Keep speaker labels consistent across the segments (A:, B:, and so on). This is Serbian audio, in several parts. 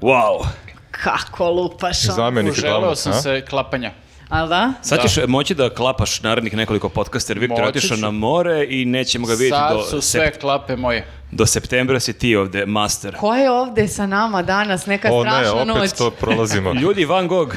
A: Wow.
B: Kako lupaš ono?
C: Zamenik
D: Želeo
C: glavnog,
D: sam
C: a?
D: se klapanja.
B: Al da?
A: Sad ćeš moći da klapaš narednih nekoliko podcasta, jer Viktor je
D: Moći
A: otišao
D: ću.
A: na more i nećemo ga vidjeti
D: Sad
A: Da do,
D: su sve
A: sep-
D: klape moje.
A: do septembra si ti ovde, master.
B: Ko je ovde sa nama danas? Neka
C: O ne,
B: strašna
C: opet
B: noć.
C: to prolazimo.
A: Ljudi, Van Gogh,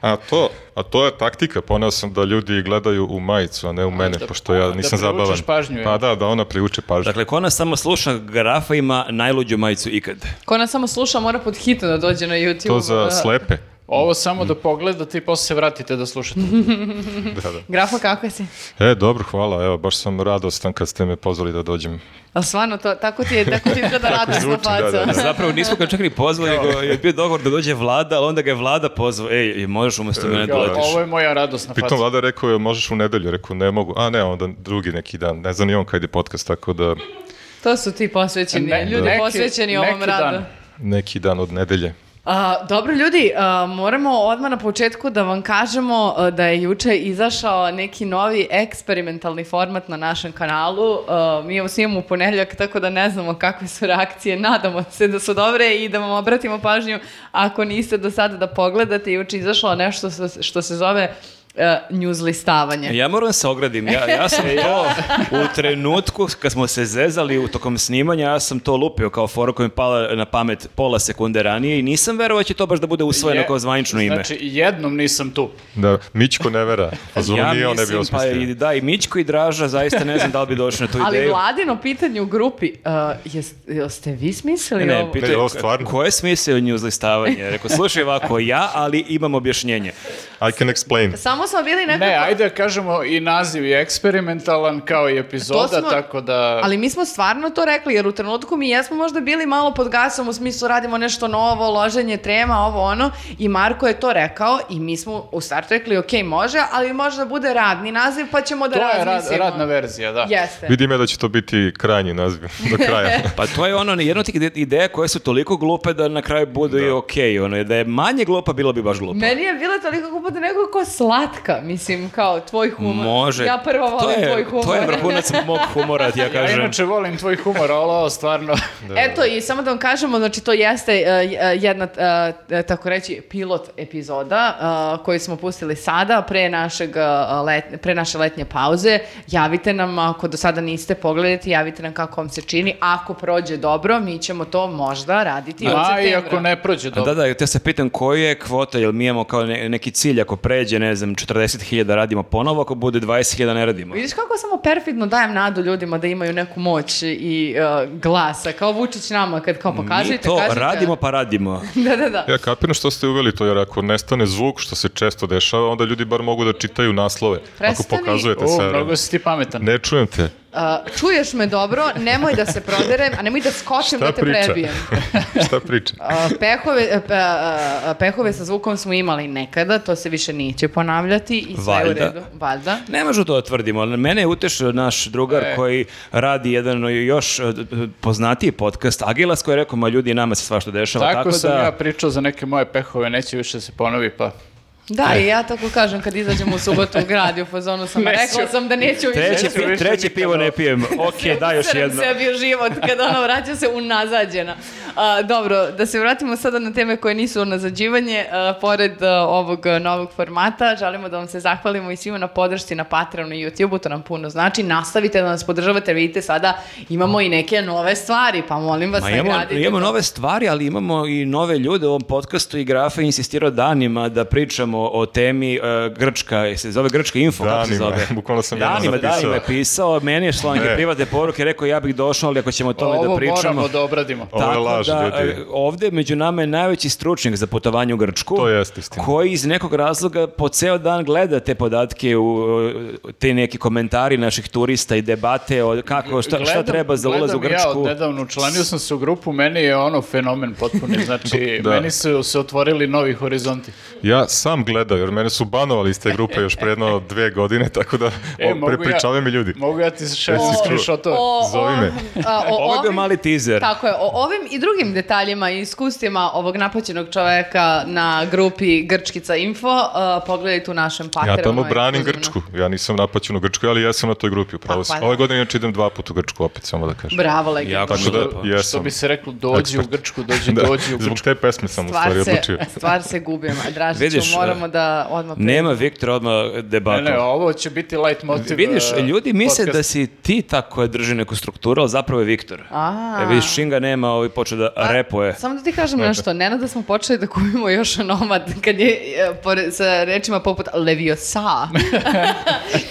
C: A to, a to je taktika, poneo sam da ljudi gledaju u majicu, a ne u mene, pošto ja nisam
D: privučeš
C: zabavan.
D: pažnju,
C: Pa
D: ja.
C: da, da ona privuče pažnju.
A: dakle, ko nas samo sluša, grafa ima najluđu majicu ikad.
D: Da.
E: Ko nas samo sluša mora pod hitno da dođe na YouTube.
C: to za
E: da-
C: slepe.
D: Ovo samo
A: Mhm.
D: da pogledate i posle se vratite da slušate.
C: Da, da.
B: Grafo, kako si?
C: E, dobro, hvala, evo, baš sam radostan kad ste me pozvali da dođem.
B: Al stvarno, to, tako ti je, tako ti izgleda radosna
C: zvuči, da, da,
B: faca.
C: da.
A: Zapravo nismo ga čak ni pozvali, nego je bio dogovor da dođe vlada, ali onda ga je vlada pozvao, ej, možeš umjesto mene da
D: Kao,
A: letiš.
D: Ovo je moja radosna
C: Pritom
D: faca.
C: vlada rekao je, možeš u nedelju, rekao ne mogu, a ne, onda drugi neki dan, ne znam ni on kad je podcast, tako da
E: To su ti posvećeni,
D: Ne-
E: ljudi
D: neki-
E: posvećeni ovom
D: neki dan.
E: radu.
C: neki dan od nedelje.
B: A, dobro ljudi, a, moramo odmah na početku da vam kažemo a, da je juče izašao neki novi eksperimentalni format na našem kanalu. A, mi ovo snimamo u ponedjeljak, tako da ne znamo kakve su reakcije. Nadamo se da su dobre i da vam obratimo pažnju ako niste do sada da pogledate. Juče je izašlo nešto što, se- što se zove a, newslistavanje.
A: Ja moram da se ogradim, ja, ja sam to u trenutku kad smo se zezali u tokom snimanja, ja sam to lupio kao foru koja mi je pala na pamet pola sekunde ranije i nisam verovao da će to baš da bude usvojeno
D: Je-
A: kao zvanično ime.
D: Znači, jednom nisam tu.
C: Da, Mićko ne vera, pa zvono
A: ja
C: nije on ne bi
A: mislim, pa
C: osmislio.
A: i, da, i Mićko i Draža, zaista ne znam da li bi došli na tu
B: Ali
A: ideju.
B: vladino pitanje u grupi, a, jes- jeste vi smislili
A: Ne, ne,
B: ovo?
A: pitao je,
C: Ne, ovo stvarno.
A: ko je smislio newslistavanje? Rekao, slušaj ovako, ja, ali imam objašnjenje.
C: I can explain.
B: Samo smo bili nekako...
D: Ne, ajde kažemo i naziv je eksperimentalan kao i epizoda,
B: To smo-
D: tako da...
B: Ali mi smo stvarno to rekli, jer u trenutku mi jesmo možda bili malo pod gasom, u smislu radimo nešto novo, loženje trema, ovo ono, i Marko je to rekao i mi smo u startu rekli, ok, može, ali možda bude radni naziv, pa ćemo da
D: to je rad,
B: razmislimo.
D: radna verzija, da.
B: Jeste.
C: Vidim ja da će to biti krajnji naziv do kraja.
A: Pa to je ono, jedna od tih ide- ideja koje su toliko glupe da na kraju budu i okej. ono, da je manje glupa, bilo bi baš glupo.
B: Meni je bila toliko glupa da nekako kao slatka, mislim, kao tvoj humor.
A: Može.
B: Ja prvo
A: To
B: volim
A: je-
B: tvoj humor.
A: To je vrhunac mog humora, ti ja
D: Ja
A: kažem.
D: inače volim tvoj humor, ali ovo stvarno...
B: Eto, i samo da vam kažemo, znači to jeste e, e, jedna, e, tako reći, pilot epizoda e, koju smo pustili sada pre, našeg, e, let- pre naše letnje pauze. Javite nam, ako do sada niste pogledati, javite nam kako vam se čini. Ako prođe dobro, mi ćemo to možda raditi od
D: Ma i
B: septembra.
D: ako ne prođe
A: A
D: dobro.
A: Da, da, te se pitam koji je kvota, jel mi imamo kao ne- neki cilj, ako pređe, ne znam, 40.000 radimo ponovo, ako bude 20.000 ne radimo.
B: Vidiš kako samo perfidno dajem nadu ljudima da imaju neku moć i e, glasa, kao Vučić nama kad kao pokažete,
A: Mi to
B: kažete.
A: radimo pa radimo.
B: Da, da, da.
C: Ja kapiram što ste uveli to, jer ako nestane zvuk, što se često dešava, onda ljudi bar mogu da čitaju naslove.
B: Prestani.
C: Ako
A: da-
C: pokazujete
D: U,
C: sve.
D: mnogo si ti pametan.
C: Ne čujem te.
B: A, čuješ me dobro, nemoj da se proderem, a nemoj da skočim
C: Šta
B: da te
C: priča?
B: prebijem.
C: Šta priča?
B: A, pehove, e, pe- a, pehove sa zvukom smo imali nekada, to se više neće ponavljati i sve
A: Valjda.
B: u redu. Valjda.
A: Ne možemo to da tvrdimo, ali mene je utešao naš drugar
D: E.
A: koji radi jedan još eh, poznatiji podcast, Agilas, koji je rekao, ma ljudi, nama se svašta dešava.
D: Tako,
A: Tako,
D: sam
A: da...
D: ja pričao za neke moje pehove, neće više da se ponovi, pa...
B: Da, i ja tako kažem kad izađem u subotu u grad i u fazonu sam,
D: Neću.
B: rekla sam da neću više.
A: Treće,
D: Neću više
A: treće pivo
D: nikada.
A: ne pijem. Ok, da još
B: Srem
A: jedno.
B: sebi u život kada ona vraća se unazađena. A, dobro, da se vratimo sada na teme koje nisu unazađivanje. A, pored a, ovog a, novog formata, želimo da vam se zahvalimo i svima na podršci na Patreonu i YouTubeu, to nam puno znači. Nastavite da nas podržavate, vidite sada imamo i neke nove stvari, pa molim vas
A: Ma
B: nagradite.
A: imamo, imamo
B: to.
A: nove stvari, ali imamo i nove ljude u ovom podcastu i Grafa je insistirao danima da pričamo o temi e, Grčka, jel se zove Grčka info, kako se
C: Danima,
A: zove?
C: bukvalno sam jednom
A: danima,
C: napisao.
A: danima je pisao, meni je šlo neke
C: Ne.
A: privatne poruke, rekao ja bih došao, ali ako ćemo o tome
D: Ovo
A: da pričamo.
D: moramo da obradimo.
C: Ovo je
A: Tako
C: laž,
A: da,
C: ljudi.
A: e, Ovde među nama je najveći stručnjak za putovanje u Grčku.
C: To jeste istina.
A: Koji iz nekog razloga po ceo dan gleda te podatke, u, e, te neki komentari naših turista i debate o kako, šta, šta
D: Gledam-
A: treba za ulaz u
D: gledam Ja
A: Grčku.
D: od nedavno učlanio sam se u grupu, meni je ono fenomen potpuni, znači
C: Da.
D: meni su se otvorili novi horizonti.
C: Ja sam gledao, jer mene su banovali iz te grupe još pre jedno dve godine, tako da
D: E,
C: o,
D: mogu ja-
C: prepričavaju mi ljudi.
D: Mogu ja ti šest
C: Jesi čuo?
D: screenshotove?
C: Zovi me.
B: a, o
A: Ovo je bio
B: ovim-
A: mali teaser.
B: Tako je, o ovim i drugim detaljima i iskustvima ovog napaćenog čoveka na grupi Grčkica Info uh, pogledajte u našem Patreonu.
C: Ja tamo branim
B: ekskluzivno.
C: Grčku. Ja nisam napaćen u Grčku, ali ja sam na toj grupi, upravo
B: Pa,
C: sam.
B: hvala.
C: Ove godine inače idem dva puta u Grčku, opet samo da kažem.
B: Bravo, legenda.
A: Jako
C: Tako da,
A: Lepo.
C: jesam.
D: Što bi se reklo, dođi u
C: Ekspert.
D: Grčku, dođi,
C: Da,
D: dođi u
C: Zbog
D: Grčku.
C: te pesme sam u stvari
B: Stvar se,
C: odlučio.
B: stvar se gubim, a Dražiću,
A: Vidiš,
B: moramo da odmah...
A: Nema Viktor odmah
D: Ne,
A: debakla.
D: ne, ovo uh, će biti light motiv. eh,
A: Vidiš, ljudi misle da si ti ta koja drži neku strukturu, ali zapravo je Viktor.
B: A.
A: E, vidiš, čim ga nema, ovi počeo da repuje.
D: E,
B: Samo da ti kažem nešto, nenada smo počeli da kupimo još nomad, kad je e, pore- sa rečima poput Leviosa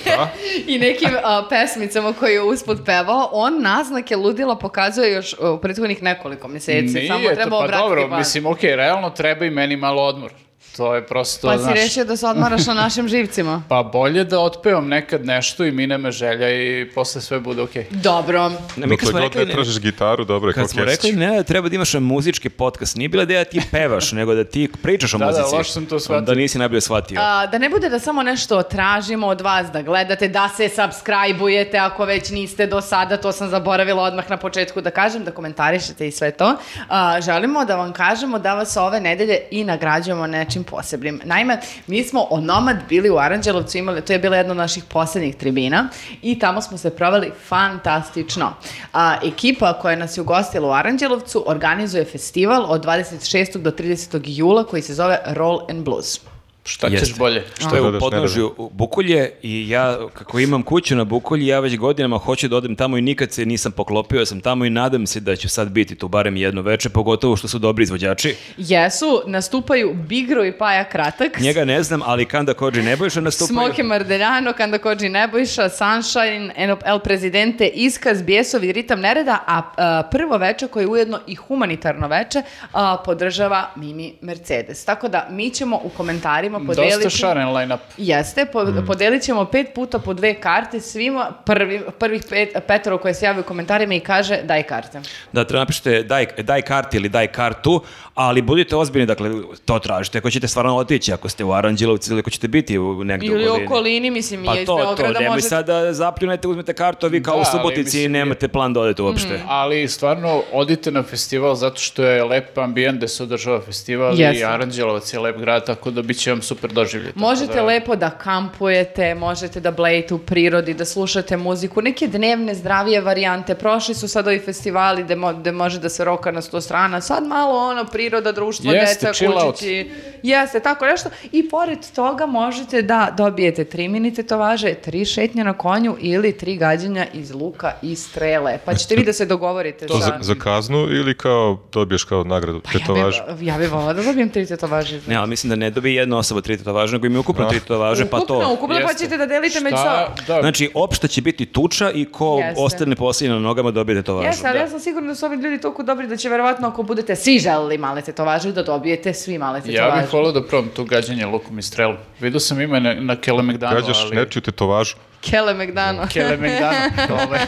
D: Da.
B: i nekim a, pesmicama koje je usput pevao, on naznake ludila pokazuje još e, u prethodnih nekoliko mjeseci.
D: Nije,
B: Samo
D: to-
B: treba
D: pa
B: obratiti
D: dobro,
B: pažnju.
D: mislim, okej, realno treba i meni malo odmor. To je prosto,
B: Pa si
D: znaš,
B: rešio da se odmaraš na našim živcima.
D: pa bolje da otpevam nekad nešto i mine me želja i posle sve bude okej.
B: Dobro.
A: Ne, mi kad
C: Dokle
A: smo
C: god
A: rekli,
C: ne tražiš gitaru, dobro je kao
A: kad smo rekli
C: kesić.
A: ne, da treba da imaš muzički podcast, nije bila ideja da ti pevaš, nego da ti pričaš o
D: Da, da,
A: muzici.
D: loše sam to shvatio.
A: Da nisi najbolje shvatio.
B: A, da ne bude da samo nešto tražimo od vas da gledate, da se subscribe-ujete ako već niste do sada, to sam zaboravila odmah na početku da kažem, da komentarišete i sve to. A, želimo da vam kažemo da vas ove nedelje i nagrađujemo nečim posebnim. Naime, mi smo o Nomad bili u Aranđelovcu, imali, to je bila jedna od naših poslednjih tribina i tamo smo se proveli fantastično. A, ekipa koja nas je ugostila u Aranđelovcu organizuje festival od 26. do 30. jula koji se zove Roll and Blues.
D: Šta ćeš
A: Jeste.
D: bolje?
A: Što je
C: Što
A: u
C: dodaš
A: podnožju Bukulje i ja, kako imam kuću na Bukulji, ja već godinama hoću da odem tamo i nikad se nisam poklopio, ja sam tamo i nadam se da ću sad biti tu barem jedno veče, pogotovo što su dobri izvođači.
B: Jesu, nastupaju Bigro i Paja Kratak,
A: Njega ne znam, ali Kanda Kođi Nebojša da nastupaju.
B: Smoke Mardeljano, Kanda Kođi Nebojša, Sunshine, Eno- El Presidente, Iskaz, Bjesovi, Ritam Nereda, a, a, prvo veče koje je ujedno i humanitarno veče a, podržava Mimi Mercedes. Tako da mi ćemo u komentarima podeliti...
D: Dosta šaren line-up.
B: Jeste, po,
A: Mm.
B: podelit ćemo pet puta po dve karte svima, prvi, prvih pet, petoro koje se jave u komentarima i kaže daj karte.
A: Da, treba napišite daj, daj karti ili daj kartu, ali budite ozbiljni, dakle, to tražite. Ako ćete stvarno otići, ako ste u Aranđelovcu ili ako ćete biti u negdje
E: Ili
A: u
E: u
A: okolini.
E: okolini, mislim,
A: Pa
E: je iz
A: to, to,
E: Beograda
A: nemoj
E: možete...
A: sad da zapljunete, uzmete kartu, a vi kao
D: Da,
A: u
D: ali
A: Subotici i
D: mislim-
A: nemate plan da odete uopšte.
D: Ali stvarno odite na festival zato što je lep ambijent gde se održava festival i
B: Jeste.
D: Aranđelovac je lep grad, tako da bit će vam super doživlje. Tako
B: Možete
D: da-
B: lepo da kampujete, možete da blejete u prirodi, da slušate muziku, neke dnevne, zdravije varijante. Prošli su sad ovi festivali gde, mo- gde može da se roka na sto strana, sad malo ono, priroda, društvo,
D: Jeste,
B: deca,
D: chill out.
B: kućići. Jeste, tako nešto. I pored toga možete da dobijete tri minite tovaže, tri šetnje na konju ili tri gađanja iz luka i strele. Pa ćete vi da se dogovorite.
C: To za, za kaznu ili kao dobiješ kao nagradu, tetovažu?
B: Ja bih ja bi volila da dobijem tri tetovaže.
A: Ne, ali mislim da ne dobije jedna osoba tri tetovaže, nego im je ukupno
D: Da.
A: tri tetovaže, pa
B: Ukupno,
A: to...
B: ukupno pa
D: Jeste.
B: ćete da delite među sobom.
D: Šta? Da,
A: Znači, opšta će biti tuča i ko
B: Jeste.
A: ostane poslije na nogama dobije tetovažu.
B: Jeste, ali ja sam sigurna da su ovi ljudi toliko dobri da će verovatno ako budete svi želeli male tetovaže da dobijete svi male
A: Znači,
B: tetovaže.
D: ja bih volio da probam tu gađanje lukom i strelom. Vidio sam ime na, na Kelemegdanu,
C: Gađaš
D: da, ali...
C: nečiju tetovažu?
B: Kele McDano.
D: Kelemegdanu. ovaj.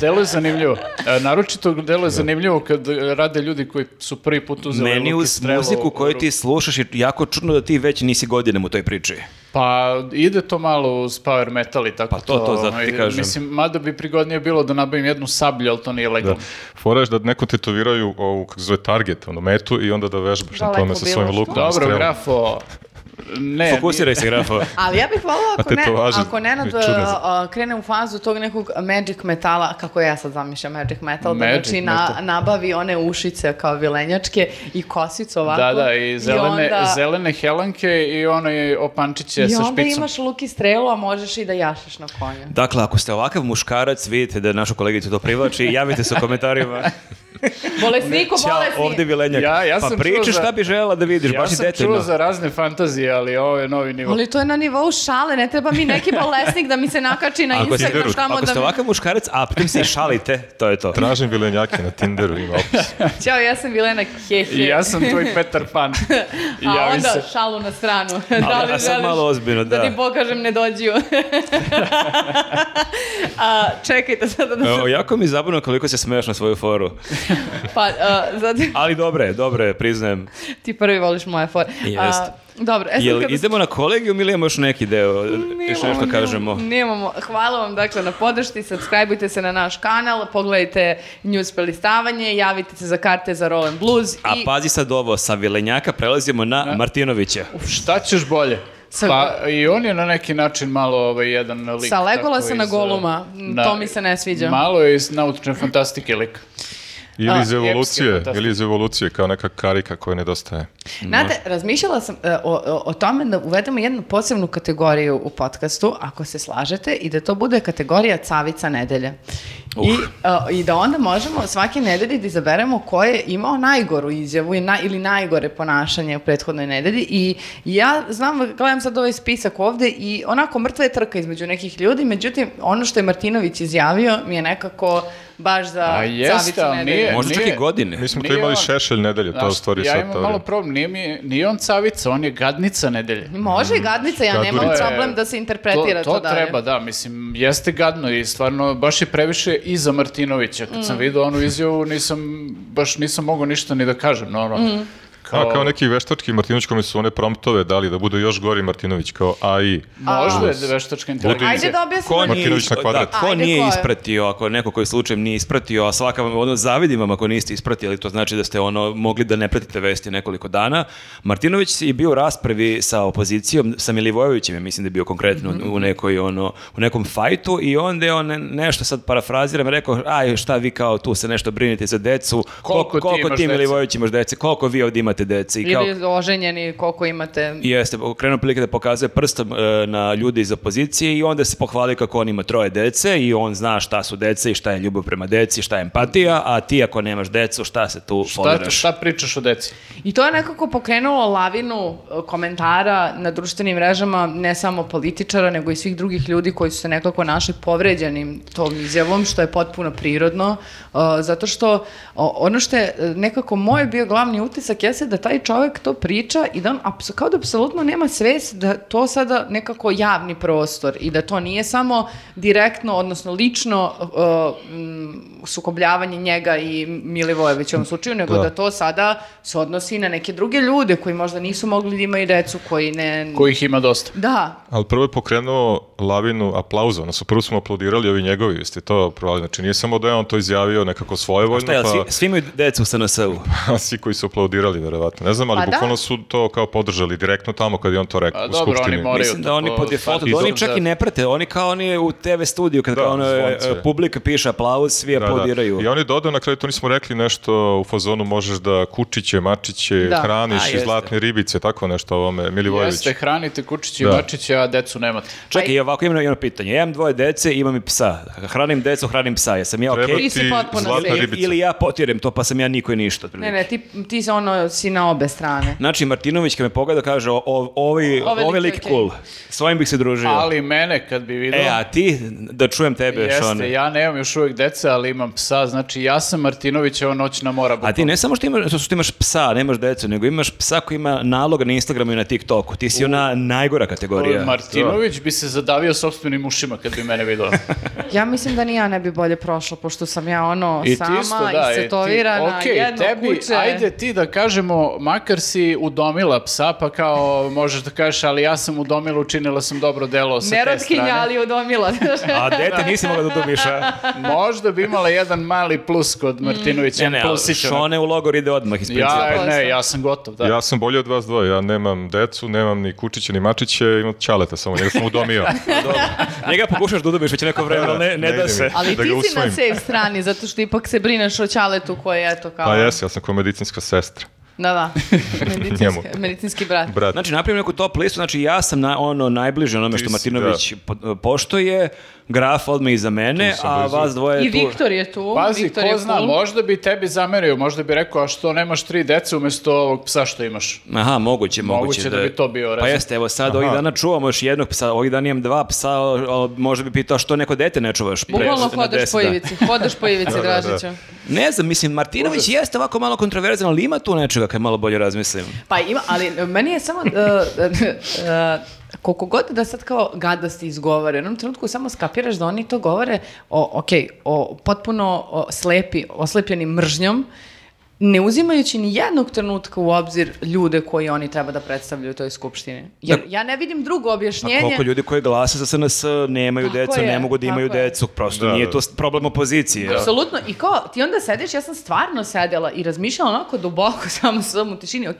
D: Delo je zanimljivo. E, naročito
A: Da.
D: delo je zanimljivo kad e, rade ljudi koji su prvi put uzeli
A: Meni
D: luk i
A: uz
D: strelu
A: muziku
D: u
A: koju
D: ruku.
A: ti slušaš je jako čudno da ti već nisi godinama u toj priči.
D: Pa ide to malo uz power metal i tako
A: Pa to, to, zato
D: ovaj,
A: ti kažem.
D: Mislim, mada bi prigodnije bilo da nabavim jednu sablju, ali to nije legalno.
C: Fora je da neko tetoviraju ovu, kako se zove, target, ono, metu i onda da vežbaš na
B: Daleko
C: tome sa
B: bilo,
C: svojim
B: što?
C: lukom. i
D: Dobro,
C: strelom.
D: grafo. Ne,
A: Da. Fokusiraj se, grafo.
B: Ali ja bih volila ako,
C: A
B: ne,
C: tetovaže
B: ako Nenad
C: je čudno za-
B: a, krene u fazu tog nekog magic metala, kako ja sad zamišljam magic metal, da
D: Magic
B: znači na-
D: metal.
B: nabavi one ušice kao vilenjačke i kosicu ovako.
D: Da, da, i zelene,
B: onda-
D: zelene helanke i onaj opančiće
B: I
D: sa
B: onda
D: špicom.
B: imaš luk i strelu, a možeš i da jašeš na konju.
A: Dakle, ako ste ovakav muškarac, vidite da našu kolegicu to privlači, javite se u komentarima.
B: Bolesniku,
A: Ćao,
B: bolesni!
A: ovdje bi lenjak.
D: Ja- ja
A: pa
D: sam
A: pričaš
D: čuo za-
A: šta bi žela da vidiš,
D: Ja
A: baš i
D: sam
A: detaljno.
D: čuo za razne fantazije, ali ovo je novi nivo.
B: Ali to je na nivou šale, ne treba mi neki bolesnik da mi se nakači na
A: Ako, ste,
B: Instagram tamo
A: ako
B: da
A: ste
B: mi...
A: ovakav muškarac, a pritom se i šalite, to je to.
C: Tražim vilenjake na Tinderu, ima opis.
B: Ćao, ja sam Milena Hehe.
D: I ja sam tvoj Petar Pan. I
B: A
D: javi
B: onda
D: se.
B: šalu na stranu. da
A: Ali,
B: li
A: a sad
B: želiš
A: malo ozbiljno,
B: da
A: da.
B: ti pokažem ne dođiju. a, da- čekajte sada da se...
A: Evo, jako mi je zabavno koliko se smeješ na svoju foru.
B: Pa, uh, zato
A: Ali dobro je, dobro je, priznajem.
B: ti prvi voliš moje fore.
A: Jest.
B: A, dobro, e sad
A: Jel
B: kada-
A: idemo na kolegijum ili imamo još neki deo? Još nešto kažemo.
B: Nemamo. Hvala vam dakle na podršci, subscribeujte se na naš kanal, pogledajte news prelistavanje, javite se za karte za Roll and Blues
A: A pa
B: i
A: pazi sad ovo, sa Vilenjaka prelazimo na Martinovića.
D: Šta ćeš bolje?
B: Sa-
D: Pa i on je na neki način malo ovaj, jedan lik.
B: Sa Legolasa
D: tako
B: na
D: iz,
B: Goluma.
D: eh,
B: Mm, To mi se ne sviđa.
D: Malo je iz naučne fantastike lik.
C: Ili iz
D: A, epske,
C: evolucije,
D: fantastično.
C: ili iz evolucije, kao neka karika koja nedostaje.
B: Znate, razmišljala sam e, o, o- o tome da uvedemo jednu posebnu kategoriju u podcastu, ako se slažete, i da to bude kategorija cavica nedelje.
D: Uh.
B: I, e, I da onda možemo svake nedelje da izaberemo ko je imao najgoru izjavu i na- ili najgore ponašanje u prethodnoj nedelji. I ja znam, gledam sad ovaj spisak ovde i onako mrtva je trka između nekih ljudi, međutim, ono što je Martinović izjavio mi je nekako baš za
D: A jeste,
B: cavicu
D: ali
B: nedelje.
D: nije-
A: Možda čak i
D: Nije.
A: godine.
C: Mi smo tu
D: Nije
C: imali
D: on-
C: šešelj nedelje, to
D: Znaš,
C: u stvari
D: ja
C: sad
D: imam
C: teorija.
D: malo problem, nije, mi, nije on cavica, on je gadnica nedelje.
B: Može i
D: Mm.
B: gadnica, ja nemam
C: Gadurica.
B: problem da se
D: To,
B: interpretira Mm, to,
D: to
B: dalje.
D: treba, da, mislim, jeste gadno i stvarno baš je previše i za Martinovića. Kad
B: Mm.
D: sam vidio onu izjavu, nisam, baš nisam mogao ništa ni da kažem, normalno.
B: Mm.
C: Kao, kao neki veštački Martinović kome su one promptove dali da budu još gori Martinović, kao AI.
D: Možda je veštačka inteligencija.
B: Ajde da objasnimo.
A: Ko nije,
C: Martinović na kvadrat.
A: da, ko
B: Ajde,
A: nije
B: ko je?
A: ispratio, ako neko koji slučajem nije ispratio, a svaka vam, ono, zavidim vam ako niste ispratili, to znači da ste ono, mogli da ne pratite vesti nekoliko dana. Martinović je bio u raspravi sa opozicijom, sa Milivojevićem, ja mislim da je bio konkretno
B: Mhm.
A: u, nekoj, ono, u nekom fajtu i onda je on ne- nešto sad parafraziram, rekao, aj šta vi kao tu se nešto brinite za decu,
D: Koliko ti imaš dece?"
A: Milivojević imaš dece, koliko vi ovdje imate dece i kao,
B: Ili oženjeni, koliko imate...
A: Jeste, krenuo prilike da pokazuje prstom e, na ljudi iz opozicije i onda se pohvalio kako on ima troje dece i on zna šta su dece i šta je ljubav prema deci, šta je empatija, a ti ako nemaš decu, šta se tu
D: Šta,
A: foliraš?
D: šta pričaš o deci?
B: I to je nekako pokrenulo lavinu e, komentara na društvenim mrežama, ne samo političara, nego i svih drugih ljudi koji su se nekako našli povređenim tom izjavom, što je potpuno prirodno, e, zato što o, ono što je e, nekako moj bio glavni utisak jeste da taj čovjek to priča i da on apso- kao da apsolutno nema svest da to sada nekako javni prostor i da to nije samo direktno, odnosno lično e, m, sukobljavanje njega i Milivojevića u ovom slučaju, nego da.
C: Da.
B: to sada se odnosi na neke druge ljude koji možda nisu mogli da imaju decu, koji ne...
D: Kojih ima dosta.
B: Da,
C: Ali prvo je pokrenuo lavinu aplauza, odnosno prvo smo aplaudirali ovi njegovi, jeste to provali. Znači nije samo da je on to izjavio nekako svojevoljno,
A: Šta je, svi,
C: pa
A: svi imaju decu u SNS-u?
C: pa svi koji su aplaudirali, verovatno. Ne znam, ali
B: Pa da.
C: bukvalno su to kao podržali direktno tamo kad je on to rekao
D: A
C: u
D: dobro, oni
C: skupštini.
D: moraju.
A: Mislim da oni
D: to-
A: po defaultu, da
D: to-
A: oni čak i ne prate, oni kao oni u TV studiju, kad
C: Da,
A: kao ono, e,
C: zvonce.
A: e, publika piše aplauz, svi
C: Da, da.
A: aplaudiraju.
C: I on je dodao na kraju, to nismo rekli nešto u fazonu možeš da kučiće, mačiće,
B: Da.
A: A,
C: hraniš i
A: jeste.
C: zlatne ribice, tako nešto ovome, Milivojević.
D: Jeste, hranite kučići i
C: Da.
D: mačiće, a decu nemate.
A: Čekaj, i ovako imam jedno pitanje. Ja imam dvoje dece, imam i psa. Hranim decu, hranim psa. Jesam ja okej?
C: Treba
B: Ti
C: ti
B: si potpuno
C: zlatna
B: sve.
A: Ili,
C: ribica.
A: ili ja potirem to, pa sam ja niko i ništa. otprilike.
B: ne, ne, ti, ti se ono si na obe strane.
A: Znači, Martinović kad me pogleda kaže, o, o- ovi,
B: Ovaj
A: ovi
B: lik
A: lik
B: je
A: cool. S ovim bih se družio.
D: Ali mene, kad bi vidio...
A: E, a ti, da čujem tebe,
D: Jeste,
A: Šone.
D: ja nemam još uvijek dece, ali imam psa, znači ja sam Martinović, evo noć na mora.
A: A ti
D: bukvalno.
A: ne samo što imaš, što ti imaš psa, nemaš decu, nego imaš psa koji ima nalog na Instagramu i na TikToku. Ti si ona najgora kategorija.
D: Martinović bi se zadavio sopstvenim ušima kad bi mene vidio.
B: Ja mislim da ni ja ne bi bolje prošla, pošto sam ja ono
D: I ti
B: sama
D: isto,
B: i
D: da. i ti-
B: setovirana,
D: okej,
B: jedno
D: tebi,
B: kuće.
D: Ajde ti da kažemo, makar si udomila psa, pa kao možeš da kažeš, ali ja sam udomila, učinila sam dobro delo sa te
B: Nerotkinja,
D: strane.
B: ali udomila.
A: A dete nisi mogla da dobiš, a?
D: Možda bi imala jedan mali plus kod
B: Mm.
D: Martinovića.
A: Ne, ne, ali
D: plusić, ono.
A: Šone u logor ide odmah iz principa.
D: Ja,
B: Posla.
D: ne, ja sam gotov, da.
C: Ja sam bolji od vas dvoje, ja nemam decu, nemam ni kučiće, ni mačiće, imam ćaleta samo, njega sam udomio.
A: Njega pokušaš da udobiš već neko vreme, ali ne, ne,
C: ide
A: da
C: mi.
A: se.
B: Ali
C: Da
B: ti
C: ga
B: si na
C: usvojim.
B: safe strani, zato što ipak se brineš o ćaletu koji je to kao...
C: Pa jes, ja sam kao medicinska sestra,
B: Da, da. Medicinski,
C: Njemu.
B: medicinski brat.
C: brat.
A: Znači, napravim neku top listu, znači ja sam na, ono najbliže onome
C: Ti
A: što
C: si,
A: Martinović po- poštuje, graf odmah iza mene,
C: Tu sam
A: a
C: blizu.
A: vas dvoje
B: I
A: tu.
B: Viktor je tu.
D: Pazi,
B: Viktor je
D: ko zna,
B: cool.
D: možda bi tebi zamerio, možda bi rekao, a što nemaš tri dece umjesto ovog psa što imaš?
A: Aha, moguće, moguće.
D: Moguće da bi to bio
A: Pa
D: rezon.
A: jeste, evo sad ovih dana čuvamo još jednog psa, ovih dana imam dva psa, o- o, možda bi pitao što neko dete ne čuvaš. pre-
E: Bukvalno
A: na
E: hodaš
A: deset
E: po
A: dana.
E: ivici, hodaš po ivici,
C: da, da.
E: Dražiću.
A: Ne znam, mislim, Martinović jeste ovako malo kontroverzan, ali
B: e,
A: ima tu nečega kad malo bolje razmislim.
B: Pa ima, ali meni je samo... Uh, uh, uh, e, koliko god da sad kao gadosti izgovore, u jednom trenutku samo skapiraš da oni to govore o, ok, o potpuno o, slepi, oslepljeni mržnjom, ne uzimajući ni jednog trenutka u obzir ljude koji oni treba da predstavljaju u toj skupštini. Jer ja ne vidim drugo objašnjenje.
A: A Da. Pa koliko ljudi koji glase za SNS nemaju
B: Tako
A: decu,
B: je,
A: ne mogu da imaju
B: tako je.
A: decu, prosto
C: Da,
A: nije
C: da.
A: to s- problem opozicije.
D: Da.
B: Apsolutno, i kao, ti onda sediš, ja sam stvarno sedela i razmišljala onako duboko samo sa u tišini, ok,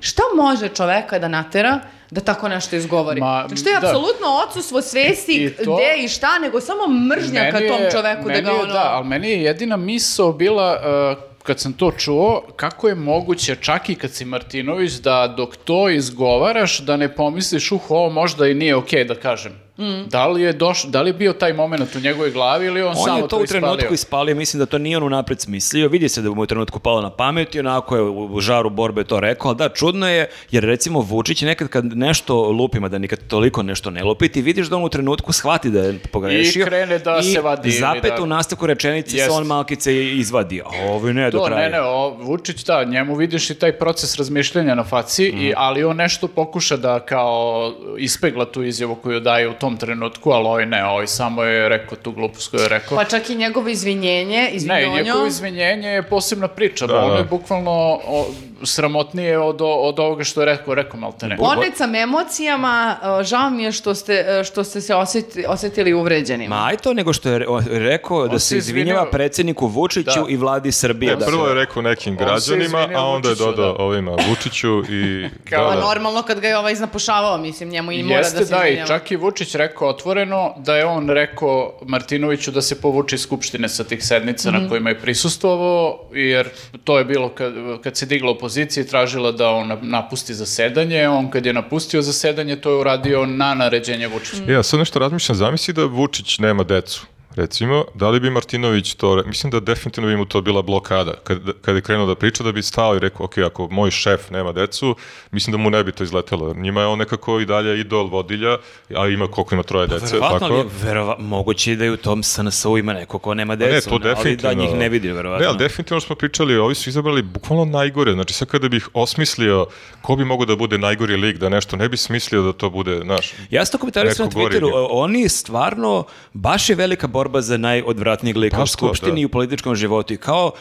B: šta može čoveka da natera da tako nešto izgovori?
D: Ma,
B: znači, to je
D: da. E,
B: apsolutno odsustvo svesti
D: I to-
B: gde i šta, nego samo mržnja ka
D: Meni
B: tom
D: je-
B: čoveku da
D: meni
B: ga
D: je,
B: ono...
D: Da, ali meni je jedina misao bila uh, kad sam to čuo, kako je moguće čak i kad si Martinović da dok to izgovaraš da ne pomisliš uh ovo možda i nije okej da kažem.
B: Mm.
D: Da li je doš, da li je bio taj moment u njegovoj glavi ili je on,
A: On
D: samo
A: je to u trenutku ispalio, mislim da to nije on unapred smislio, vidi se da mu je u trenutku palo na pamet i onako je u u žaru borbe to rekao, ali da, čudno je, jer recimo Vučić nekad kad nešto lupima, da nikad toliko nešto ne lupi, ti vidiš da on u trenutku shvati da je pogrešio.
D: I krene da se vadi
A: I
D: ili
A: zapet
D: da-
A: u nastavku rečenice se
D: Jest.
A: on malkice izvadi, a ovo ne do
D: To,
A: kraja.
D: ne, ne, o, Vučić, da, njemu vidiš i taj proces razmišljanja na faci, i, ali on nešto pokuša da kao ispegla tu izjavu koju daje u tom trenutku, ali ovaj ne, ovaj samo je rekao tu glupost koju je rekao.
B: Pa čak i njegovo izvinjenje,
D: Ne,
B: izvinjonjo.
D: njegovo izvinjenje je posebna priča, da,
C: Da,
D: ono
C: da.
D: je bukvalno o, sramotnije od, o- od ovoga što je rekao, rekao malte ne.
B: Poned sam emocijama, uh, žao mi je što ste, uh, što ste se osjeti, osjetili uvređenima.
A: Ma aj to nego što je re- o- rekao da
D: On
A: se
D: se izvinio-
A: izvinjava predsjedniku Vučiću
D: Da.
A: i vladi Srbije.
C: E,
A: Da.
C: prvo je rekao nekim
D: se
C: građanima,
D: izvinio
C: a onda je
D: Vučiću,
C: dodao
D: da.
C: ovima Vučiću i...
D: Kao
C: da,
B: Pa
C: da.
B: normalno kad ga je ovaj iznapušavao, mislim, njemu i mora
D: Jeste
B: da se
D: da, i
B: izvinjava.
D: čak i Vučić rekao otvoreno da je on rekao Martinoviću da se povuče iz skupštine sa tih sednica
B: Mhm.
D: na kojima je prisustvovao, jer to je bilo kad, kad se digla opozicija i tražila da on nap- napusti zasedanje, on kad je napustio zasedanje to je uradio na naređenje Vučića.
B: Mhm.
C: Ja sad nešto razmišljam, zamisli da Vučić nema decu, recimo, da li bi Martinović to, re- mislim da definitivno bi mu to bila blokada, kad, kad je krenuo da priča, da bi stao i rekao, ok, ako moj šef nema decu, mislim da mu ne bi to izletelo, jer njima je on nekako i dalje idol vodilja, a ima koliko ima troje dece,
A: Verovatno, ali
C: tako?
A: je verova- moguće je da i u tom SNS-u ima neko ko nema
C: Pa Ne,
A: decu,
C: to
A: ne, ali
C: definitivno.
A: da njih ne vidi, verovatno.
C: Ne, ali definitivno smo pričali, ovi su izabrali bukvalno najgore. Znači, sad kada bih osmislio ko bi mogao da bude najgori lik, da nešto, ne bi smislio da to bude, znaš,
A: Ja sam to komentario na
C: Neko gori
A: Twitteru,
C: ide.
A: o- oni stvarno, baš je velika borba za najodvratnijeg lika u
C: Baš to,
A: skupštini
C: da.
A: i u političkom životu. I kao,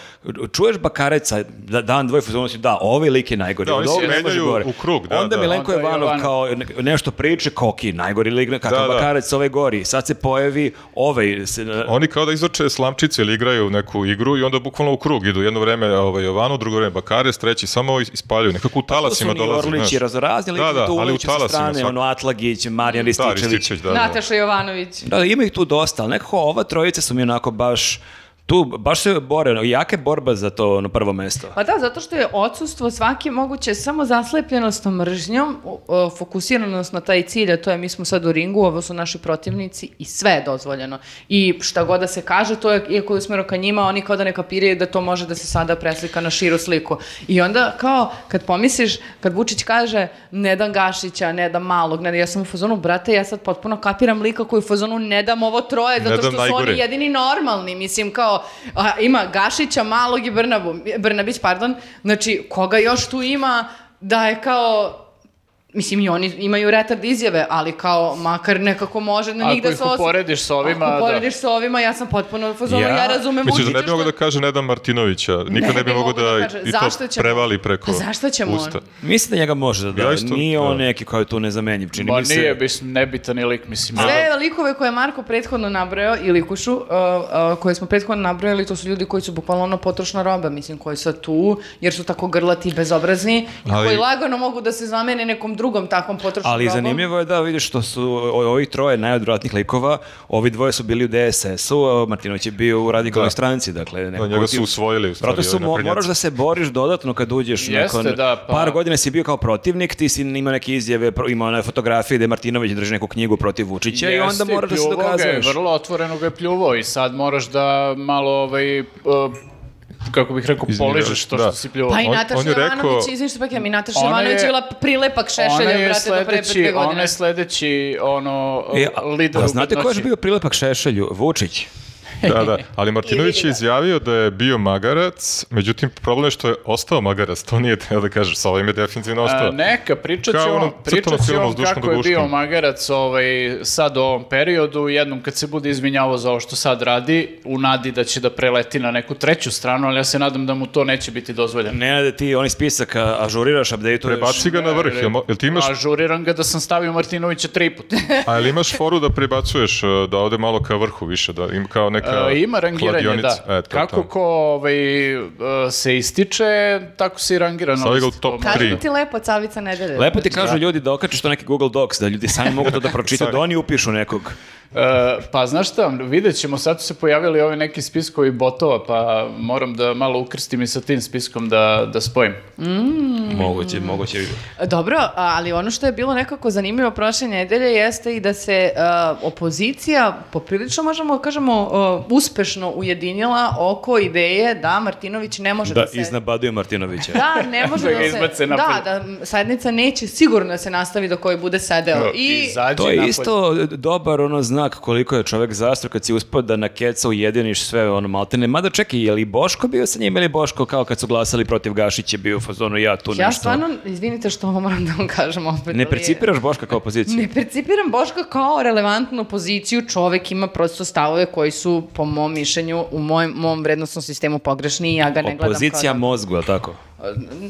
A: čuješ Bakareca, da, dan, dvoje fuzonu si, da, ovaj lik je najgori.
C: Da, oni
A: od
C: se
A: ovog ne može
C: menjaju
A: gore.
C: u krug, da,
A: Onda
C: da.
A: Milenko
D: Onda
A: Jovanov
D: Jovanov.
A: kao ne- nešto priče, koki, najgori lik, kakav
C: Da, da.
A: Bakarec, ovaj gori. Sad se pojavi, ovaj se...
C: Oni kao da izvrče slamčice ili igraju neku igru i onda bukvalno u krug idu. Jedno vreme ovaj, Jovanu, drugo vreme Bakares, treći samo is- ispaljuju. Nekako u
A: Pa to su
C: talasima
A: oni
C: dolaze.
A: Orlići
C: znaš.
A: razorazni,
C: Da,
A: ali
C: da,
A: tu
C: ali u
A: uliči sa
C: talasima.
A: strane,
C: svako-
A: ono Atlagić, Marijan
C: Da,
A: Rističević.
C: Rističević, da, da.
E: Nataša Jovanović.
A: Da, ima ih tu dosta, ali nekako ova trojica su mi onako baš tu, baš se bore, ono, jaka je borba za to ono, prvo mesto.
B: Pa da, zato što je odsustvo svake moguće samo zaslepljenost mržnjom, o- o, fokusiranost na taj cilj, a to je mi smo sad u ringu, ovo su naši protivnici i sve je dozvoljeno. I šta god da se kaže, to je, iako je usmjero ka njima, oni kao da ne kapiraju da to može da se sada preslika na širu sliku. I onda kao, kad pomisliš, kad Vučić kaže, ne dam Gašića, ne dam Malog, ne, ja sam u fazonu, brate, ja sad potpuno kapiram lika koji u fazonu ne dam ovo troje,
C: Ne
B: zato
C: dam
B: što su oni
C: najgore.
B: jedini normalni, mislim kao a, ima Gašića, Malog i Brnabu, Brnabić, pardon, znači koga još tu ima da je kao Mislim, i oni imaju retard izjave, ali kao, makar nekako može na
D: Ako
B: njih da
D: ih
B: se os-
D: uporediš sa ovima,
B: Ako
D: da.
B: uporediš sa ovima, ja sam potpuno u fazonu,
A: Ja-
B: ja, razumem
C: Misliš da
B: Vučića
C: ne bi mogao da
B: što-
C: kaže Nedan Martinovića? Nikad ne,
B: Ne
C: bi
B: bi
C: mogao
B: mogao da
C: da,
B: kaže.
C: i
B: Zašto
C: to
B: ćemo?
C: prevali preko
B: Pa zašto ćemo
C: usta.
B: onda?
A: Mislim da njega može da da,
C: Ja isto,
A: nije on
C: da.
A: neki koji je tu nezamenjiv, čini
D: Ma
A: mi se.
D: nije, mislim, nebitan je lik, mislim.
B: Sve likove koje je Marko prethodno nabrojao i likušu, uh, uh, koje smo prethodno nabrojali, to su ljudi koji su bukvalno ono potrošna roba, mislim, koji su tu, jer su tako grlati i bezobrazni,
C: Ali-
B: i koji lagano mogu da se zamene nekom drugom takvom potrošnom
A: Ali
B: robom.
A: zanimljivo je da vidiš što su o- ovi troje najodvratnijih likova, ovi dvoje su bili u DSS-u, a Martinović je bio u radikalnoj
C: Da.
A: stranci, dakle. nekako
C: njega
A: ti-
C: su usvojili, u stvari,
A: Proto su,
C: ovi
A: mo-
C: naprednjaci.
A: moraš da se boriš dodatno kad uđeš
D: Jeste,
A: nakon
D: da, pa-
A: par godina si bio kao protivnik, ti si imao neke izjave, pro- imao one fotografije gde Martinović drži neku knjigu protiv Vučića i onda moraš da se
D: pljuvao ga je,
A: dokazuješ.
D: vrlo otvoreno ga je pljuvao i sad moraš da malo ovaj... uh, kako bih rekao,
C: Iznerviraš,
D: poližeš to
C: da.
D: što si pljuvao.
B: Pa i
C: On-
B: Nataša
C: on je rekao-
B: Jovanović, izvim što pakijam, i Nataša
D: Ona
B: Jovanović je
D: je-
B: bila prilepak
D: Ona
B: šešelja,
D: je
B: brate, do pre
D: sledeći-
B: pet godine.
D: Ona je sledeći, ono,
A: E, a-
D: lider
A: a
D: u
A: znate ko je još
D: bednoći.
A: bio prilepak Šešelju? Vučić.
C: Da, da, ali Martinović je izjavio da je bio magarac, međutim problem je što je ostao magarac, to nije teo da kažeš, sa ovim je definitivno ostao.
D: A, neka, pričat
C: Kao
D: ću
C: ono
D: vam,
C: crtano da
D: pričat ću
C: filmu
D: vam
C: s Dušanom
D: kako je bio
C: Duguškom.
D: magarac ovaj, sad u ovom periodu, jednom kad se bude izvinjavao za ovo što sad radi, u nadi da će da preleti na neku treću stranu, ali ja se nadam da mu to neće biti dozvoljeno.
A: Ne, da ti onaj spisak a, ažuriraš, updateuješ.
C: Prebaci ga na vrh, jel, mo- jel ti imaš,
D: Ažuriram ga da sam stavio Martinovića tri puta.
C: a jel imaš foru da prebacuješ, e, da ode malo ka vrhu više, da im kao neka
D: E, ima rangiranje, da.
C: kladionica? E, to je
D: Kako
C: to.
D: ko ovaj, e, se ističe, tako se i rangira. na
C: Stavi ga u
D: listi.
C: top
D: To može
C: tri.
D: da-
B: Kažem ti lepo, cavica nedelje.
A: Lepo ti kažu ljudi da okačeš to neki Google Docs, da ljudi sami mogu to da pročitaju, da oni upišu nekog.
D: E, pa znaš šta, vidjet ćemo, sad su se pojavili ovi neki spiskovi botova, pa moram da malo ukrstim i sa tim spiskom da, da spojim.
B: Mm.
A: Moguće, moguće.
B: Dobro, a- ali ono što je bilo nekako zanimljivo prošle nedelje jeste i da se e, opozicija poprilično, možemo da kažemo, e, uspešno ujedinila oko ideje da Martinović ne može da,
A: Da,
B: se...
A: iznabaduje Martinovića.
B: Da, ne može
D: Da
B: da,
D: ga
B: se...
D: izbace
B: Da,
D: napolje.
B: da, sednica neće sigurno da se nastavi do koje bude sedeo. Da, I,
D: Izađi
A: To je
D: napolje.
A: isto dobar ono znak koliko je čovek zastro kad si uspio da na keca ujediniš sve ono maltene. Mada čekaj, je li Boško bio sa njim ili je Boško kao kad su glasali protiv Gašića bio u fazonu ja tu
B: ja
A: nešto.
B: stvarno, izvinite što ovo moram da vam kažem opet. ali
A: Ne
B: je-
A: percipiraš Boška kao opoziciju?
B: Ne percipiram Boška kao relevantnu poziciju, čovek ima prosto stavove koji su, po mom mišljenju, u mojem, mom vrednostnom sistemu pogrešni i ja ga ne gledam
A: Opozicija
B: kao... da.
A: mozgu, je tako?
B: Opozicija...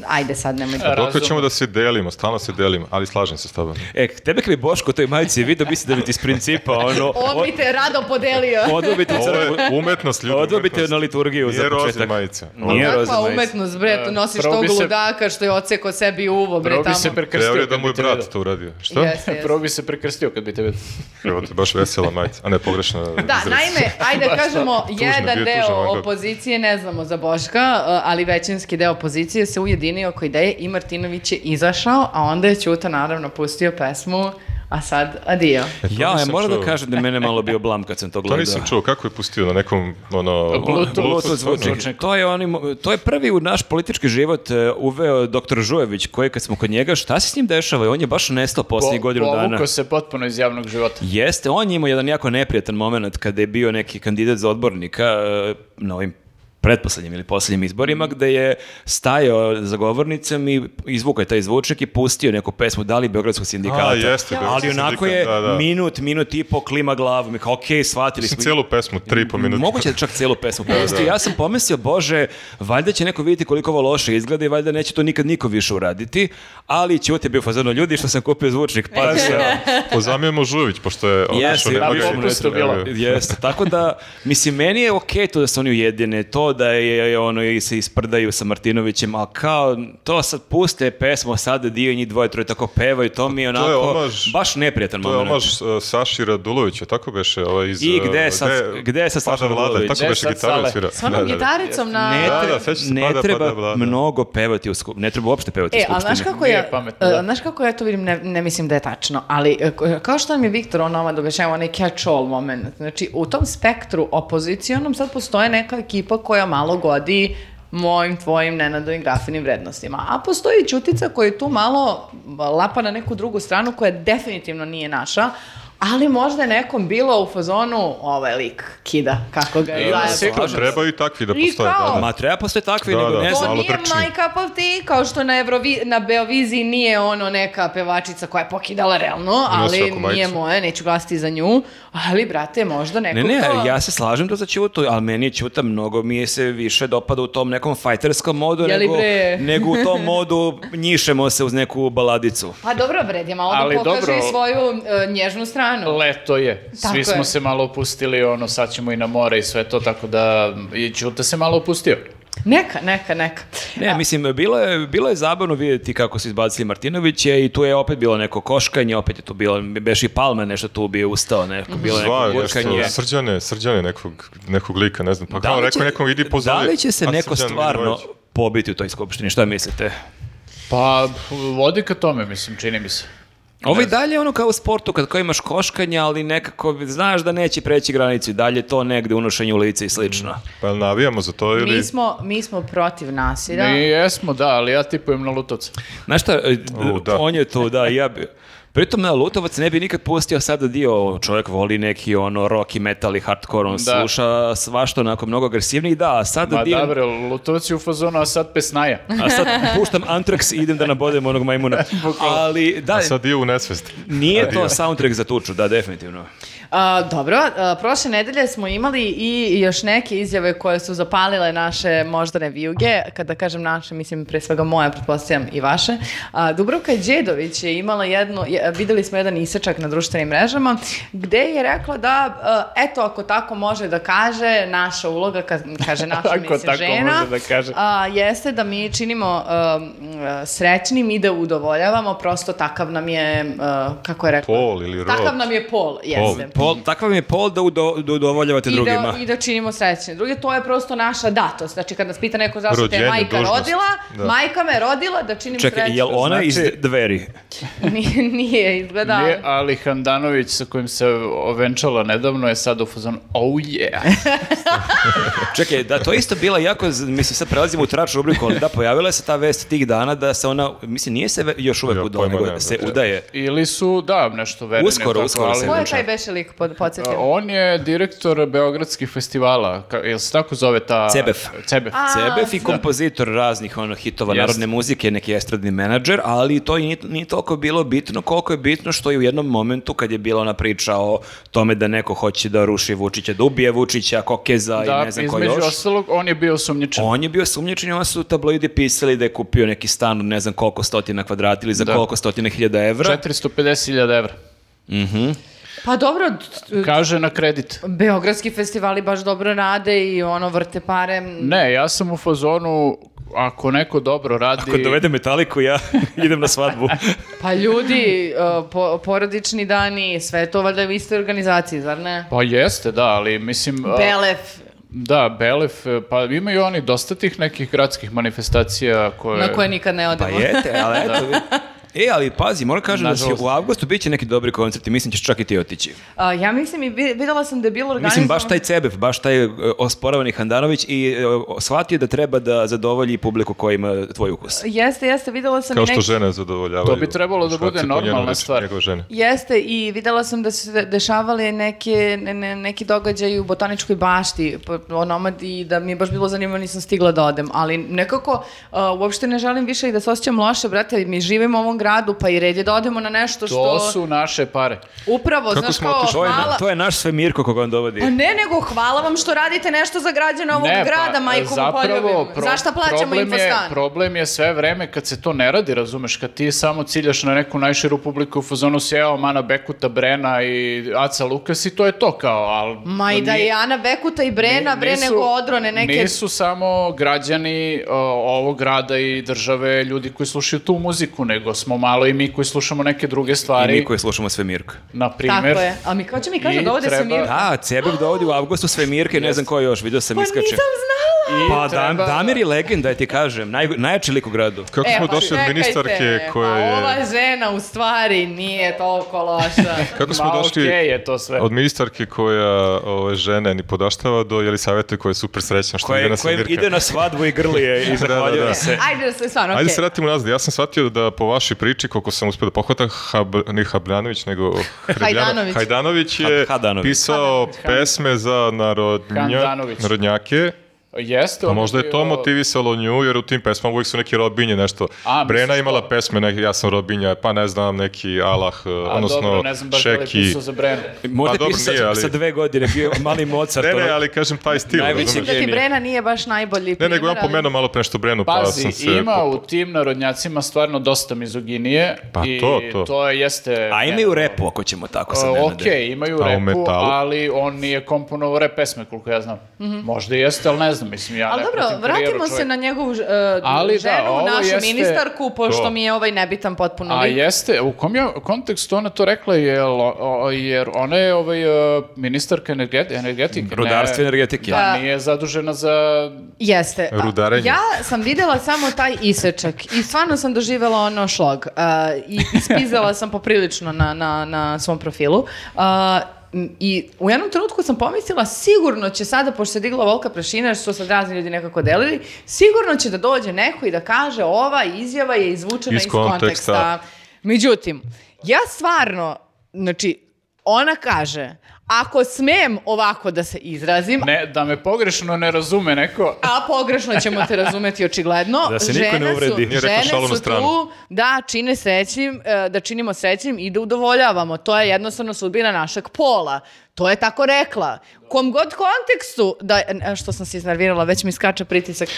B: Ajde sad, nemoj da...
C: Dokle
D: Razum.
C: ćemo da se delimo, stalno se delimo, ali slažem se s tobom.
A: E, tebe kad bi Boško u toj majici vidio, misli da bi ti s principa ono...
B: On bi te rado podelio.
A: Odubite
C: Ovo je
A: crkvu.
C: umetnost, ljudi.
A: Odubite
C: umetnost.
A: na liturgiju za
C: Nije roze
A: početak.
C: majica.
A: Nije roze
B: Kakva
A: majica.
B: umetnost, bre, tu nosiš
D: prvo
B: tog
D: bi se-
B: ludaka što je oceko sebi uvo, bre,
D: Prvo bi
B: tamo.
D: se prekrstio.
C: Teorija da
D: kad
C: mu je
D: bi te
C: brat
D: vidio.
C: to uradio. Šta?
B: Jeste, jeste.
D: Prvo bi se prekrstio kad bi te vidio.
C: Evo te baš vesela majica, a ne pogrešna
B: Da,
C: izraz.
B: naime, ajde da kažemo,
C: Tužno, bio
B: jedan
C: je
B: deo
C: tužan ovaj god.
B: opozicije, ne znamo za Boška, uh, ali većinski deo opozicije se ujedinio oko ideje i Martinović je izašao, a onda je Ćuta naravno pustio pesmu, a sad adio.
C: E, to
A: Ja, ja
C: nisam
A: moram da
C: čuo.
A: kažem da je mene malo bio blam kad sam to
C: To
A: gledao.
C: nisam čuo, kako je pustio na nekom, ono...
D: Bluetooth
A: Bluetooth zvučnik.
D: zvučnik.
A: To je, oni, to je prvi u naš politički život e, uveo doktor Žujević, koji kad smo kod njega, šta se s njim dešava? On je baš nestao posljednjih godinu dana.
D: Povukao se potpuno iz javnog života.
A: Jeste, on je imao jedan jako neprijatan moment kada je bio neki kandidat za odbornika e, na ovim pretposlednjim ili poslednjim izborima,
C: Mhm.
A: gde je stajao za govornicom i izvukao je taj zvučnik i pustio neku pesmu, da li Beogradskog sindikata.
C: A, jeste,
A: Ali
C: Beogradski
A: onako
C: sindikat,
A: je
C: da, da.
A: minut, minut i po klima glavom i kao, okej, shvatili
C: Mislim,
A: smo.
C: cijelu pesmu, tri i po minuta.
A: Moguće da čak cijelu pesmu pusti. Ja sam pomislio, bože, valjda će neko vidjeti koliko ovo loše izgleda i valjda neće to nikad niko više uraditi, ali Ćute je bio fazano ljudi što sam kupio zvučnik, pa se...
C: Pozamijemo Žujević, pošto je... otišao,
A: Jesi,
C: nema
A: da,
C: ga.
A: popustu
C: Evo ga.
D: bilo.
A: Jeste, tako da, mislim, meni je okej to da se oni ujedine, to da je, je ono, i se isprdaju sa Martinovićem, ali kao, to sad puste pesmu, sad dio i njih dvoje, troje tako pevaju, to mi je
C: je
A: onako,
C: omaž-
A: baš neprijatan
C: To je
A: moment.
C: omaž uh, Saši Radulovića, tako beše, ovaj iz...
A: I
C: uh,
A: gde je sad- gde je sad
C: Pada
A: Saša
C: Vlada,
A: Radulović?
C: Tako
D: Gde je
C: beše
D: sad
C: gitaru
D: Sale?
C: svira.
B: S
D: da,
B: onom gitaricom na...
A: Ne,
C: Da,
A: tre-
C: da, sećam se,
A: ne
C: pada,
A: treba
C: pada da. Vlada.
A: mnogo pevati u skup, ne treba uopšte pevati
B: E,
A: u
B: ali
A: skupštini.
B: znaš kako
D: Nije
B: ja,
D: pametno, da.
B: e, znaš kako ja to vidim, ne, ne mislim da je tačno, ali e, ko- kao što nam je Viktor on nama dogašava onaj catch-all moment, znači u tom spektru opozicijonom sad postoje neka ekipa koja malo godi mojim, tvojim, nenadovim grafinim vrednostima. A postoji i Ćutica koja je tu malo lapa na neku drugu stranu koja definitivno nije naša, ali možda je nekom bilo u fazonu ovaj lik kida, kako ga je
D: Ima
B: zajebalo.
D: sigurno.
C: Pa trebaju i takvi da
B: I
C: postoje.
B: kao,
C: Da, da.
A: Ma treba postoje takvi,
C: Da,
A: nego
C: da.
A: ne
C: To
A: znam.
B: To
C: malo
B: nije
C: trči.
B: my cup of tea, kao što na, Evrovi, na Beoviziji nije ono neka pevačica koja je pokidala realno, ali
C: svaku majicu.
B: nije moje, neću glasiti za nju, ali brate, možda neko
A: Ne, ne,
B: ko-
A: ja se slažem to za Ćutu, ali meni je Ćuta mnogo, mi je se više dopada u tom nekom fajterskom modu
B: Je li
A: nego,
B: bre?
A: nego u tom modu njišemo se uz neku baladicu.
B: Pa dobro, vred je malo
D: Ali
B: da pokaže
D: dobro.
B: i svoju e, nježnu stranu.
D: Leto je.
B: Tako
D: Svi
B: je.
D: smo se malo opustili, ono, sad ćemo i na more i sve to, tako da i Ćuta se malo opustio.
B: Neka, neka, neka.
A: Ne, mislim, bilo je, bilo je zabavno vidjeti kako su izbacili Martinovića i tu je opet bilo neko koškanje, opet je tu bilo, beš i Palma nešto tu bio ustao, neko, bilo je
C: Zvao
A: neko
C: je nešto,
A: gurkanje.
C: srđane, srđane nekog, nekog lika, ne znam. Pa
A: Da
C: kao
A: li
C: rekao
A: će-
C: nekom, idi
A: Da
C: pozovi.
A: li će se
C: A
A: neko
C: Srđan
A: stvarno
C: Milivojević.
A: pobiti u toj skupštini, šta mislite?
D: Pa, vodi ka tome, mislim, čini mi se.
A: Ovo i dalje je ono kao u sportu kad kao imaš koškanja, ali nekako znaš da neće preći granicu, i dalje je to negde unošenje u lice i slično.
C: Pa jel navijamo za to ili...
B: Mi smo, mi smo protiv nasilja.
D: Mi jesmo, da, ali ja da, tipujem na Lutovca.
A: Znaš šta, e, d-
C: U, da.
A: on je tu, da, ja bi... Pritom na Lutovac ne bi nikad pustio sada dio, čovjek voli neki ono rock i metal i hardcore, on
D: Da.
A: sluša svašta onako mnogo agresivniji, da, a sada
D: Ma
A: dio...
D: da, bre, Lutovac je u fazonu, a sad pesnaja.
A: A sad puštam Antrax i idem da nabodem onog majmuna. Ali da,
C: A sad je u nesvesti.
A: nije to soundtrack za tuču, da, definitivno.
B: A, dobro, a, prošle nedelje smo imali i još neke izjave koje su zapalile naše moždane vijuge, kada kažem naše, mislim pre svega moje, pretpostavljam i vaše. A, Dubravka Đedović je imala jednu, je- videli smo jedan isečak na društvenim mrežama, gde je rekla da, a, eto, ako tako može da kaže, naša uloga, kad kaže naša,
D: Ako
B: mislim,
D: tako
B: žena,
D: može da kaže.
B: a, jeste da mi činimo um, srećnim i da udovoljavamo, prosto takav nam je, uh, kako je rekla?
C: Pol ili rod.
B: Takav nam je pol, jeste.
A: Pol, takav mi je pol da, udo, da udovoljavate
B: I
A: drugima.
B: da, I da činimo srećne druge. To je prosto naša datost. Znači, kad nas pita neko zašto te je
C: Rođenje,
B: majka
C: dužnost.
B: rodila,
C: Da.
B: majka me rodila da činim
A: Čekaj,
B: srećne.
A: je li ona iz
D: Znači-
A: dveri?
B: Nije, nije izgleda.
D: Nije, ali Handanović sa kojim se ovenčala nedavno je sad u fazonu, oh yeah.
A: Čekaj, da, to je isto bila jako, z- mislim, sad prelazimo u trač rubriku, ali da, pojavila se ta vest tih dana da se ona, mislim, nije se ve- još uvek
C: Ja,
A: udala,
C: pojma
A: nego
C: nemam,
A: se
C: da.
A: udaje.
D: Ili su, da, nešto verene.
A: Uskoro,
D: tako,
A: uskoro se
B: Ko je
A: Znači-
B: taj beše lik, pod, podsjetim?
D: A, On je direktor Beogradskih festivala, ka, jel se tako zove ta...
A: Cebef.
D: Cebef.
B: A,
A: Cebef i kompozitor raznih ono hitova
D: Jeste.
A: narodne muzike, neki estradni menadžer, ali to i nije, nije toliko bilo bitno koliko je bitno što je u jednom momentu kad je bila ona priča o tome da neko hoće da ruši Vučića, da ubije Vučića, Kokeza Pa i
D: Da,
A: ne znam ko
D: između
A: još.
D: ostalog, on je bio sumnjičan.
A: On je bio sumnjičan i onda su tabloidi pisali da je kupio neki stan od ne znam koliko stotina kvadrata ili za
D: Da.
A: koliko stotina hiljada evra.
D: 450.000 evra.
B: Pa dobro, t- t-
D: Kaže na kredit.
B: Beogradski festivali baš dobro rade i ono vrte pare.
D: Ne, ja sam u fazonu, ako neko dobro radi...
A: Ako dovede metaliku, ja idem na svadbu.
B: Pa ljudi, uh, po- porodični dani, sve je to valjda u istoj organizaciji, zar ne?
D: Pa jeste, da, ali mislim... a,
B: Belef,
D: Da, Belef, e, pa imaju oni dosta tih nekih gradskih manifestacija koje...
B: na koje nikad ne
A: Pa
B: odemo.
A: jete, ali eto. vi- E, ali pazi, moram kažem da si
D: Nažalost.
A: u avgustu bit će neki dobri koncerti, mislim da ćeš čak i ti otići.
B: A, ja mislim i vi- videla sam da je bilo organizovano...
A: Mislim, baš taj Cebev, baš taj e, osporavani Handanović i e, o- shvatio je da treba da zadovolji publiku koja ima tvoj ukus.
B: Jeste, jeste, videla sam
C: Kao
B: i
C: što
B: neki...
C: žene zadovoljavaju.
D: To bi trebalo da bude
C: muškarce, po njenoj
D: normalna
C: reči,
D: stvar.
C: Njegove žene.
B: Jeste, i videla sam da su se dešavali neke, ne, ne, neki događaji u botaničkoj bašti po- o nomadi i da mi je baš bilo zanimljivo, nisam stigla da odem, ali nekako a, uopšte ne želim više i da se osjećam loše, brate, mi živimo u ovom gradu, pa i red je da odemo na nešto što...
D: To su naše pare.
B: Upravo,
C: Kako
B: znaš
C: smo
B: kao,
C: otišli?
A: To je, na-
B: hvala...
A: to je naš sve Mirko koga on dovodi.
B: Pa ne, nego hvala vam što radite nešto za građane ovog grada, majkom u poljubim.
D: pa, pro-
B: Zašta plaćamo
D: problem je-
B: infostan?
D: Problem je sve vreme kad se to ne radi, razumeš, kad ti samo ciljaš na neku najširu publiku u fazonu si evo Mana Bekuta, Brena i Aca Lukas i to je to kao, ali...
B: Ma i da je Ana Bekuta i Brena, bre nego odrone neke...
D: Nisu samo građani o, ovog grada i države ljudi koji slušaju tu muziku, nego smo malo i mi koji slušamo neke druge
B: Pa
A: I
D: stvari.
A: mi koji slušamo sve Mirko.
D: Na
B: Tako
D: primjer,
B: je. A mi kao će mi kaže
D: I
B: da ovde se
D: treba-
B: mi...
A: Da, Cebev dovodi u avgustu sve Mirke, ne znam ko još, vidio sam
B: Pa
A: iskače.
B: nisam znala!
D: I
A: Pa Dan,
D: treba-
A: Damir je legenda, ja ti kažem, naj, najjači lik u gradu.
C: Kako smo došli od
B: E, čekajte,
C: ministarke koja je...
B: Pa ova žena u stvari nije toliko loša.
C: Kako smo
D: Ma,
C: došli
D: okej da. je to sve.
C: od ministarke koja ove, žene ni podaštava do Jelisavete koja je super srećna što ide
A: Koje,
C: na
A: koje
C: svirka.
A: ide na svadbu i grlije i zahvaljuje
C: da, da.
A: se.
B: Ajde da se stvarno,
C: Ajde
B: okej.
C: se vratimo nazad. Ja sam shvatio da po vašoj priči, koliko sam uspio da pohvatam, Hab, ne Habljanović, nego
B: Hajdanović.
C: Hajdanović. Hajdanović je
A: Ha- Hadanović.
C: pisao pesme za narodnja,
D: Handanović.
C: narodnjake.
D: Jeste.
C: A
D: ono
C: Pa možda je to
D: bio-
C: motivisalo nju, jer u tim pesmama uvijek su neki robinje, nešto.
D: A, misliš
C: Brena je
D: to?
C: imala pesme, neki, ja sam robinja, pa ne znam, neki Allah, eh,
D: A
C: odnosno
D: dobro, ne znam baš da li je
C: Šeki.
D: pisao za Brenu.
A: Možda
C: Pa dobro,
A: pisao sa-
C: nije, ali-
A: sa dve godine, bio je mali Mozart.
C: Ne, ne,
A: ono.
C: ali kažem taj stil,
A: Najveći
C: razumeš?
B: Da ti
A: Genije.
B: Brena nije baš najbolji
C: Ne, nego ja
B: primer, ali-
C: pomenuo malo pre nešto Brenu, pa
D: Pazi,
C: sam se...
D: ima u tim narodnjacima stvarno dosta mizoginije.
C: Pa
D: i
C: to, to.
D: je, jeste...
A: A imaju repu, ako ćemo tako sad,
D: Ok,
A: Nenade.
D: imaju
C: A u
D: repu,
C: metalu?
D: ali on nije komponovao rep pesme, koliko ja znam. Možda i jeste, ali ne znam, mislim, ja
B: Mhm. Ali
D: ne
B: dobro,
D: pratim karijeru
B: vratimo se
D: čoveka.
B: na njegovu uh,
D: Ali da,
B: ženu,
D: ovo
B: našu
D: jeste
B: ministarku, pošto
C: to.
B: mi je ovaj nebitan potpuno
D: A
B: lik.
D: jeste, u kom je kontekstu ona to rekla, jer, o- o- jer ona je ovaj, e, ministarka energet- energetike. ne-
A: Rudarstvo i energetike.
D: Da, nije zadužena za...
B: Jeste. A,
C: Rudarenje.
B: Ja sam videla samo taj isečak i stvarno sam doživjela ono šlog. A, I ispizala sam poprilično na, na, na svom profilu. A, m, I u jednom trenutku sam pomislila sigurno će sada, pošto se digla Volka Prašina, što sad razni ljudi nekako delili, sigurno će da dođe neko i da kaže ova izjava je izvučena iz,
C: Iz konteksta.
B: konteksta. Međutim, Ja stvarno, znači, ona kaže, ako smem ovako da se izrazim,
D: Ne, da me pogrešno ne razume neko.
B: a pogrešno ćemo te razumeti očigledno.
A: Da se niko ne
B: Žene su-
A: uvredi.
C: Nije rekao šalu
B: Žene
C: na
B: su
C: stranu.
B: tu da čine srećnim, e, da činimo srećnim i da udovoljavamo. To je jednostavno sudbina našeg pola. To je tako rekla. Kom god kontekstu, da, e, što sam se iznervirala, već mi skače pritisak.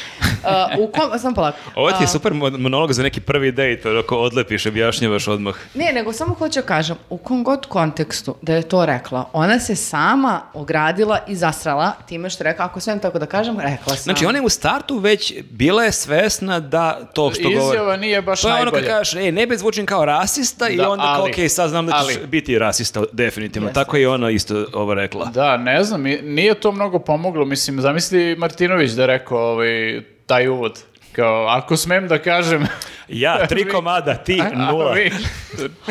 B: E, u kom, sam polako.
A: Ovo
D: Da.
A: ti je super mon- monolog za neki prvi dejt, ako odlepiš, objašnjavaš odmah.
B: Ne, nego samo hoću da kažem, u kom god kontekstu da je to rekla, ona se sama ogradila i zasrala time što je rekla, ako sve tako da kažem, rekla sam.
A: Znači, ona je u startu već bila je svesna da to što govori.
D: Izjava nije baš
A: To je ono kad
D: najbolja.
A: kažeš, ej, ne bez zvučim kao rasista i
D: Da,
A: onda kao,
D: ali-
A: okej, sad znam da ćeš
D: ali-
A: biti rasista, definitivno.
B: Jeste.
A: Tako je i ona isto ovo rekla.
D: Da, ne znam, i- nije to mnogo pomoglo. Mislim, zamisli Martinović da je rekao ovaj, taj uvod. Kao, ako smem da kažem...
A: Ja, tri
D: Vi-
A: komada, ti,
D: a
A: nula.
D: vi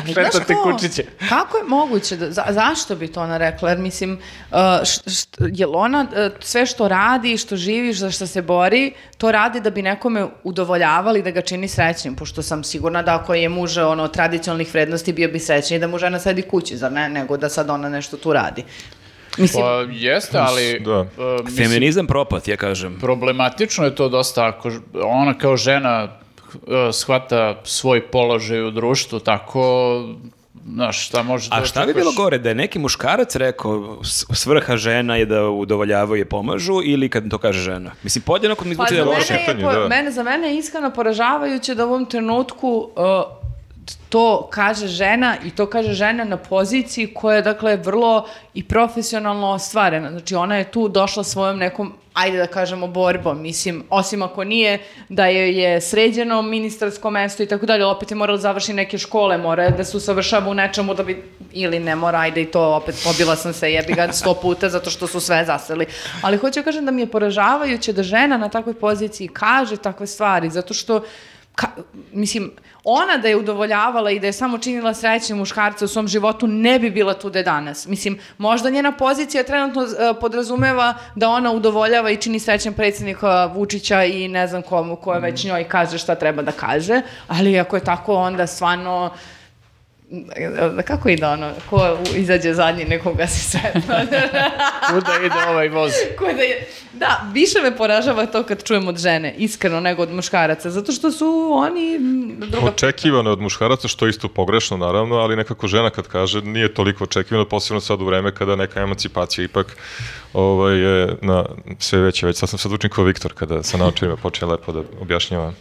B: Znaš
D: šetate
B: ko?
D: kučiće.
B: Kako je moguće, da, za- zašto bi to ona rekla? Jer mislim, uh, š, št- jel ona uh, sve što radi, što živiš, za što se bori, to radi da bi nekome udovoljavali da ga čini srećnim, pošto sam sigurna da ako je muž ono, tradicionalnih vrednosti bio bi srećniji da mu žena sedi kući, zar ne, nego da sad ona nešto tu radi. Mislim,
D: Pa jeste, ali...
C: Da.
D: uh, mislim,
A: Feminizam propad, ja kažem.
D: problematično je to dosta ako ž- ona kao žena uh, shvata svoj položaj u društvu, tako... Znaš, šta može da
A: A šta bi
D: očekuješ?
A: bilo gore, da je neki muškarac rekao s- svrha žena je da udovoljavaju i pomažu ili kad to kaže žena? Mislim, podjednako mi
B: Pa
A: zvuči
B: za
A: da
B: mene,
A: loše.
C: loše
B: je,
C: pitanje,
B: po-
C: da.
B: mene, za mene je iskreno poražavajuće da u ovom trenutku uh, to kaže žena i to kaže žena na poziciji koja je dakle vrlo i profesionalno ostvarena. Znači ona je tu došla svojom nekom, ajde da kažemo, borbom. Mislim, osim ako nije da joj je sređeno ministarsko mesto i tako dalje, ali opet je morala da završi neke škole, mora da se usavršava u nečemu da bi, ili ne mora, ajde i to opet pobila sam se jebi ga sto puta zato što su sve zaseli. Ali hoću da kažem da mi je poražavajuće da žena na takvoj poziciji kaže takve stvari, zato što ka, mislim, ona da je udovoljavala i da je samo činila srećnim muškarca u svom životu, ne bi bila tu da je danas. Mislim, možda njena pozicija trenutno e, podrazumeva da ona udovoljava i čini srećnim predsjednika Vučića i ne znam komu, koja već njoj kaže šta treba da kaže, ali ako je tako, onda stvarno e, kako ide ono, ko u- izađe zadnji nekoga se sretno.
D: Kuda ide ovaj voz?
B: Ko da, je, da, više me poražava to kad čujem od žene, iskreno, nego od muškaraca, zato što su oni mm, druga
C: Očekivano je od muškaraca, što je isto pogrešno naravno, ali nekako žena kad kaže nije toliko očekivano, posebno sad u vreme kada neka emancipacija ipak ovaj, je na sve veće već. Sad sam sad učim kao Viktor kada sa naočarima počeo lepo da objašnjava.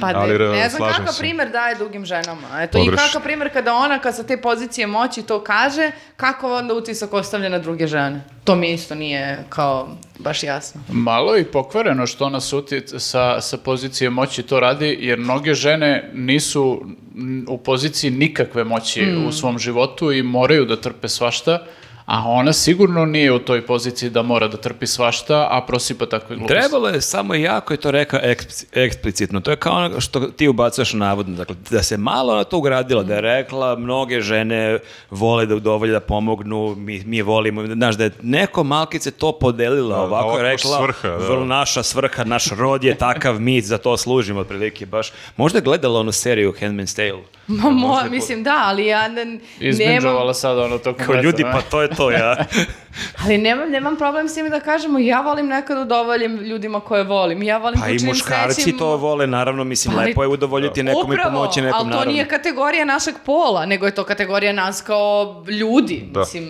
B: Pa
C: Ali,
B: ne,
C: re-
B: ne znam
C: slažem
B: kakav
C: se.
B: primer daje drugim ženama. Eto, I
C: Pogrešno.
B: kakav primer kada ona kad sa te pozicije moći to kaže, kako onda utisak ostavlja na druge žene. To mi isto nije kao baš jasno.
D: Malo je i pokvareno što ona suti sa, sa pozicije moći to radi, jer mnoge žene nisu mm, u poziciji nikakve moći u svom životu i moraju da trpe svašta, a ona sigurno nije u toj poziciji da mora da trpi svašta, a prosipa takve gluposti.
A: Trebalo je samo jako je to rekao ekspli- eksplicitno. To je kao ono što ti ubacuješ navodno. Dakle, da se malo na to ugradila, da je rekla mnoge žene vole da udovolje, da pomognu, mi, mi je volimo. Znaš, da je neko malkice to podelila
C: Da,
A: ovako,
C: ovako
A: je rekla,
C: svrha, da.
A: vrlo naša svrha, naš rod je takav, mi za to služimo, otprilike baš. Možda je gledala onu seriju Handmaid's Tale.
B: Ma, mo, mislim da, ali ja ne, nemam,
D: Izbinđovala sad ono tokom
A: Kao
D: leta,
A: ljudi,
D: ne?
A: pa to je to, ja.
B: ali nemam, nemam problem s tim da kažemo ja volim nekad da udovoljim ljudima koje volim. Ja volim
A: Pa
B: da
A: i
B: učinim
A: muškarci
B: srećnim-
A: to vole, naravno, mislim,
B: Ali-
A: lepo je udovoljiti nekom i pomoći nekom,
B: Pa ali to
A: naravno.
B: nije kategorija našeg pola, nego je to kategorija nas kao ljudi.
C: Da.
B: Mislim,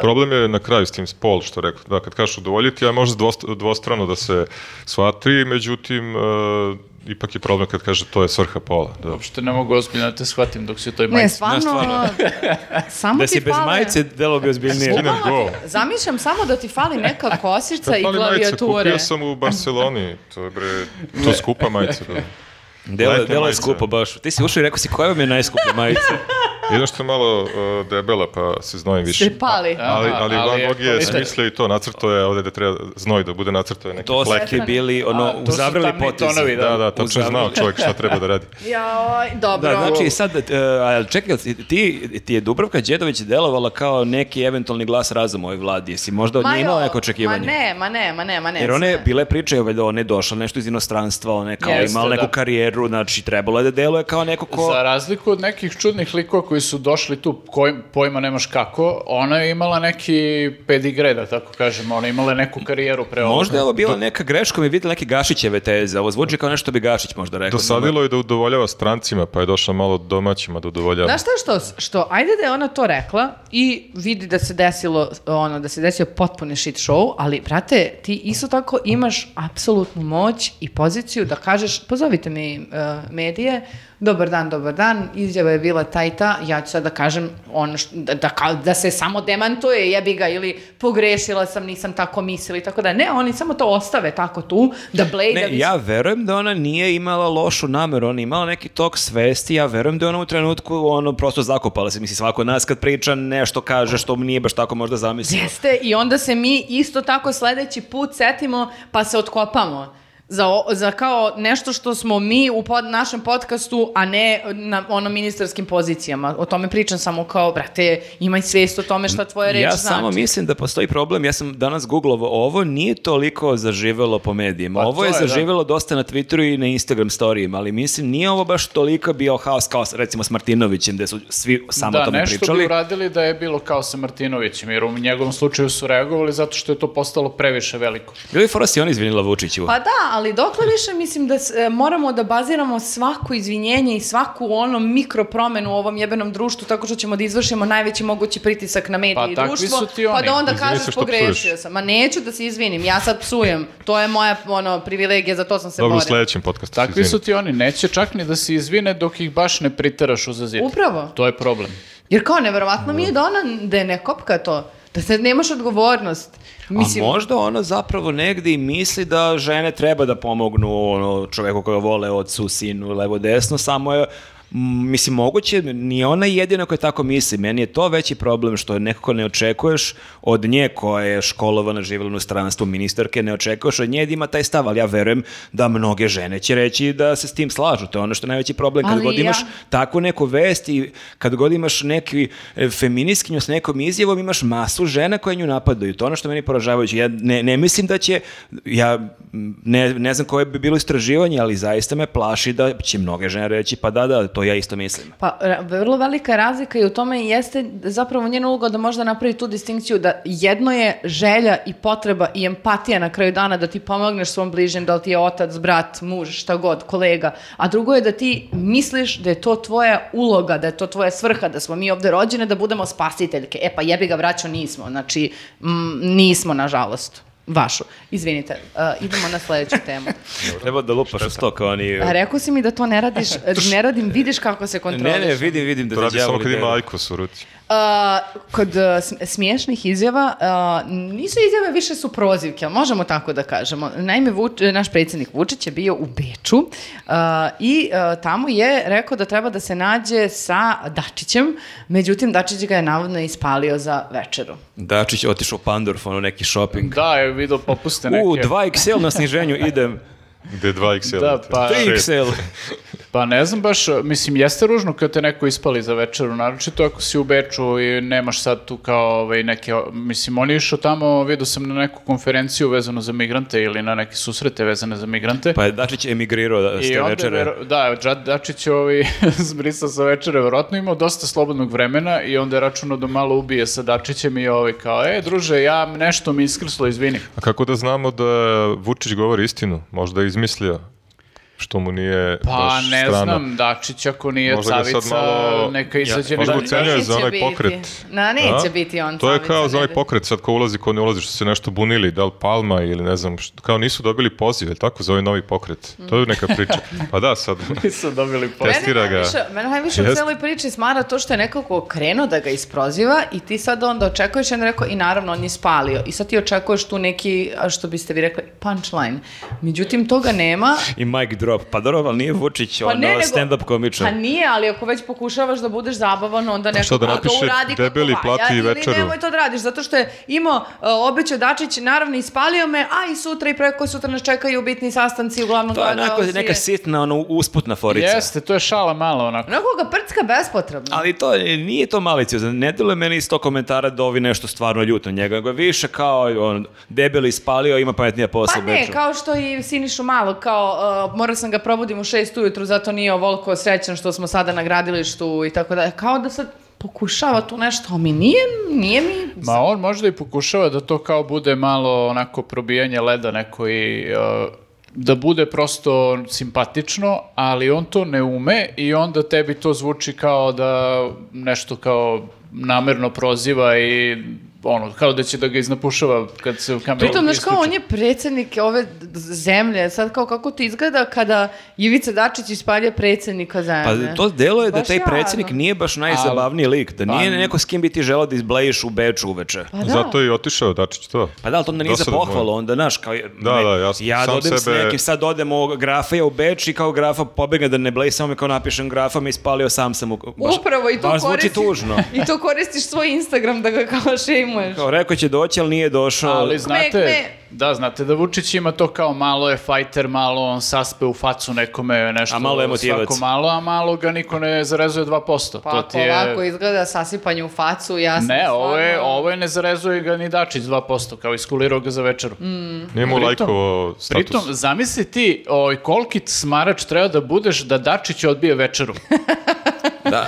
C: Problem je na kraju s tim spol, što rekao. Da, kad kažeš udovoljiti, a može dvost- dvostrano da se shvatri, međutim, e, ipak je problem kad kaže to je svrha pola.
A: pa-
C: Da.
D: Uopšte ne mogu ozbiljno da te shvatim dok si u toj
B: Ne,
D: majici.
B: stvarno,
A: stvarno.
B: samo
A: Da
B: ti
A: si bez
B: fale-
A: majice, delo bi ozbiljnije.
C: Skinem go.
B: Zamišljam samo da ti fali neka kosica i
C: Fali majice,
B: klavijature.
C: Kupio sam u Barceloni, to je bre, to je skupa majica. Da.
A: Delo,
C: Letnja
A: delo je
C: majica.
A: skupo baš. Ti si ušao i rekao si koja vam je najskuplja majica.
C: Jedno što je malo e, debela, pa se znojim više.
B: Stripali.
A: Da.
D: A-
C: Ali,
D: Aha,
C: ali,
D: ali
C: Van
D: je
C: Gogh je
D: kvalitet.
C: smislio i to, nacrto je ovde da treba znoj da bude nacrto je neki
A: To su
C: flek.
A: ti bili, ono,
D: to su
A: uzavrali
D: tamni
A: potez.
D: tonovi,
C: Da, da, tačno je
A: Uzavrli-
C: znao čovjek šta treba da radi.
B: Joj, dobro.
A: Da, znači sad, e, a čekaj, ti, ti- ti je Dubravka Đedović delovala kao neki eventualni glas razuma ovoj vladi. Jesi možda od
B: Ma
A: nje imala
B: jo,
A: neko očekivanje?
B: Ma ne, ma ne, ma ne, ma ne.
A: Jer one, bile priče, valjda, ona je došla nešto iz inostranstva, ona je kao
D: Jeste,
A: imala neku
D: da.
A: karijeru, znači trebalo je da deluje kao neko ko...
D: Za razliku od nekih čudnih likova koji su došli tu, koj, pojma nemaš kako, ona je imala neki pedigre, da tako kažemo, ona je imala neku karijeru pre ovoga.
A: Možda je ovo bila neka greška, mi vidjela neke Gašićeve teze. Ovo zvuči kao nešto bi Gašić možda rekao.
C: Dosadilo je da udovoljava strancima, pa je došla malo domaćima da udovoljava.
B: Znaš šta je što, što, ajde da je ona to rekla i vidi da se desilo, ono, da se desio potpuni shit show, ali, brate, ti isto tako imaš apsolutnu moć i poziciju da kažeš, pozovite mi e, medije, dobar dan, dobar dan, izjava je bila ta i ta, ja ću sad da kažem ono što, da, da, kao- da se samo demantuje, jebi ga, ili pogrešila sam, nisam tako mislila i tako da. Ne, oni samo to ostave tako tu, da blade, da
A: Ne, ja verujem da ona nije imala lošu nameru, ona je imala neki tok svesti, ja verujem da je ona u trenutku ono prosto zakopala se, misli svako od nas kad priča nešto kaže što nije baš tako možda zamislio.
B: Jeste, i onda se mi isto tako sledeći put setimo pa se otkopamo. Za, o- za kao nešto što smo mi u pod, našem podcastu, a ne na ono ministarskim pozicijama. O tome pričam samo kao, brate, imaj svijest o tome šta tvoja reč
A: ja
B: znači.
A: samo mislim da postoji problem, ja sam danas googlovao, ovo nije toliko zaživelo po medijima,
D: Pa,
A: ovo
D: to
A: je
D: je, da.
A: zaživelo dosta na Twitteru i na Instagram storijima, ali mislim nije ovo baš toliko bio haos kao s- recimo s Martinovićem gde su svi samo o
D: da,
A: tome
D: nešto bi
A: pričali.
D: uradili da je bilo kao sa Martinovićem, jer u njegovom slučaju su reagovali zato što je to postalo previše veliko.
A: Bili fora si ona izvinila Vučiću.
B: Pa da, ali dokle više mislim da s- e, moramo da baziramo svako izvinjenje i svaku ono mikropromenu u ovom jebenom društvu tako što ćemo da izvršimo najveći mogući pritisak na medije
D: Pa
B: i
D: takvi
B: društvo,
D: su ti
B: pa
D: oni.
B: da onda
C: Izvini se
B: kažeš
C: što psuješ.
B: pogrešio sam. Ma neću da se izvinim, ja sad psujem. To je moja ono, privilegija, za to sam se
C: Dobro, u
B: borila.
C: sledećem podcastu. se
D: Takvi su
C: izvini.
D: ti oni, neće čak ni da se izvine dok ih baš ne priteraš u zazid.
B: Upravo.
D: To je problem.
B: Jer kao neverovatno mi je da ona da je ne kopka to. Da se nemaš odgovornost. Mislim,
A: A možda ona zapravo negdje i misli da žene treba da pomognu ono, čoveku koga vole od su sinu levo desno, samo je m, Mislim, moguće, ni ona jedina koja tako misli. Meni je to veći problem što nekako ne očekuješ od nje koja je školovana, živjela u inostranstvu, ministarke, ne očekuješ od nje da ima taj stav, ali ja verujem da mnoge žene će reći da se s tim slažu. To je ono što je najveći problem. Kad
B: Ali
A: god
B: ja-
A: imaš takvu neku vest i kad god imaš neki e, feminiskinju s nekom izjavom, imaš masu žena koje nju napadaju. To je ono što je meni poražavajuće. Ja ne, ne mislim da će, ja m, ne, ne znam koje bi bilo istraživanje, ali zaista me plaši da će mnoge žene reći pa da, da, to ja isto mislim.
B: Pa, ra- vrlo velika razlika i u tome jeste zapravo njena uloga da možda napravi tu distinkciju da jedno je želja i potreba i empatija na kraju dana da ti pomogneš svom bližnjem, da li ti je otac, brat, muž, šta god, kolega, a drugo je da ti misliš da je to tvoja uloga, da je to tvoja svrha, da smo mi ovde rođene, da budemo spasiteljke. E pa jebi ga vraćao, nismo, znači mm, nismo nažalost. Vašu. Izvinite, uh, idemo na sledeću temu.
A: Treba da lupaš u sto kao oni...
B: A rekao si mi da to ne radiš, ne radim, vidiš kako se kontroliš.
A: Ne, ne, vidim, vidim da
C: To
A: te
C: radi samo
A: đavo
C: kad ima
A: lideru.
C: ajkos u ruci.
B: A, Uh, kod a, sm- smiješnih izjava, a, nisu izjave, više su prozivke, ali možemo tako da kažemo. Naime, Vuč- naš predsjednik Vučić je bio u Beču a, i a, tamo je rekao da treba da se nađe sa Dačićem, međutim, Dačić ga je navodno ispalio za večeru.
A: Dačić otišao u Pandorf, ono neki shopping.
D: Da, je vidio popuste neke.
A: U, 2XL na sniženju idem.
C: Gde 2XL.
D: Da, pa-
A: 3XL.
D: Pa ne znam baš, mislim, jeste ružno kad te neko ispali za večeru, naročito ako si u Beču i nemaš sad tu kao ovaj, neke, mislim, on je išao tamo, vidio sam na neku konferenciju vezanu za migrante ili na neke susrete vezane za migrante.
A: Pa je Dačić emigrirao da, s
D: I
A: te
D: onda,
A: večere.
D: vero- da, Đad Dačić je ovaj zbrisao sa večere, verovatno imao dosta slobodnog vremena i onda je računao da malo ubije sa Dačićem i ovaj kao, e, druže, ja nešto mi iskrslo, izvini.
C: A kako da znamo da Vučić govori istinu? Možda je izmislio što mu nije
D: Pa
C: baš
D: ne
C: strano.
D: znam, Dačić ako nije
C: Možda ga sad
D: cavica,
C: malo-
D: neka izađe
C: možda
D: na-
C: mu Ucenio je za
B: Neće
C: onaj
B: biti.
C: pokret.
B: Na, neće
C: Da?
B: biti on.
C: To je
B: sam
C: kao za onaj
B: ne-
C: pokret, sad ko ulazi, ko ne ulazi, što su se nešto bunili, da li Palma ili ne znam, što- kao nisu dobili poziv, je li tako, za ovaj novi pokret. To je neka priča. Pa da, sad,
D: Nisu dobili po-
C: Jeste. Testira
B: Mene
C: ga.
B: najviše, mene najviše u
C: Jest.
B: celoj priči smara to što je nekako krenuo da ga isproziva i ti sad onda očekuješ, i onda rekao, i naravno on je spalio. I sad ti očekuješ tu neki, a što biste vi rekli, punchline. Međutim, toga nema.
A: I mic drop. Pa dobro, ali nije Vučić, ono,
B: ne, nego-
A: stand-up komičar.
B: Pa nije, ali ako već pokušavaš da budeš zabavan, onda neko
C: šta da
B: to
C: napiše,
B: uradi kako
C: debeli
B: valja
C: plati
B: ili
C: večeru.
B: nemoj to da radiš, zato što je imao, uh, obećao Dačić, naravno ispalio me, a i sutra i preko sutra nas čekaju bitni sastanci
C: Pa
B: uglavnom.
A: To je onako neka
B: sila.
A: sitna, ono, usputna forica.
D: Jeste, to je šala malo onako.
B: Onako ga prcka bespotrebno.
A: Ali to je- nije to maliciozno. Ne deluje meni iz tog komentara da ovi nešto stvarno ljuto na njega. Nego je više kao on debeli ispalio, ima pametnija posla.
B: Pa ne,
A: Beču.
B: kao što i Sinišu malo, kao uh, mora sam ga probudim u šest ujutru, zato nije ovoliko srećan što smo sada na gradilištu i tako da. Kao da sad pokušava tu nešto, a mi nije, nije mi...
D: Ma on možda i pokušava da to kao bude malo onako probijanje leda neko i uh, da bude prosto simpatično, ali on to ne ume i onda tebi to zvuči kao da nešto kao namerno proziva i ono, kao da će da ga iznapušava kad se kamera
B: Pritom, znaš
D: isključi.
B: kao, on je predsjednik ove d- zemlje. Sad kao kako ti izgleda kada Ivica Dačić ispalja predsjednika
A: Pa
B: zemlje.
A: to delo je da
B: Baš
A: taj predsjednik
B: jadno.
A: nije baš najzabavniji lik, da nije neko s kim bi ti želao da izblejiš u Beču uveče.
B: Pa da.
C: Zato je i otišao Dačić to.
A: Pa da, ali to onda nije za
C: Dosadan mu je.
A: pohvalu, onda, znaš, kao, je-
C: Da, da, jasno.
A: ja
C: Sam
A: dodem s
C: sebe-
A: nekim, sad odem u grafa, ja u Beč i kao grafa pobegne da ne bleji, samo mi kao napišem grafa, me ispalio sam sam u... Baš,
B: Upravo i to
A: baš zvuči
B: koristiš.
A: tužno.
B: I to koristiš svoj Instagram da ga kao šejmuješ.
A: Kao, rekao će doći, ali nije došao.
D: Ali znate,
B: kme.
D: da, znate da Vučić ima to kao malo je fajter, malo on saspe u facu nekome nešto.
A: A malo je emotivac.
D: Svako malo, a malo ga niko ne zarezuje 2%.
B: Pa
D: to
B: ako
D: ti je...
B: ovako izgleda sasipanje u facu, ja sam
D: Ne, ovo je,
B: stvarno-
D: ovo je ne zarezuje ga ni Dačić 2%, kao iskulirao ga za večeru.
B: Mm.
C: Nije mu
D: Pritom-
C: lajkovo status.
D: Pritom, zamisli ti oj, koliki smarač treba da budeš da Dačić odbije večeru.
A: Da.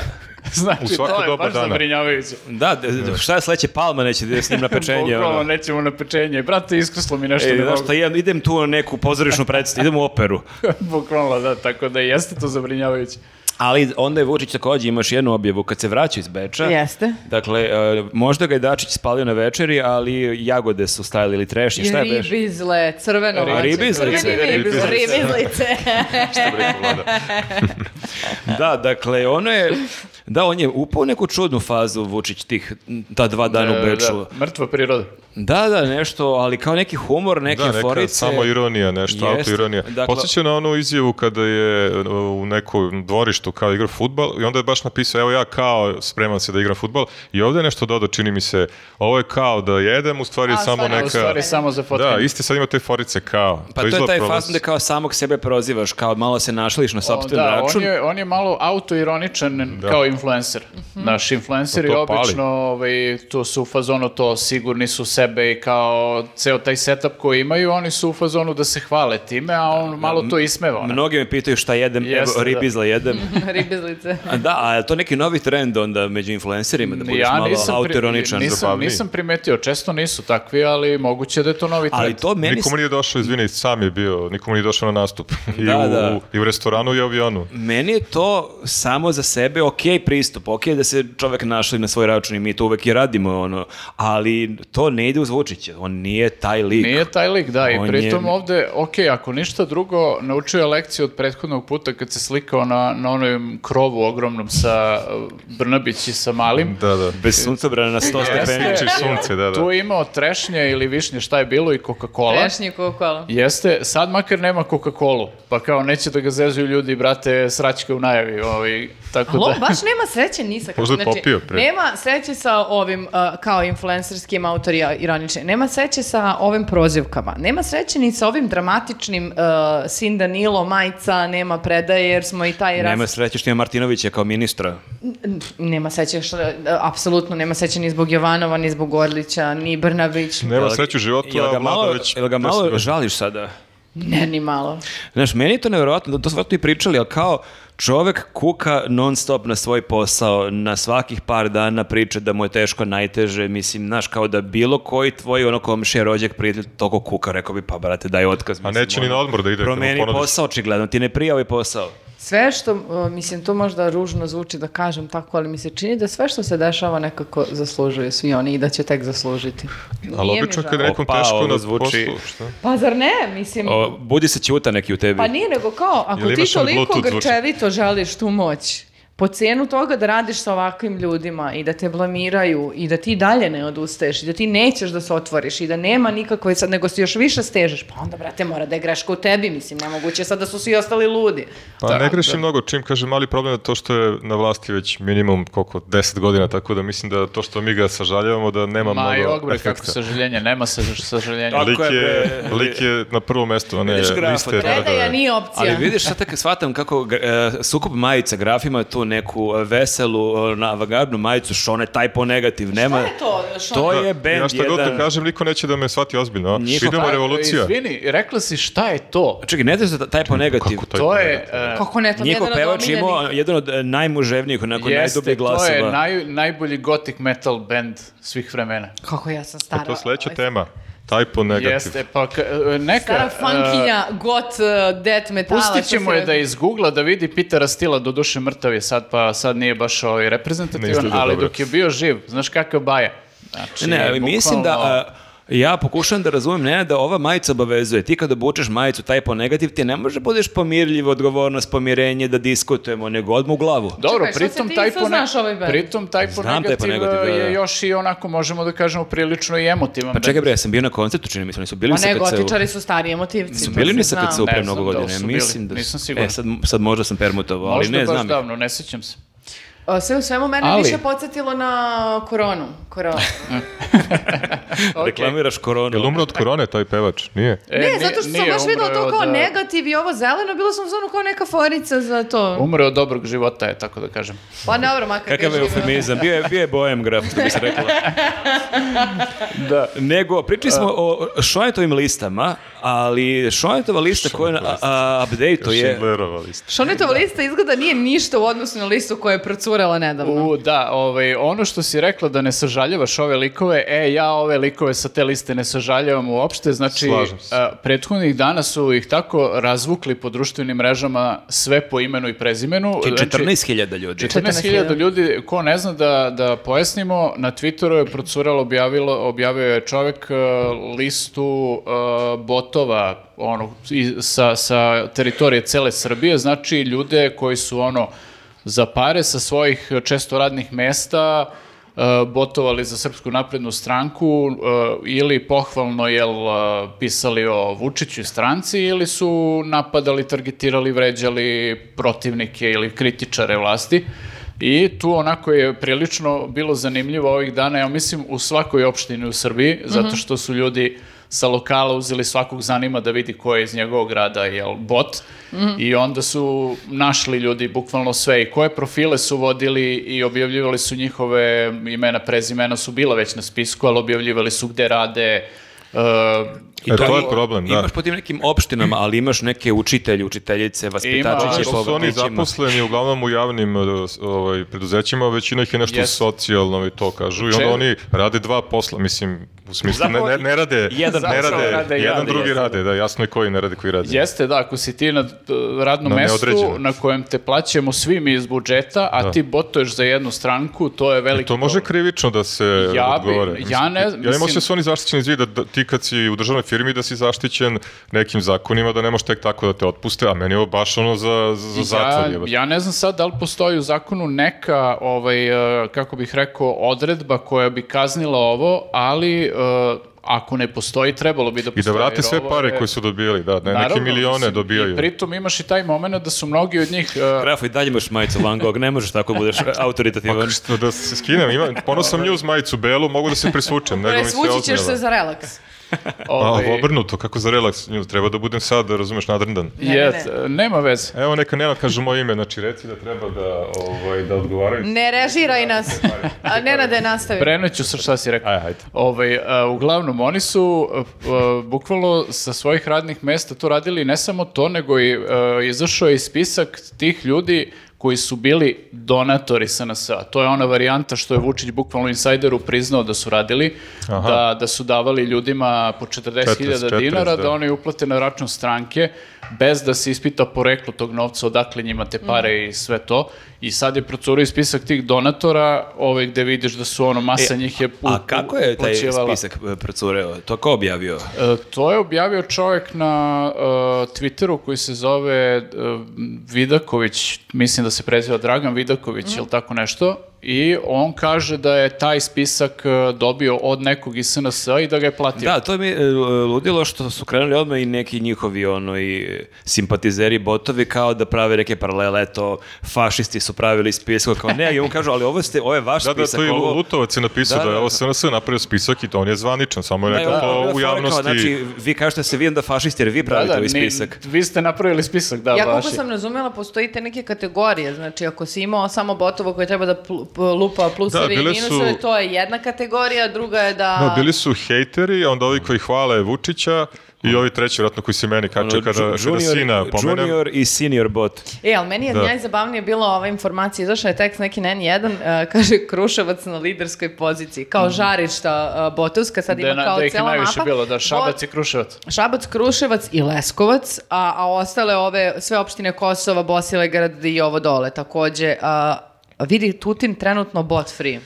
D: znači,
C: U svako
D: to je
C: doba
D: baš
C: dana.
D: zabrinjavajuće.
A: Da, d- d- šta je sledeće, Palma neće da ide s njim na pečenje.
D: Bukvalno
A: ono.
D: nećemo na pečenje. Brate, iskuslo mi nešto.
A: E,
D: ne
A: znaš
D: mogu.
A: šta, idem, idem tu na neku pozorišnu predstavu, idem u operu.
D: Bukvalno, da, tako da jeste to zabrinjavajuće.
A: Ali onda je Vučić takođe imaš jednu objavu kad se vraća iz Beča.
B: Jeste.
A: Dakle, e, možda ga je Dačić spalio na večeri, ali jagode su stajali ili trešnje, šta je Beš?
B: Ribizle, crveno voće.
A: Ribizlice.
B: Crveni
C: Ribizlice.
B: ribizle. Ribizlice.
C: Što bi rekao vlada.
A: Da, dakle, ono je, da, on je upao u neku čudnu fazu Vučić tih, ta dva dana u
D: E,
A: Beču.
D: Da, mrtva priroda.
A: Da, da, nešto, ali kao neki humor, neke
C: Da, neka
A: forice.
C: samo ironija, nešto,
A: Jeste.
C: autoironija.
A: Dakle-
C: Podsjeća na onu izjavu kada je e, u nekom dvorištu kao igra futbal i onda je baš napisao, evo ja kao spreman se da igram futbal i ovdje je nešto dodao, čini mi se, ovo je kao da jedem, u stvari je
B: A,
C: samo
B: stvarno,
D: A
C: neka...
D: U stvari samo za fotkanje.
C: Da, isti sad ima te forice kao.
A: Pa to, je
C: izgleda
A: taj
C: prolaz.
A: fason da kao samog sebe prozivaš, kao malo se našliš na
D: O,
A: sopstven
D: da,
A: račun.
D: on je, on je malo autoironičan kao influencer. Naš influenceri
C: To- to pali.
D: obično ovaj, to su u fazonu to, sigurni su sebe i kao ceo taj setup koji imaju, oni su u fazonu da se hvale time, a on malo to ismeva. onako.
A: Mnogi me pitaju šta jedem,
D: Jeste,
A: evo,
D: da.
A: ribizla jedem.
B: Ribizlice.
A: A da, a je to neki novi trend onda među influencerima, da budeš
D: Ja
A: malo
D: nisam, pri-
A: autoironičan?
D: nisam,
C: zabavniji.
D: nisam primetio, često nisu takvi, ali moguće da je to novi
A: Ali
D: trend.
A: to meni...
C: Nikomu nije došao, izvini, sam je bio, nikomu nije došao na nastup. I,
A: Da,
C: u,
A: da.
C: I u restoranu i u avionu.
A: Meni je to samo za sebe ok pristup, ok da se čovek našli na svoj račun i mi to uvek i radimo, ono, ali to ne ide uz Vučića, on nije taj lik.
D: Nije taj lik, da,
A: On
D: i
A: je-
D: pritom ovde, ok, ako ništa drugo, naučio je lekciju od prethodnog puta kad se slikao na, na onom krovu ogromnom sa uh, Brnabić i sa Malim.
C: Da, da.
A: Bez suncobrana na 100
D: Jeste.
A: stepeni. znači,
C: Piči sunce, da, da.
D: Tu je imao trešnje ili višnje, šta je bilo, i Coca-Cola.
B: Trešnji kokola.
D: Jeste, sad makar nema Coca-Colu, pa kao neće da ga zezuju ljudi, brate, sraćke u najavi, ovaj, tako
B: Ali on
D: da...
B: baš nema sreće ni sa kakvim. Znači,
C: Možda je popio pre.
B: Nema sreće sa ovim uh, kao influencerskim autori ironičnim. Nema sreće sa ovim prozivkama. Nema sreće ni sa ovim dramatičnim uh, Sin Danilo, majca, nema predaje jer smo i taj raz...
A: Nema sreće što ima Martinovića kao ministra.
B: N- Nema sreće, što, e, apsolutno nema sreće ni zbog Jovanova, ni zbog Orlića, ni Brnabić.
C: Nema
A: Jel-
C: sreću u životu,
A: Da, jel
C: a
A: ga
C: vlada
A: malo,
C: već... da
A: jel ga
C: 10
A: malo
C: godina.
A: žališ sada?
B: Ne, ni malo.
A: Znaš, meni je to nevjerojatno, to smo i pričali, ali kao čovek kuka non stop na svoj posao, na svakih par dana priča da mu je teško, najteže, mislim, znaš, kao da bilo koji tvoj ono komšija, rođak, prijatelj, toliko kuka, rekao bi, pa brate, daj otkaz.
C: A
A: mislim,
C: neće ni
A: ono,
C: na odmor da ide. kad mu
A: Promeni
C: ponudiš.
A: posao, očigledno, ti ne prija ovaj posao.
B: Sve što, uh, mislim, to možda ružno zvuči da kažem tako, ali mi se čini da sve što se dešava nekako zaslužuju svi oni i da će tek zaslužiti.
C: Ali
B: Nije mi
C: obično
B: žao.
C: kad je nekom
A: Opa,
C: teško
A: ovo
C: na
A: zvuči-
C: poslu, šta?
B: Pa zar ne, mislim...
A: O, budi se ćuta neki u tebi.
B: Pa nije nego kao, ako
C: Jel
B: ti
C: imaš onaj
B: toliko
C: Bluetooth zvučnik?
B: grčevito želiš tu moć, po cijenu toga da radiš sa ovakvim ljudima i da te blamiraju i da ti dalje ne odustaješ i da ti nećeš da se otvoriš i da nema nikakve sad, nego se još više stežeš, pa onda, brate, mora da je greška u tebi, mislim, nemoguće je sad da su svi ostali ludi.
C: Pa
A: Da.
C: ne grešim mnogo, čim kaže mali problem je to što je na vlasti već minimum koliko, 10 godina, tako da mislim da to što mi ga sažaljavamo da nema
D: Ma i
C: mnogo
D: ogbre,
C: efekta.
D: kako sažaljenje, nema se sažaljenja.
A: Ali-
C: Lik
A: Tako je,
C: je,
A: bre.
C: lik je na prvom mestu, a ne
A: Vidiš grafa,
C: liste
A: treba
B: Predaja
C: radove.
B: nije opcija.
A: Ali vidiš, sad tako shvatam kako gra- e, sukob majica grafima tu tu neku e, veselu e, na avangardnu majicu Šone Typo Negativ. Nema...
B: Šta je to? Što
A: To
C: Da,
A: je
C: i Ja
A: band
C: šta god da
A: jedan...
C: kažem, niko neće da me shvati ozbiljno. a?
A: Njihov-
C: Idemo
A: Pa,
C: revolucija.
D: Izvini, rekla si šta je to?
A: Čekaj, ne znaš za Typo Negativ?
C: Kako taj
D: To
C: planet?
D: je... e,
E: Kako ne, to mi je
A: Njihov
E: jedan od
A: pevač
E: omiljenih.
A: imao jedan od e, najmuževnijih, onako najdubljih
D: to
A: glasova.
D: je naj, najbolji gothic metal band svih vremena.
E: Kako ja sam stara.
C: Pa To
B: pa-
C: je sledeća tema. Typo negativ.
D: Jeste, pa k- e, neka...
B: Ovaj, Stara
D: e,
B: funkinja, got, uh, death metala.
D: Pustit ćemo
B: to si
D: je da iz Google-a da vidi Pitera Stila, do duše mrtav je sad, pa sad nije baš ovaj
C: Ne
D: reprezentativan,
C: izgleda
D: ali
C: dobro.
D: dok je bio živ, znaš kakav baja. Znači,
A: Ne, ali
D: bukvalno-
A: mislim da... a, ja pokušavam da razumem, ne, da ova majica obavezuje. Ti kada obučeš majicu taj po negativ, ti ne može da budeš pomirljiv, odgovornost, pomirenje, da diskutujemo, nego odmah u glavu.
D: e, Dobro,
E: Čekaj, šta
D: pritom
E: si ti
D: taj
E: isto
D: pone-
E: znaš ovaj band?
D: pritom taj
A: Znam taj
D: ponegativ,
A: ponegativ, da, da.
D: je još i onako možemo da kažemo prilično i
A: Pa
D: emotivan. band.
A: čekaj bre, ja sam bio na koncertu, čini mi se, oni su bili
B: Pa
A: sa
B: ne,
A: KCU.
B: gotičari su stari emotivci.
A: Su
B: to
A: bili
B: se
A: ni sa
B: zna.
A: KCU pre
D: Ne
A: mnogo
D: znam da li
A: godine,
D: su bili,
A: mislim da su.
D: nisam siguran.
A: E, sad, sad možda sam permutovao, ali
D: Možda
A: ne,
D: baš da,
A: znam. ih.
D: davno, ne sećam se.
B: O, E, Sve u svemu mene
D: Ali-
B: više podsjetilo na koronu. koronu.
D: Okej.
A: Reklamiraš koronu.
C: Jel umro od korone taj pevač? Nije.
D: E,
B: ne,
D: nije-
B: zato što sam
D: nije
B: baš videla
D: umreo
B: to kao
D: od, e, a,
B: negativ i ovo zeleno, bilo sam zvonu kao neka forica za to.
D: Umreo od dobrog života je, tako da kažem.
B: Pa dobro, makar
A: Kakav je
B: teško bilo.
A: eufemizam, bio je, bio je bojem graf, što bi se rekla.
D: Da.
A: Nego, pričali smo o Šonetovim listama, ali Šonetova lista koju
C: Šonetova lista. e,
A: update je...
C: Schindlerova lista.
D: Da.
B: Šonetova lista izgleda nije ništa u odnosu na listu koja je procurela nedavno.
D: U, da, ovaj, ono što si rekla da ne sažaljavaš ove likove, e, ja ove likove sa te liste ne sažaljavam uopšte, znači,
C: Slažem se.
D: a, prethodnih dana su ih tako razvukli po društvenim mrežama sve po imenu i prezimenu. Znači,
A: 14.000 ljudi.
D: 14.000 da ljudi, ko ne zna da, da pojasnimo, na Twitteru je procuralo, objavilo, objavio je čovek e, listu e, botova ono, i- sa, sa teritorije cele Srbije, znači ljude koji su ono za pare sa svojih često radnih mesta e, botovali za Srpsku naprednu stranku e, ili pohvalno jel e, pisali o Vučiću i stranci ili su napadali, targetirali, vređali protivnike ili kritičare vlasti. I tu onako je prilično bilo zanimljivo ovih dana, ja mislim u svakoj opštini u Srbiji, zato što su ljudi sa lokala uzeli svakog zanima da vidi ko je iz njegovog grada jel, bot i onda su našli ljudi bukvalno sve i koje profile su vodili i objavljivali su njihove imena, prezimena su bila već na spisku, ali objavljivali su gde rade, e,
C: E, to je problem, da.
A: Imaš po tim nekim opštinama, ali imaš neke učitelje, učiteljice,
D: Ima,
A: vaspitačiće
D: ali
A: po
C: Što su oni
A: vrtićima.
C: zaposleni uglavnom u javnim eh, s- ovaj, preduzećima, većina ih je nešto
D: Jeste.
C: socijalno i to kažu. I onda
D: Če-
C: oni rade dva posla, mislim, u smislu ne,
A: Zapravo
C: ne, ne rade,
A: jedan
C: ne
A: posao
C: rade,
D: rade i
C: jedan
A: rade,
C: drugi
A: jeste.
C: rade, da, jasno je koji ne rade, koji rade.
D: Jeste, da, ako si ti na uh, radnom
C: Na
D: mestu
C: neodređeno.
D: na kojem te plaćamo svi mi iz budžeta, a
C: Da.
D: ti botuješ za jednu stranku, to je veliki
C: E, To može
D: problem.
C: krivično da se
D: Ja bi-
C: odgovore.
D: ja
C: Mislim,
D: ne-
C: Ja imam
D: mislim-
C: osjećaj da su oni zaštićeni iz vida, da ti kad si u državnoj firmi da si zaštićen nekim zakonima, da ne možeš tek tako da te otpuste, a meni je ovo baš ono za, za zatvor.
D: Ja,
C: jebote.
D: ja ne znam sad da li postoji u zakonu neka, ovaj, e, kako bih rekao, odredba koja bi kaznila ovo, ali e, ako ne postoji, trebalo bi da
C: I da
D: postoji.
C: vrate
D: jer
C: sve
D: ovo
C: pare
D: je-
C: koje su dobijali, da, ne, neke
D: Naravno,
C: milione
D: mislim, I
C: dobijaju.
D: pritom imaš i taj moment da su mnogi od njih... e,
A: Grafo, i dalje imaš majicu Van Gogh, ne možeš tako da budeš
C: Pa
A: autoritativan.
C: Što da se skinem, imam, ponosam
D: Ovaj.
C: news majicu belu, mogu da se prisučem. nego mi se
B: Presvući ćeš se
C: otmeva.
B: za relaks.
D: ovaj,
C: A, obrnuto, kako za relaks news, treba da budem sad, razumeš, nadrndan.
B: ne, ne.
D: jet, e, nema veze.
C: Evo neka Nenad kaže moje ime, znači reci da treba da, ovaj, da odgovaraju.
B: Ne režiraj
D: Da,
B: nas. A Nenade, nastavi.
D: Preneću sa šta si rekao.
C: Aj, hajde.
D: Ovaj, a, uglavnom, oni su a, a, bukvalno sa svojih radnih mesta to radili i ne samo to, nego i a, izašao je i spisak tih ljudi koji su bili donatori SNS-a. To je ona varijanta što je Vučić bukvalno insajderu priznao da su radili,
C: Aha.
D: da, da su davali ljudima po 40.000
C: 40,
D: dinara, da
C: da.
D: oni uplate na račun stranke bez da se ispita poreklo tog novca, odakle njima te pare
A: Mhm.
D: i sve to. I sad je procurio spisak tih donatora, ovaj, gde vidiš da su ono, masa
A: E,
D: njih je u-
A: A kako je taj
D: uplaćivala.
A: spisak e, procureo? To ko objavio?
D: E, to je objavio čovjek na e, Twitteru koji se
A: Mhm.
D: zove e, Vidaković, mislim da se preziva Dragan Vidaković ili tako nešto. I on kaže da je taj spisak e, dobio od nekog iz SNS-a i da ga je platio.
A: Da, to mi je e, ludilo što su krenuli odmah i neki njihovi ono, i e, simpatizeri botovi kao da prave neke paralele, eto, fašisti su pravili spisak, kao ne, i on kažu, ali ovo, ste, ovo je vaš
C: Da, da,
A: spisak.
C: to je
A: ovo-
C: Lutovac je napisao
A: Da,
C: da, je
A: da,
C: ovo
A: da.
C: SNS napravio spisak i to on je zvaničan, samo je
A: Da, i
C: rekao
A: onda je bila
C: to pa u
A: fora kao,
C: javnosti.
A: znači, vi kažete da se vidim da fašisti, jer vi pravite ovaj
D: ni-
A: spisak.
D: vi ste napravili spisak, da,
B: Ja koliko
D: vaši.
B: sam razumjela, postoji te neke kategorije, znači ako si imao samo botovo koje treba da pl- p- lupa
C: Da,
B: pluseve i
C: bile
B: minuseve,
C: su-
B: to je jedna kategorija, druga je da...
C: Da, bili su hejteri, a onda ovi koji hvale Vučića i ovi treći, vratno, koji se meni kače Znači, kada,
A: Ono,
C: kada
A: ju- junior-
C: sina pomenem.
A: Junior i senior bot.
B: E, ali meni je
C: Da.
B: najzabavnije bila ova informacija, izašla je tekst neki na N1, e, kaže Kruševac na liderskoj poziciji, kao žarišta uh, Botovska, sad
D: Mhm. Da, je
B: ima
D: na-
B: kao
D: da ih je
B: cela
D: najviše
B: mapa.
D: bilo, da, Šabac
B: Bot-
D: i Kruševac.
B: Šabac, Kruševac i Leskovac, a, a ostale ove, sve opštine Kosova, Bosilegrad i ovo dole takođe. A, vidi Tutin trenutno bot free.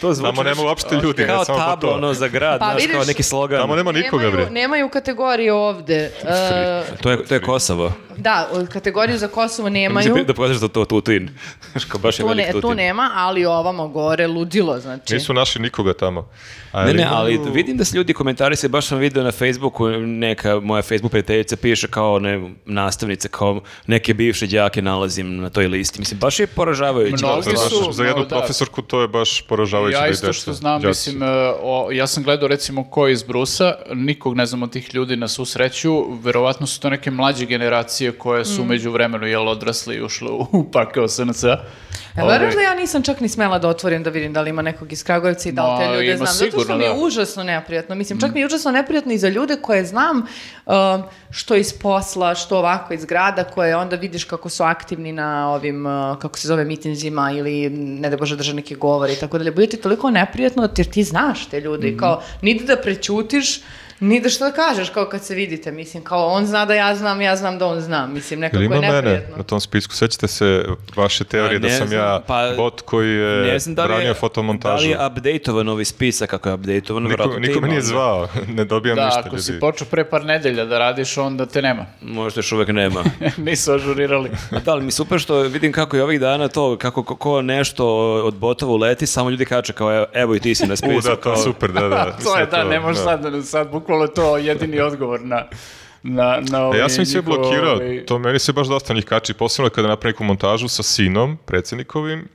A: To zvuči
C: Tamo nema
A: nešto-
C: uopšte ljudi,
A: Kao
C: ne, samo
A: tablo,
C: botova.
A: ono, za grad,
B: Pa
A: znaš,
B: vidiš-
A: kao neki slogan.
C: Tamo nema nikoga,
B: nemaju,
C: bre.
B: nemaju kategorije ovde. E,
A: To je, to je Kosovo.
B: da, kategoriju za Kosovo nemaju.
A: Mislim, Da pokažeš da to Tutin. Znaš, kao baš je
B: Tu,
A: velik
B: ne,
A: Tutin.
B: tu nema, ali ovamo gore ludilo, znači.
C: Nisu naši nikoga tamo. Ali,
A: Ne, ne, ali vidim da se ljudi komentarise, baš sam video na Facebooku, neka moja Facebook prijateljica piše kao ne, nastavnice, kao neke bivše đake nalazim na toj listi. Mislim, baš je poražavajuće.
D: Mnogo.
C: Za,
D: Mnogi su-
C: za jednu
D: no, da.
C: profesorku to je baš poražavajuće.
D: Ja
C: da i
D: isto
C: deca,
D: što znam,
C: đaci.
D: mislim, e, o, ja sam gledao recimo ko je iz Brusa, nikog ne znam od tih ljudi na svu sreću, verovatno su to neke mlađe generacije koje
B: Mm.
D: su među vremenu jel odrasli i ušle u, u pakao SNC-a.
B: E, verujem da ja nisam čak ni smela da otvorim da vidim da li ima nekog iz Kragujevca i da li
D: Ma,
B: te ljude
D: ima
B: znam. Zato
D: sigurno,
B: što mi je
D: da.
B: užasno neprijatno. Mislim, čak mi
C: Mm.
B: je užasno neprijatno i za ljude koje znam um, što iz posla, što ovako iz grada, koje onda vidiš kako su aktivni na ovim, uh, kako se zove, mitinzima ili, ne da Bože, drže neke govore i tako dalje. Bude ti toliko neprijatno jer ti znaš te ljude
C: Mm.
B: i kao, niti da prećutiš, ni da što da kažeš, kao kad se vidite, mislim, kao on zna da ja znam, ja znam da on zna, mislim, nekako
C: Jel
B: je
C: ima mene
B: neprijatno.
C: na tom spisku? Sećate se vaše teorije
A: Pa,
C: da
A: ne
C: sam
A: znam,
C: ja
A: pa,
C: bot koji je
A: Ne znam da li
C: branio
A: je, da
C: fotomontažu.
A: li je update-ovan ovi spisak, ako je update-ovan,
C: Niko,
A: vjerojatno ti
C: niko
A: ima,
C: me nije
A: onda.
C: zvao, ne dobijam
D: Da,
C: ništa
D: ako si
C: ljudi.
D: počeo pre par nedelja da radiš, onda te nema.
A: Možda još uvek nema.
D: Nisu ažurirali.
A: A Da, ali mi super što vidim kako je ovih dana to, kako ko, ko nešto od botova uleti, samo ljudi kače kao evo, evo i ti si na
C: U,
A: spisu.
C: da, to je super, da, da.
D: to
C: Mislim
D: je, da, ne
C: da.
D: možeš sad, sad bukvalno je to jedini odgovor na... Na, na
C: E,
D: ovaj
C: ja sam ih sve
D: njihov,
C: blokirao,
D: ovaj-
C: to meni se baš dosta njih kači, posebno kada napravim neku montažu sa sinom, predsjednikovim,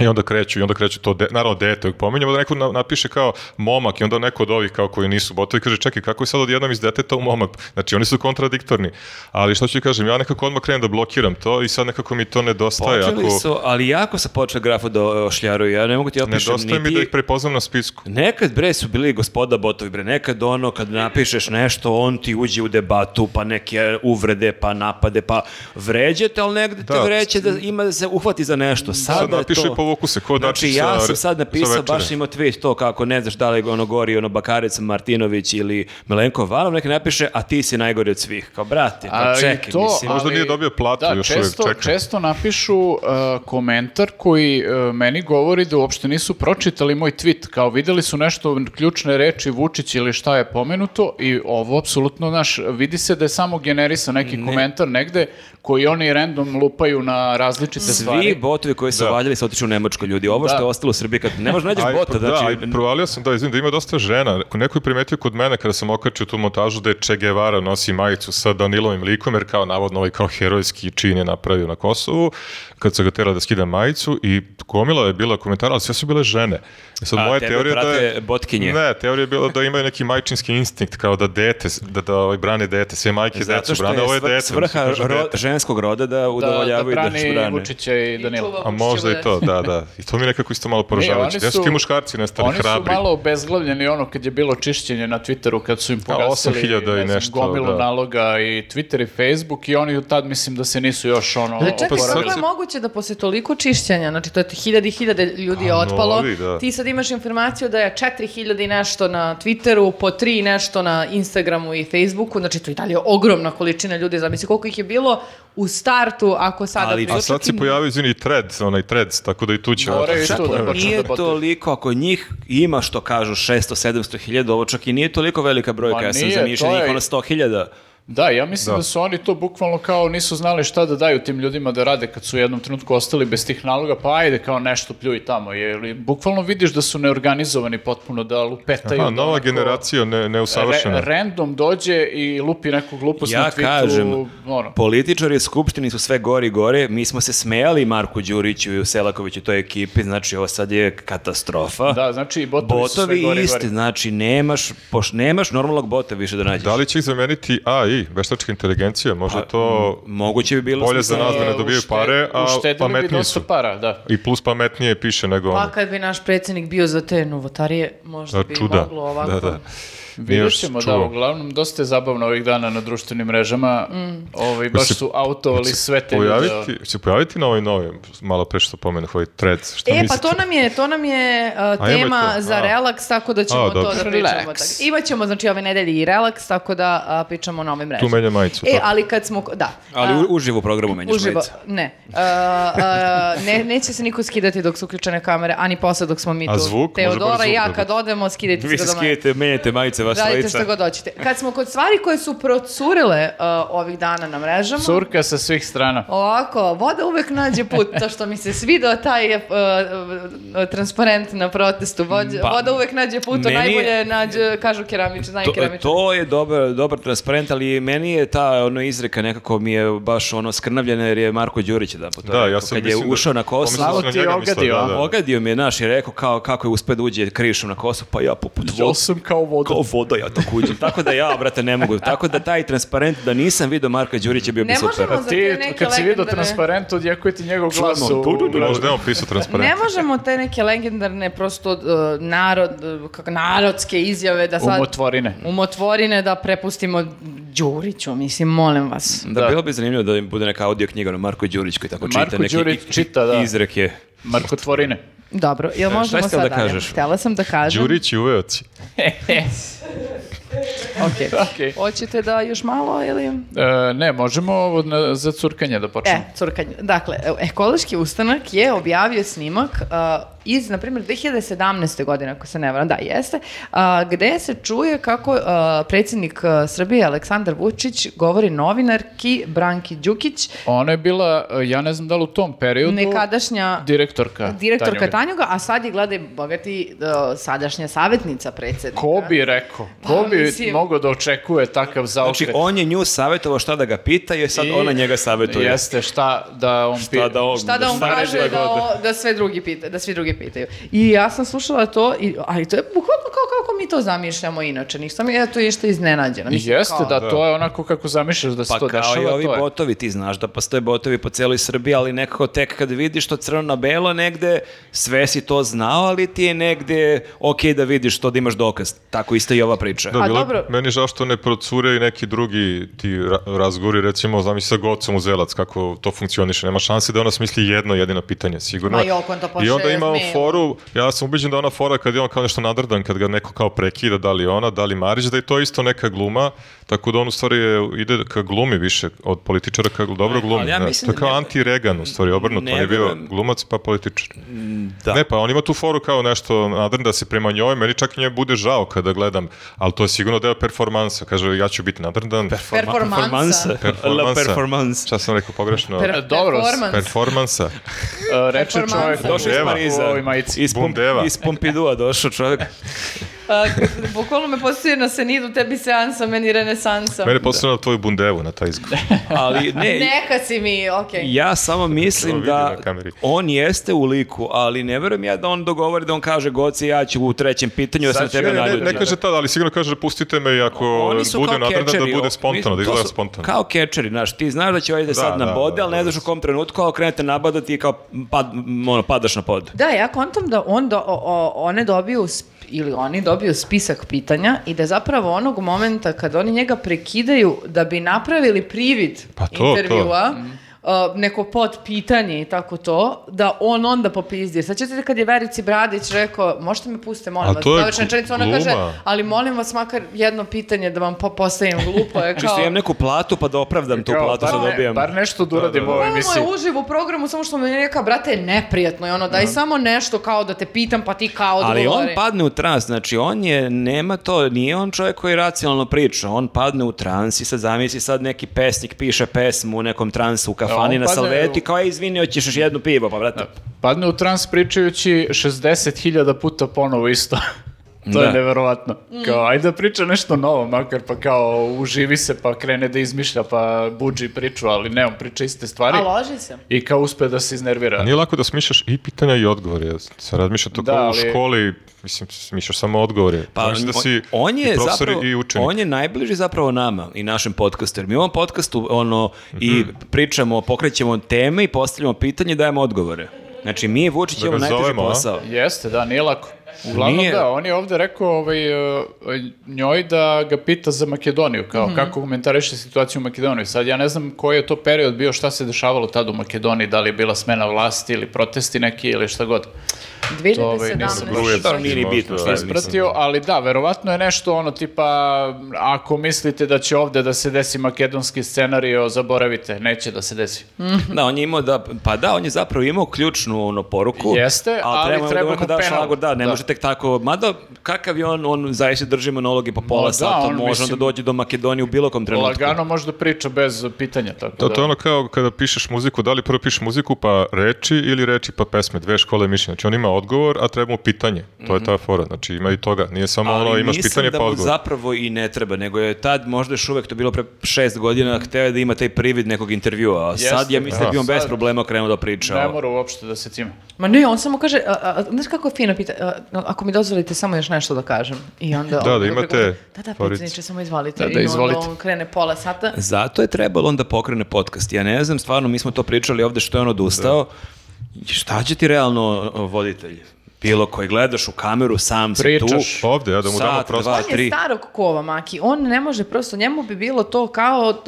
C: I onda kreću, i onda kreću to, de, naravno dete uvijek pominjem, onda neko na- napiše kao momak i onda neko od ovih kao koji nisu botovi kaže čekaj kako je sad odjednom iz deteta u momak, znači oni su kontradiktorni, ali što ću ti kažem, ja nekako odmah krenem da blokiram to i sad nekako mi to nedostaje,
A: Počeli
C: ako
A: su, ali jako se počeo grafu da ošljaruju, ja ne mogu ti opišem
C: nedostaje mi
A: niti...
C: da ih prepoznam na spisku.
A: Nekad bre su bili gospoda botovi bre, nekad ono kad napišeš nešto on ti uđe u debatu pa neke uvrede pa napade pa vređate, ali negde te
C: Da.
A: vreće da ima da se uhvati za nešto. Sada
C: Sad
A: je
C: napiše
A: to-
C: i povuku se, ko
A: Znači
C: Dačić
A: ja
C: sa-
A: sam sad
C: sa
A: napisao, baš
C: večere.
A: imao tweet to kako ne znaš da li ono gori ono Bakarec, Martinović ili Milenko Valov, neka napiše a ti si najgori od svih. Kao brate, pa
D: A, i
A: čekaj,
D: to,
A: mislim.
C: Možda
D: ali-
C: nije dobio platu
D: da,
C: još uvijek,
D: često,
C: čekam.
D: često napišu uh, komentar koji uh, meni govori da uopšte nisu pročitali moj tweet, kao videli su nešto ključne reči Vučić ili šta je pomenuto i ovo apsolutno, znaš, vidi se da je samo generisan neki komentar negde koji oni random lupaju na različite
A: Svi
D: stvari.
A: botovi koji su
C: Da.
A: valjali su otišli u Nemačku ljudi. Ovo što
D: Da.
A: je ostalo u Srbiji, kad ne možeš nađeš
C: Aj,
A: bota,
C: pa da,
A: znači...
C: aj, provalio sam, da, izvinim, da ima dosta žena. Neko je primetio kod mene kada sam okačio tu montažu da je Che Guevara nosi majicu sa Danilovim likom, jer kao navodno ovaj kao herojski čin je napravio na Kosovu, kad se ga tera da skida majicu i gomila je bila komentara, ali sve su bile žene. E sad,
A: A,
C: moja
A: tebe
C: teorija da je...
A: prate botkinje.
C: Ne, teorija je bila da imaju neki majčinski instinkt, kao da dete, da, da ovaj, brane dete, sve majke
A: Zato
C: decu
A: što je,
C: brane, ovo je
A: svr-
C: dete.
A: svrha
C: mislim, kaže
A: ro-
C: dete.
A: ženskog roda da
D: Da, da
A: udovoljavaju da,
D: brani
A: brane.
D: Vučića i Danila.
B: čuva
C: A možda i to, da, da. I to mi je nekako isto malo poražavajuće.
D: oni
C: Da su
D: su-
C: ti muškarci nestali
D: Oni
C: hrabri.
D: su malo obezglavljeni ono kad je bilo čišćenje na Twitteru, kad su im pogasili
C: 8.000 Pa, i
D: ne znam,
C: nešto,
D: gomilu
C: da.
D: naloga i Twitter i Facebook i oni od tad mislim da se nisu još ono...
B: Ali čekaj,
C: pa
B: kako
C: sad
B: je
C: se-
B: moguće da posle toliko čišćenja, znači to je ti hiljade i hiljade ljudi je
C: Pa,
B: otpalo,
C: novi, da.
B: ti sad imaš informaciju da je četiri hiljade i nešto na Twitteru, po tri i nešto na Instagramu i Facebooku, znači to je i dalje ogromna količina ljudi, zamisli koliko ih je bilo u startu, ako sada...
A: Ali-
B: priučim-
C: A sad se pojavio, izvini, i thread, onaj thread, tako da i tu će...
D: Moraju i
C: Šta
D: tu da
C: pojave?
D: počnu.
A: Nije
D: da botuju.
A: toliko, ako njih ima što kažu 600, 700 hiljada, ovo čak i nije toliko velika brojka,
D: Ma
A: ja sam
D: nije,
A: zamišljen
D: to je-
A: njih ono 100 hiljada.
D: Da, ja mislim da.
C: Da.
D: su oni to bukvalno kao nisu znali šta da daju tim ljudima da rade kad su u jednom trenutku ostali bez tih naloga, pa ajde kao nešto pljuj tamo. Jer bukvalno vidiš da su neorganizovani potpuno, da lupetaju.
C: Aha,
D: da
C: nova
D: onako-
C: generacija ne, neusavršena.
D: Re, random dođe i lupi neku glupost na
A: Ja
D: tweetu.
A: kažem,
D: ono.
A: političari u Skupštini su sve gori i gore, mi smo se smejali Marku Đuriću i Selakoviću i toj ekipi, znači ovo sad je katastrofa.
D: Da, znači i botovi, su sve
A: Botovi
D: gori i
A: isti,
D: gori.
A: znači nemaš, poš, nemaš normalnog bota više da nađeš.
C: Da li će ih zameniti AI, veštačka inteligencija?
D: Pa,
C: Možda to
A: Moguće bi bilo...
C: Bolje za
A: smisleno.
C: nas da ne dobijaju
D: Ušte-
C: pare, a
D: uštedeli E, bi
C: pametniji
D: dosta
C: su.
D: para, da.
C: I plus pametnije piše nego
B: Pa
C: ono.
B: kad bi naš predsjednik bio za te novotarije, možda
C: Da,
B: bi
C: čuda.
B: moglo ovako.
C: Da, da. Nije
D: Vidjet
C: još
D: ćemo, da,
C: čuo.
D: uglavnom, dosta je zabavno ovih dana na društvenim mrežama.
B: Mm.
D: Ovaj, baš
C: se-
D: su autovali da. sve te ljude.
C: Pojaviti, će se pojaviti na ovoj novoj, malo pre što pomenuh, ovaj threads, što
B: E, pa
C: mislite?
B: to nam je, to nam je uh,
C: A, imaj
B: tema
C: to.
B: za
C: A.
B: relaks, tako da ćemo
C: A,
B: to
C: dobro.
B: da pričamo.
D: Relax.
B: Tako. Imaćemo, znači, ove nedelje i relaks, tako da a, pričamo o novim mrežama.
C: Tu menja majicu.
B: E,
C: tako.
B: ali kad smo, da.
A: Ali u, uživo u programu menjaš
B: Uživo,
A: majice.
B: ne. Uh, uh, ne. Neće se niko skidati dok su uključene kamere, ani posle dok smo mi tu.
C: A zvuk? Može
B: Teodora
C: bar
B: i
C: zvuk
B: ja
C: da
B: kad odemo, skidajte
A: Vi
B: se
A: se
B: do mene.
A: skijete, menjate majice, vas
B: Radite
A: trojica.
B: što god hoćete. Kad smo kod stvari koje su procurile uh, ovih dana na mrežama,
D: Curka sa svih strana.
B: Ovako, voda uvek nađe put, to što mi se svidao taj uh, transparent na protestu, vođa,
A: Pa,
B: voda uvek nađe put, to
A: meni-
B: najbolje nađe, kažu keramič, znaju
A: To,
B: keramič.
A: to je dobar, dobar transparent, ali meni je ta ono izreka nekako mi je baš ono skrnavljena jer je Marko Đurić jedan put. to
C: Da, ja
A: rekao.
C: sam
A: Kad je
C: mislim da-
A: ušao na Kosovo,
C: pomislio sam
D: Malo
C: na
D: ti je
C: njega mislio,
D: ogadio,
C: da,
D: a?
C: da.
A: ogadio mi je naš i rekao kao kako je uspio da uđe krišom na Kosovo, pa ja poput
D: Ja
A: vod-
D: sam kao voda.
A: kao voda ja tako uđem. tako da ja, brate, ne mogu. Tako da taj transparent, da nisam vidio Marka Đurića, bio bi
B: Ne
A: super.
B: možemo- Za te
D: Ti,
B: neke
D: kad si vidio
B: legendarne-
D: transparent, odjekuje ti njegov glas u...
C: Možda je on pisao
B: Ne
C: transparent.
B: možemo te neke legendarne prosto uh, narod, uh, kak- narodske izjave da sad
D: Umotvorine.
B: umotvorine da prepustimo Đuriću, mislim, molim vas.
A: Da,
D: Da.
A: bilo bi zanimljivo da im bude neka audio knjiga na Marko Đurić koji tako čita
D: Marko
A: neke
D: Đurić
A: i-
D: čita, da.
A: izreke.
D: Markotvorine.
B: Dobro, jel
A: si
B: možemo sad
A: htjela da
B: dalje?
A: kažeš?
B: Htjela sam da kažem.
C: Đurić i uveoci.
B: Ok.
D: Okej.
B: Hoćete da još malo ili...
D: E, ne, možemo ovo na- za curkanje da
B: E,
D: počnemo.
B: curkanje. Dakle, evo, ekološki ustanak je objavio snimak uh, iz, na primjer, 2017. godine, ako se ne varam, da, jeste, uh, gde se čuje kako uh, predsjednik uh, Srbije Aleksandar Vučić govori novinarki Branki Đukić,
D: Ona je bila, e, ja ne znam da li u tom periodu,
B: nekadašnja
D: direktorka.
B: direktorka
D: Tanjuga.
B: Tanjuga, a sad je, gledaj, bogati uh, sadašnja savjetnica predsjednika.
D: Ko bi rekao? Ko
B: Da. Pa,
D: bi
B: mislim-
D: mogao da očekuje takav zaokret?
A: Znači, on je nju savjetovao šta da ga pita i sad
D: I-
A: ona njega savjetuje.
D: Jeste, šta da on
A: Šta da on,
B: Šta da on
A: stane šta
B: kaže da,
A: god.
B: o- da sve drugi pita, da svi drugi pitaju. I ja sam slušala to, i, ali to je bukvalno kao kako mi to zamišljamo inače. Nisam ja to išta iznenađena. Mislim,
D: Jeste,
B: kao-
D: da, to je onako kako zamišljaš da se
A: Pa
D: to
A: kao i
D: dešava,
A: ovi
D: to je.
A: botovi, ti znaš da postoje botovi po cijeloj Srbiji, ali nekako tek kad vidiš to crno na belo negde, sve si to znao, ali ti je negde ok da vidiš to da imaš dokaz. Tako isto i ova priča.
C: Da,
B: A,
C: bilo,
B: dobro.
C: je- meni je žao što ne procure i neki drugi ti ra- razgovori, recimo, znam i sa Gocom u Zelac, kako to funkcioniše. Nema šanse da ona smisli jedno jedino pitanje, sigurno.
B: Ma i oko on to pošalje
C: I onda ima on
B: mail.
C: foru, ja sam ubiđen da ona fora kad je on kao nešto nadrdan, kad ga neko kao prekida, da li ona, da li Marić, da je to isto neka gluma, tako da on u stvari je, ide ka glumi više, od političara ka dobro glumi.
A: ali ja
C: znaš.
A: mislim
C: to
A: da
C: je kao
A: ne-
C: anti-Regan, u stvari, obrnuto.
A: ne
C: on je bio
A: verujem.
C: glumac pa političar.
A: Da.
C: Ne, pa on ima tu foru kao nešto nadrn da se prema njoj, meni čak i nje bude žao kada gledam, ali to je sigurno deo performansa, kaže ja ću biti nadrndan.
B: Performansa.
A: La
C: pa Performansa.
A: performance.
C: Šta sam rekao pogrešno?
B: Per-
D: E, dobro,
B: performans.
C: Performansa.
D: E, Reče
B: Performansa.
D: čovjek
A: Došao iz
C: Bundeva.
A: Pariza.
D: u ovoj majici.
A: Iz, Pom-
C: Bundeva.
A: iz Pompidua došao čovjek.
B: A, bukvalno me postoji na senidu, tebi seansa, meni renesansa.
C: Mene je posebno na tvoju bundevu, na taj izgled.
A: Ali ne,
B: Neka si mi, okej.
A: ja samo mislim
C: Evo vidi
A: da
C: na kameri.
A: on jeste u liku, ali ne verujem ja da on dogovori da on kaže Goci ja ću u trećem pitanju da se
D: Sad
A: na
D: ću-
A: tebe
C: Ne, ne,
A: naljutim."
C: ne kaže tada, ali sigurno kaže pustite me i ako
A: Oni su
C: bude
A: kao
C: nadrndan
A: catcheri,
C: da
A: o-
C: bude spontano,
A: mislim,
C: da
A: to
C: izgleda
A: su
C: spontano.
A: Kao kečeri, znaš, ti znaš da će ovaj da sad
C: da,
A: nabode,
C: da,
A: ali ne znaš u kom trenutku, ali krenete nabadati i kao pad, m, ono, padaš na pod.
B: Da, ja kontam da on do- o- o- one dobiju sp- ili oni dobiju spisak pitanja i da zapravo onog momenta kad oni njega prekidaju da bi napravili privid
C: Pa to, to.
B: intervjua, uh, neko pod pitanje i tako to, da on onda popizdi. Sad ćete kad je Verici Bradić rekao, možete me puste, molim
C: A
B: vas.
C: to je
B: završna rečenica, ona
C: gluma.
B: kaže, ali molim vas makar jedno pitanje da vam po- postavim glupo. Je
A: Čisto
B: kao,
A: imam Znači, neku platu pa da opravdam tu platu što
D: bar, ne-
A: dobijam.
D: bar nešto da uradim
C: da,
D: u ovoj
B: Malo
D: emisiji.
B: je uživo u programu, samo što mi je rekao, brate, neprijatno je ono, daj samo nešto kao da te pitam, pa ti kao odgovori.
A: Da. Ali on padne u trans, znači on je, nema to, nije on čovjek koji racionalno priča, on padne u trans i sad zamisli sad neki pesnik piše pesmu u nekom transu u kafani
D: Da, on
A: na
D: padne
A: salvetu i
D: u- Da.
A: kao, ej, izvini, hoćeš još jednu pivo, pa brate.
D: Padne u trans pričajući 60.000 puta ponovo isto. to
A: Da.
D: je neverovatno.
B: Mm.
D: Kao, ajde da priča nešto novo, makar pa kao uživi se, pa krene da izmišlja, pa buđi priču, ali ne, on priča iste stvari.
B: A loži se.
D: I kao uspe da se
C: A
D: iznervira.
C: nije lako da smišljaš i pitanja i odgovore. Ja Sam razmišlja to
D: Da,
C: kao
D: ali-
C: u školi, mislim, smišljaš samo odgovore. Pa, mislim da
A: on-
C: si
A: on je
C: i profesor
A: zapravo,
C: i učenik.
A: On je najbliži zapravo nama i našem podcastu. Jer mi u ovom podcastu ono,
C: Mhm.
A: i pričamo, pokrećemo teme i postavljamo pitanje i dajemo odgovore. Znači, mi i Vučić
C: Da ga
A: imamo najteži
C: zovemo, a?
A: posao.
D: Jeste, da, nije lako. Uglavnom
A: Nije.
D: da, on je ovde rekao ovaj, e, njoj da ga pita za Makedoniju, kao kako komentariše situaciju u Makedoniji. Sad ja ne znam koji je to period bio, šta se dešavalo tad u Makedoniji, da li je bila smena vlasti ili protesti neki ili šta god.
B: 2017.
D: nisam
C: Grujec,
A: Stvarno nije ni
C: možda,
A: bitno šta
C: ali-
A: je.
D: Ispratio, ali da, verovatno je nešto ono tipa, ako mislite da će ovde da se desi makedonski scenario, zaboravite, neće da se desi.
A: Da, on je imao da, pa da, on je zapravo imao ključnu ono poruku.
D: Jeste, ali
A: trebamo
D: treba
A: da
D: mu
A: da
D: penal.
A: šlagor, da, ne
D: Da.
A: može tek tako, mada kakav je on, on zaista drži monolog i po pola
D: Ma da,
A: sata,
D: on,
A: može
D: mislim-
A: da dođe do Makedonije u bilo kom trenutku.
D: Lagano može da priča bez pitanja, tako da.
C: Da, to je ono kao kada pišeš muziku, da li prvo pišeš muziku pa reči ili reči pa pesme, dve škole mišljenja. Znači on ima odgovor, a treba mu pitanje. To je ta
D: Mhm.
C: fora, znači ima i toga. Nije samo ono imaš
A: mislim
C: pitanje
A: da
C: pa
A: mu
C: odgovor.
A: zapravo i ne treba, nego je tad možda još uvek, to je bilo pre šest godina,
C: Mhm.
A: hteo je da ima taj privid nekog intervjua, a sad
D: Jeste,
A: ja mislim da
C: da.
A: bi on bez
D: Sad-
A: problema krenuo da priča.
D: Ne
A: o-
D: mora uopšte da se time.
B: Ma ne, on samo kaže, a, a, znaš kako je fino pita, a, no, ako mi dozvolite samo još nešto da kažem. I onda
C: Da,
B: on
C: da,
B: drugi
C: imate
B: govori, Da, da,
C: foricu.
B: predsjedniče, samo izvolite.
D: Da, da,
B: I onda
D: izvolite.
B: on krene pola sata.
A: Zato je trebalo onda pokrene podcast. Ja ne znam, stvarno, mi smo to pričali ovde što je on odustao.
C: Da.
A: Šta će ti realno o, voditelj? Bilo koji gledaš u kameru, sam si tu.
D: Pričaš.
C: Ovde, ja da mu damo
A: Sat,
C: prosto.
A: dva,
B: On je
A: tri.
B: starog kova, Maki. On ne može, prosto njemu bi bilo to kao d-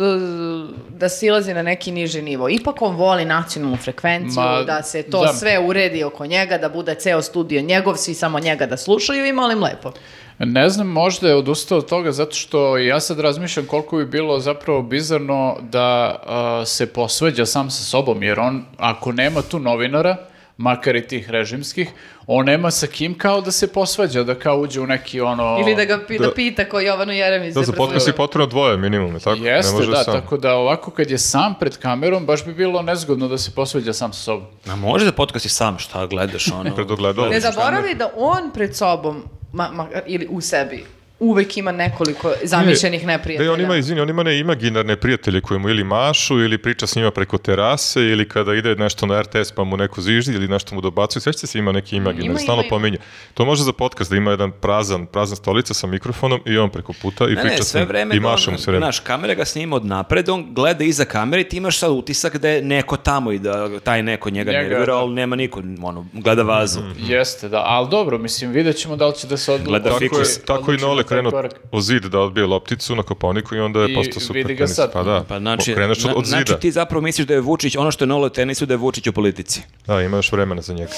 B: da silazi na neki niži nivo. Ipak on voli nacionalnu frekvenciju,
D: Ma,
B: da se to
D: da.
B: sve uredi oko njega, da bude ceo studio njegov, svi samo njega da slušaju i molim lepo.
D: Ne znam, možda je odustao od toga zato što ja sad razmišljam koliko bi bilo zapravo bizarno da a, se posveđa sam sa sobom, jer on, ako nema tu novinara, makar i tih režimskih, on nema sa kim kao da se posvađa, da kao uđe u neki ono...
B: Ili da ga pi- da
C: Da.
B: pita ko Jovanu Jeremić.
C: Da, za podcast je
B: predsjedava.
C: potrebno dvoje minimum, je tako? ne
D: Jeste,
C: može
D: da,
C: sam.
D: tako da ovako kad je sam pred kamerom, baš bi bilo nezgodno da se posvađa sam sa sobom.
A: Ma može da podcast je sam, šta gledaš ono?
C: Pred ogledalom.
B: Ne zaboravi da on pred sobom, ma, ma- ili u sebi, uvek ima nekoliko zamišljenih neprijatelja.
C: Da, on ima, izvini, on ima ne imaginarne prijatelje koji mu ili mašu, ili priča s njima preko terase, ili kada ide nešto na RTS pa mu neko zviždi ili nešto mu dobacuje, sveće se ima neki
B: Ima,
C: imaginar,
B: ima,
C: stalno
B: ima.
C: pominje. To može za podcast da ima jedan prazan, prazna stolica sa mikrofonom i on preko puta i
A: Ne,
C: priča
A: ne,
C: s
A: sve
C: njim
A: vreme,
C: i
A: da on-
C: maša mu sve vreme.
A: Znaš, kamera ga snima od napred, on gleda iza kamere i ti imaš sad utisak da je neko tamo i da taj neko njega,
D: Njega,
A: nervira,
D: da.
A: ali nema niko, ono, gleda vazu.
C: Mhm. Mm.
D: Jeste, da, ali dobro, mislim, vidjet ćemo da li će da se odluči.
A: Gleda
C: Tako,
A: fikus.
C: je, tako i Nole krenuo
D: korak.
C: o zid da odbije lopticu na koponiku i onda je
D: I
C: postao super
D: vidi ga
C: tenis.
D: sad.
C: Pa da,
A: Pa znači,
C: kreneš od,
A: na-
C: od zida.
A: znači ti zapravo misliš da je Vučić, ono što je Nolo u tenisu, da je Vučić u politici.
C: Da, ima još vremena za njega.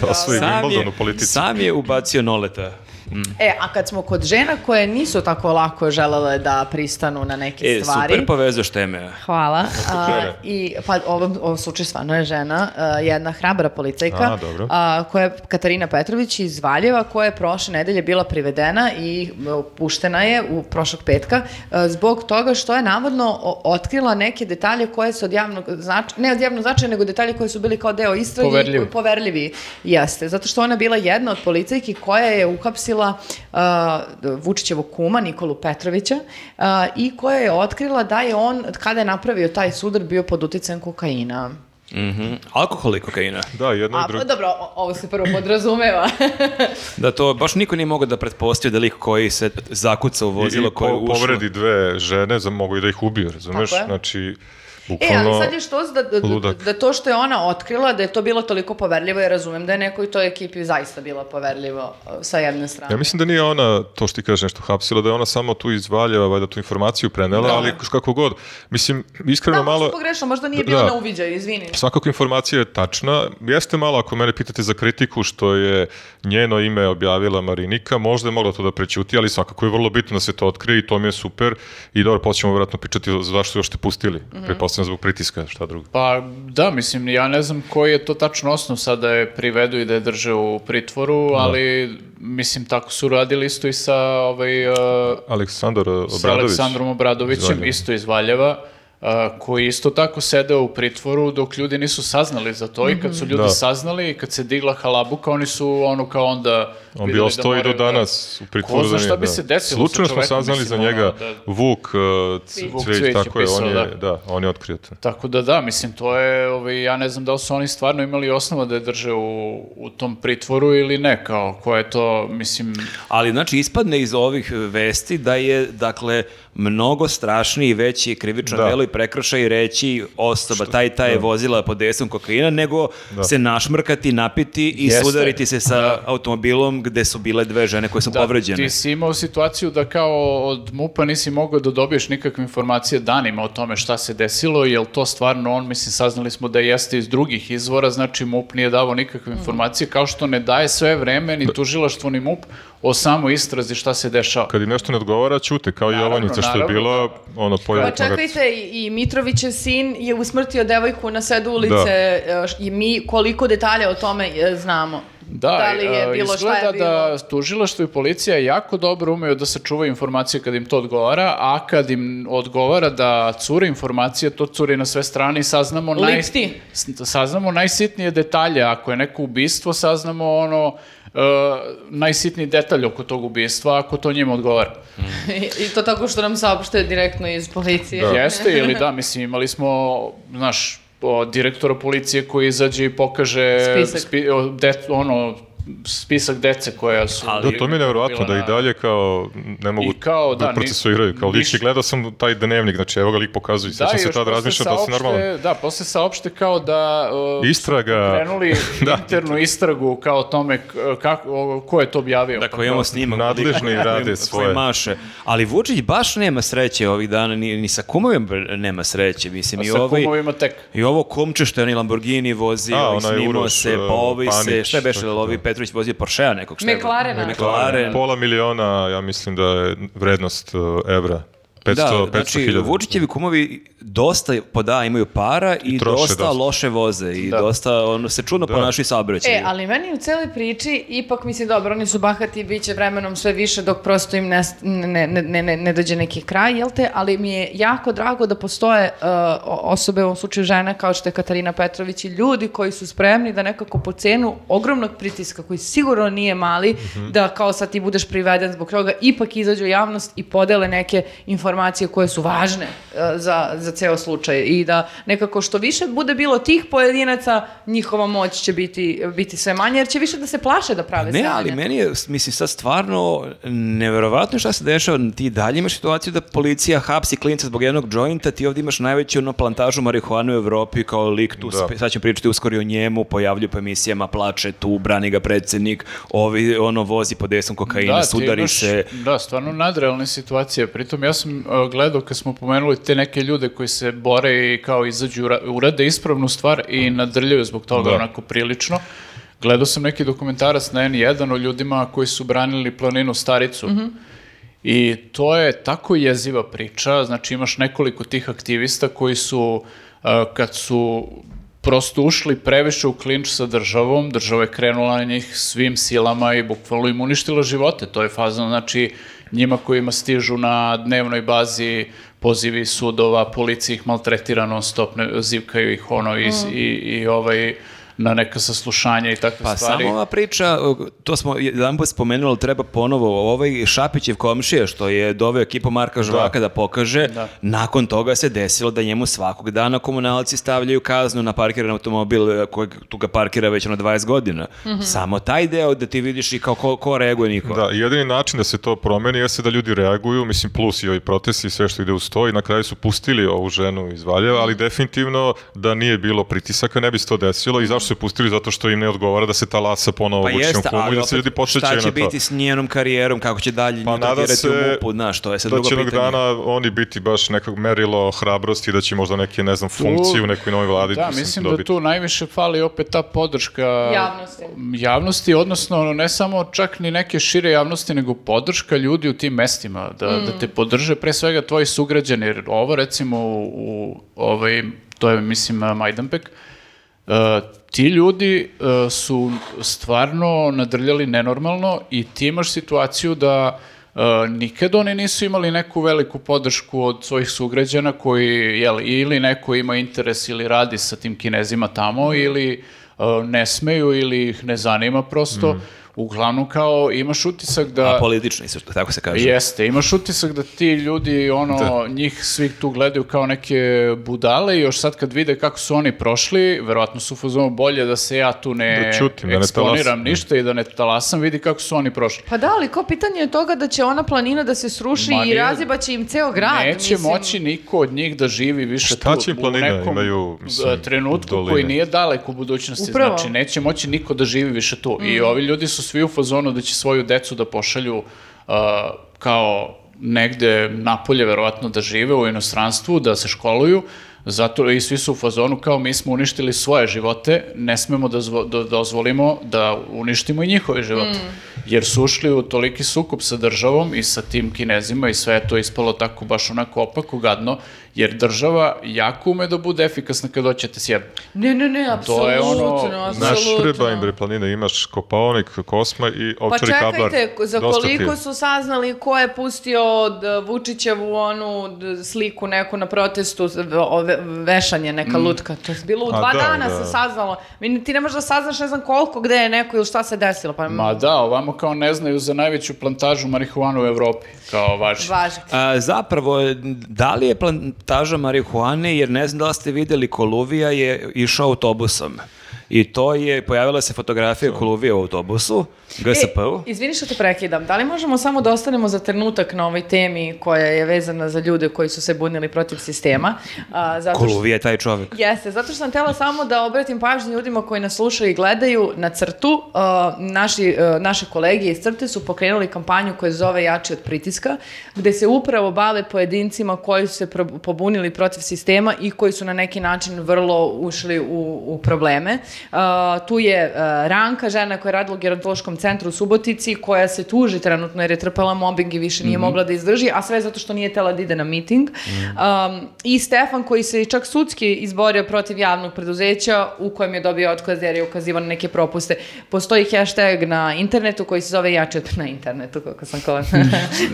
C: da, osvoji Wimbledon u politici.
A: sam je ubacio Noleta.
B: E, a kad smo kod žena koje nisu tako lako želele da pristanu na neke
A: E,
B: stvari...
C: pa-
A: super povezaš teme.
B: Hvala. A,
C: žene.
B: I, pa u ovom, u ovom slučaju stvarno je žena, a, jedna hrabra policajka,
C: A, dobro.
B: a, koja je Katarina Petrović iz Valjeva, koja je prošle nedelje bila privedena i m, puštena je u prošlog petka a, zbog toga što je navodno o- otkrila neke detalje koje su od javnog značaja, ne od javnog značaja, nego detalje koje su bili kao deo istrage. i
D: Poverljivi.
B: po- poverljivi jeste, zato što ona je bila jedna od policajki koja je uhapsila a, Vučićevog kuma Nikolu Petrovića a, i koja je otkrila da je on, kada je napravio taj sudar, bio pod uticajem kokaina.
A: Mhm. Alkohol i kokaina.
C: Da, jedno
B: A,
C: i drugo.
B: dobro, o- ovo se prvo podrazumeva.
A: Da to baš niko nije mogao da pretpostavi da lik koji se zakuca u vozilo
C: I po-
A: koje je ušlo.
C: povredi dve žene, za, mogu i da ih ubiju, razumeš?
B: Tako je.
C: Znači, Bukvalno,
B: e, ali sad je što da, da,
C: ludak.
B: da to što je ona otkrila, da je to bilo toliko poverljivo, ja razumem da je nekoj toj ekipi zaista bilo poverljivo uh, sa jedne strane.
C: Ja mislim da nije ona, to što ti kažeš nešto hapsila, da je ona samo tu iz Valjeva, valjda tu informaciju prenela, ali kako god. Mislim, iskreno
B: da,
C: malo...
B: možda pogrešno, možda nije
C: Da.
B: bilo na uviđaju, izvini.
C: Svakako informacija je tačna. Jeste malo, ako mene pitate za kritiku što je njeno ime objavila Marinika, možda je mogla to da prećuti, ali svakako je vrlo bitno da se to otkrije i to mi je super. I dobro, poćemo vjerojatno pričati zašto još te pustili.
D: Mhm.
C: Pretpostavljam zbog pritiska, šta drugo.
D: Pa da, mislim, ja ne znam koji je to tačno osnov sad da je privedu i da je drže u pritvoru,
C: Da.
D: ali mislim, tako su radili isto i sa, ovaj, uh,
C: Aleksandar Obradović.
D: sa Aleksandrom Obradovićem,
C: Iz Valjeva.
D: isto iz Valjeva, uh, koji isto tako sedeo u pritvoru dok ljudi nisu saznali za to i kad su ljudi
C: Da.
D: saznali i kad se digla halabuka, oni su ono kao onda...
C: On bi
D: videli da
C: ostao i do
D: moraju da-
C: danas u pritvoru.
D: Ko zna
C: za
D: šta
C: nje,
D: bi
C: da.
D: se desilo sa
C: Slučajno smo
D: čovekom,
C: saznali
D: mislim,
C: za njega
D: ono, da-
C: Vuk uh, C-
D: Vuk
C: Cvijić,
D: Cvijić je
C: tako je, on
D: pisao,
C: je,
D: da.
C: da, on je otkrio to.
D: Tako da da, mislim, to je, ovaj, ja ne znam da li su oni stvarno imali osnova da je drže u, u tom pritvoru ili ne, kao ko je to, mislim,
A: Ali znači ispadne iz ovih e, vesti da je dakle mnogo strašniji i veći krivično
C: Da.
A: delo i prekršaj reći osoba taj i taj je vozila pod desom kokaina nego
C: Da.
A: se našmrkati, napiti i
D: Jeste.
A: sudariti se sa automobilom gde su bile dve žene koje su
D: da
A: povređene.
D: ti si imao situaciju da kao od MUPA nisi mogao da dobiješ nikakve informacije danima o tome šta se desilo, jel to stvarno on, mislim, saznali smo da jeste iz drugih izvora, znači MUP nije davao nikakve informacije, kao što ne daje sve vreme ni tužilaštvo ni MUP o samo istrazi šta se dešava.
C: Kad im nešto ne odgovara, čute, kao i
D: Naravno,
C: Jovanjica što je
D: naravno. da.
C: bila, ono, pojela
B: Pa
C: toga.
B: čekajte, i i Mitrovićev sin je usmrtio devojku na
C: Da.
B: sedu ulice e, š- i mi koliko detalja o tome e, znamo.
D: Da,
B: da li je
D: e,
B: bilo, šta
D: izgleda
B: je bilo.
D: da tužilaštvo i policija jako dobro umeju da sačuvaju informacije kad im to odgovara, a kad im odgovara da cure informacije, to curi na sve strane i saznamo, naj,
B: Lipti.
D: s- saznamo najsitnije detalje. Ako je neko ubistvo, saznamo ono e, najsitniji detalj oko tog ubistva, ako to njima odgovara.
B: I, I to tako što nam saopšte direktno iz policije.
D: Jeste ili da, mislim, imali smo, znaš, o, direktora policije koji izađe i pokaže
B: Spisak.
D: spi- o, dec- ono, spisak dece koja su...
C: Da, to mi je nevjerojatno
D: bila
C: da i
D: na-
C: dalje kao ne mogu
D: I kao,
C: da,
D: da, ni-
C: procesuiraju. Kao lik
D: niš-
C: je gledao sam taj dnevnik, znači evo ga lik pokazuje. Da,
D: i
C: se
D: još
C: tad
D: posle
C: razmišljao da se
D: saopšte-
C: normalno.
D: Da, posle saopšte kao da... Uh,
C: Istraga.
D: Krenuli
C: Da.
D: internu istragu kao o tome k- kako, o, ko je to objavio.
A: Dakle, imamo snimak.
C: Nadležni
A: koji- koji-
C: rade
A: koji
C: svoje.
A: maše. Ali Vučić baš nema sreće ovih dana, ni, ni sa kumovima nema sreće. Mislim,
D: A
A: i
D: Pa sa
A: ovaj,
D: kumovima tek.
A: I ovo komče što je onaj Lamborghini vozio
C: A,
A: i
C: onaj
A: snimao
C: Uroš,
A: se,
C: uh,
A: pa ovi se,
C: Panić, da.
A: šta je beše,
C: tako
A: jel ovi Petrović vozio Porschea nekog šta je-
B: McLarena.
A: McLaren. Da,
C: Pola miliona, ja mislim da je vrednost uh, evra. 500,
A: Da,
C: 500
A: znači
C: hiljada.
A: Vučićevi kumovi dosta poda imaju para i,
C: troše
A: dosta,
C: dosta.
A: loše voze i
D: Da.
A: dosta ono, se čudno ponašaju sa
B: E, ali meni u celoj priči ipak mislim dobro, oni su bahati i bit će vremenom sve više dok prosto im ne, ne, ne, ne, ne, ne dođe neki kraj, jel te? Ali mi je jako drago da postoje uh, o- osobe, u ovom slučaju žena kao što je Katarina Petrović i ljudi koji su spremni da nekako po cenu ogromnog pritiska koji sigurno nije mali, da kao sad ti budeš priveden zbog toga, ipak izađu u javnost i podele neke informacije koje su važne uh, za, za ceo slučaj i da nekako što više bude bilo tih pojedinaca, njihova moć će biti, biti sve manje, jer će više da se plaše da prave
D: Pa
A: Ne,
B: sranje.
A: ali meni je, mislim, sad stvarno neverovatno šta se dešava. Ti dalje imaš situaciju da policija hapsi klinca zbog jednog jointa, ti ovdje imaš najveću ono, plantažu marihuane u Evropi kao lik tu,
C: Da.
A: spe- sad ćemo pričati uskoro i o njemu, pojavlju po emisijama, plače tu, brani ga predsjednik, ovi, ono, vozi pod desom kokaina,
D: Da, ti
A: sudari
D: imaš-
A: se.
D: Da, stvarno nadrealne situacije. Pritom ja sam uh, gledao kad smo pomenuli te neke ljude koji se bore i kao izađu, ura- urade ispravnu stvar i nadrljaju zbog toga
C: Da.
D: onako prilično. Gledao sam neki dokumentarac na N1 o ljudima koji su branili planinu Staricu. I to je tako jeziva priča, znači imaš nekoliko tih aktivista koji su, uh, kad su prosto ušli previše u klinč sa državom, država je krenula na njih svim silama i bukvalno im uništila živote. To je fazno, znači, njima kojima stižu na dnevnoj bazi pozivi sudova, policija ih maltretira non stop, ne- zivkaju ih ono iz, i, i ovaj na neka saslušanja i takve
A: Pa
D: stvari.
A: samo ova priča, to smo jedan put spomenuli, ali treba ponovo, ovaj Šapićev komšija što je doveo ekipu Marka Žvaka da, pokaže, nakon toga se desilo da njemu svakog dana komunalci stavljaju kaznu na parkiran automobil eh, kojeg tu ga parkira već ono 20 godina. Samo taj deo da ti vidiš i kao ko, ko reaguje niko.
C: Mhm. Da, i jedini način da se to promeni jeste da ljudi reaguju, mislim plus i ovi protesti i sve što ide uz to i na kraju su pustili ovu ženu iz Valjeva, ali definitivno da nije bilo pritisaka ne bi se to desilo i zašto su je pustili? Zato što im ne odgovara da se ta lasa ponovo
A: Pa
C: vuče na
A: jeste,
C: kumu i
A: ali
C: da se ljudi
A: opet, šta
C: posjećaju
A: će
C: na to.
A: biti s njenom karijerom, kako će dalje
C: Pa
A: nju
C: nadam
A: tretirati
C: se
A: u MUP-u, znaš, to je sad
C: da
A: drugo
C: će jednog
A: pitanje.
C: dana oni biti baš nekog merilo hrabrosti, da će možda neke, ne znam, funkciju u nekoj novoj vladi
D: Da,
C: mislim,
D: mislim da
C: dobiti.
D: tu najviše fali opet ta podrška
B: Javnosti.
D: javnosti, odnosno ne samo čak ni neke šire javnosti, nego podrška ljudi u tim mestima, da, da te podrže pre svega tvoji sugrađani, jer ovo recimo u, u ovaj, to je mislim Majdanpek, Uh, ti ljudi uh, su stvarno nadrljali nenormalno i ti imaš situaciju da uh, nikad oni nisu imali neku veliku podršku od svojih sugrađana koji jel, ili neko ima interes ili radi sa tim kinezima tamo ili uh, ne smeju ili ih ne zanima prosto.
C: Mhm.
D: Uglavnom kao imaš utisak da...
A: A politični su, tako se kaže.
D: Jeste, imaš utisak da ti ljudi, ono,
C: Da.
D: njih svi tu gledaju kao neke budale i još sad kad vide kako su oni prošli, verovatno su u fazonu bolje da se ja tu ne
C: Da ćutim, da ne
D: eksponiram
C: talasam.
D: ništa i da ne talasam, vidi kako su oni prošli.
B: Pa da, ali ko pitanje je toga da će ona planina da se sruši
D: Ma
B: i
D: nije-
B: razjebaće im ceo grad.
D: Neće
B: mislim.
D: moći niko od njih da živi više
C: Šta
D: tu,
C: će im
D: u
C: planina?
D: nekom
C: Imaju, mislim,
D: e, trenutku
C: doline.
D: koji nije dalek u budućnosti.
B: Upravo.
D: Znači, neće moći niko da živi više tu. I ovi ljudi su svi u fazonu da će svoju decu da pošalju e, kao negde napolje verovatno da žive u inostranstvu, da se školuju, zato i svi su u fazonu kao mi smo uništili svoje živote, ne smemo da, zvo- da dozvolimo da uništimo i njihove živote. Jer su ušli u toliki sukup sa državom i sa tim kinezima i sve je to ispalo tako baš onako opako gadno, jer država jako ume da bude efikasna kad hoćete sjebe.
B: Ne, ne, ne,
D: To je
B: apsolutno,
D: ono,
B: apsolutno.
C: Znaš, treba im bre planine, imaš kopaonik, kosma i
B: Pa
C: ovčari kablar.
B: čekajte, ko- za
C: Dosta ti je.
B: koliko su saznali ko je pustio od e, Vučićevu onu d- sliku neku na protestu, z- v- o- ve- vešanje neka lutka. To je bilo u
C: Mm. A
B: dva
C: da,
B: dana
C: da.
B: se saznalo. Mi- Ti ne možeš da saznaš ne znam koliko, gde je neko ili šta se desilo. Pa,
D: Ma da, ovamo kao ne znaju za najveću plantažu marihuana u Evropi, kao važi.
B: Važi.
A: A, zapravo, da li je plantaža marihuane, jer ne znam da li ste vidjeli, Koluvija je išao autobusom. I to je, pojavila se fotografija Koluvije u autobusu, GSP-u.
B: E, izvini što te prekidam, da li možemo samo da ostanemo za trenutak na ovoj temi koja je vezana za ljude koji su se bunili protiv sistema? A, zato što-
A: Koluvija je taj čovjek.
B: Jeste, zato što sam htjela samo da obratim pažnju ljudima koji nas slušaju i gledaju na crtu. Uh, naši, uh, naše kolege iz crte su pokrenuli kampanju koja se zove Jači od pritiska, gde se upravo bave pojedincima koji su se pro- pobunili protiv sistema i koji su na neki način vrlo ušli u, u probleme. Uh, tu je uh, Ranka, žena koja je radila u gerontološkom centru u Subotici, koja se tuži trenutno jer je trpela mobbing i više
A: Mhm.
B: nije mogla da izdrži, a sve zato što nije tela da ide na miting. Um, I Stefan koji se i čak sudski izborio protiv javnog preduzeća u kojem je dobio otkaz jer je ukazivao na neke propuste. Postoji hashtag na internetu koji se zove jači od na internetu, koliko sam kola. koliko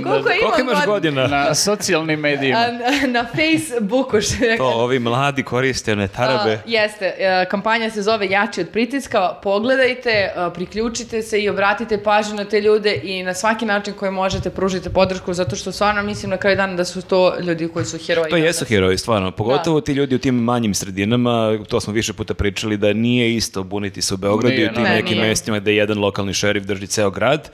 A: Da, Koliko
B: imam
A: imaš
B: god-
A: godina?
D: Na socijalnim medijima.
B: A, na- na Facebooku, što je
A: To ovi mladi koriste one tarabe.
B: a, jeste, e, kampanja se zove Jači od pritiska, pogledajte, e, priključite se i obratite pažnju na te ljude i na svaki način koji možete pružite podršku, zato što stvarno mislim na kraju dana da su to ljudi koji Pa su Da. heroji.
A: To jesu
B: danas.
A: heroji, stvarno. Pogotovo ti ljudi u tim manjim sredinama, to smo više puta pričali, da nije isto buniti se u Beogradu i
D: Nije,
A: u tim
D: ne,
A: nekim
B: nije.
A: mestima gde jedan lokalni šerif drži ceo grad.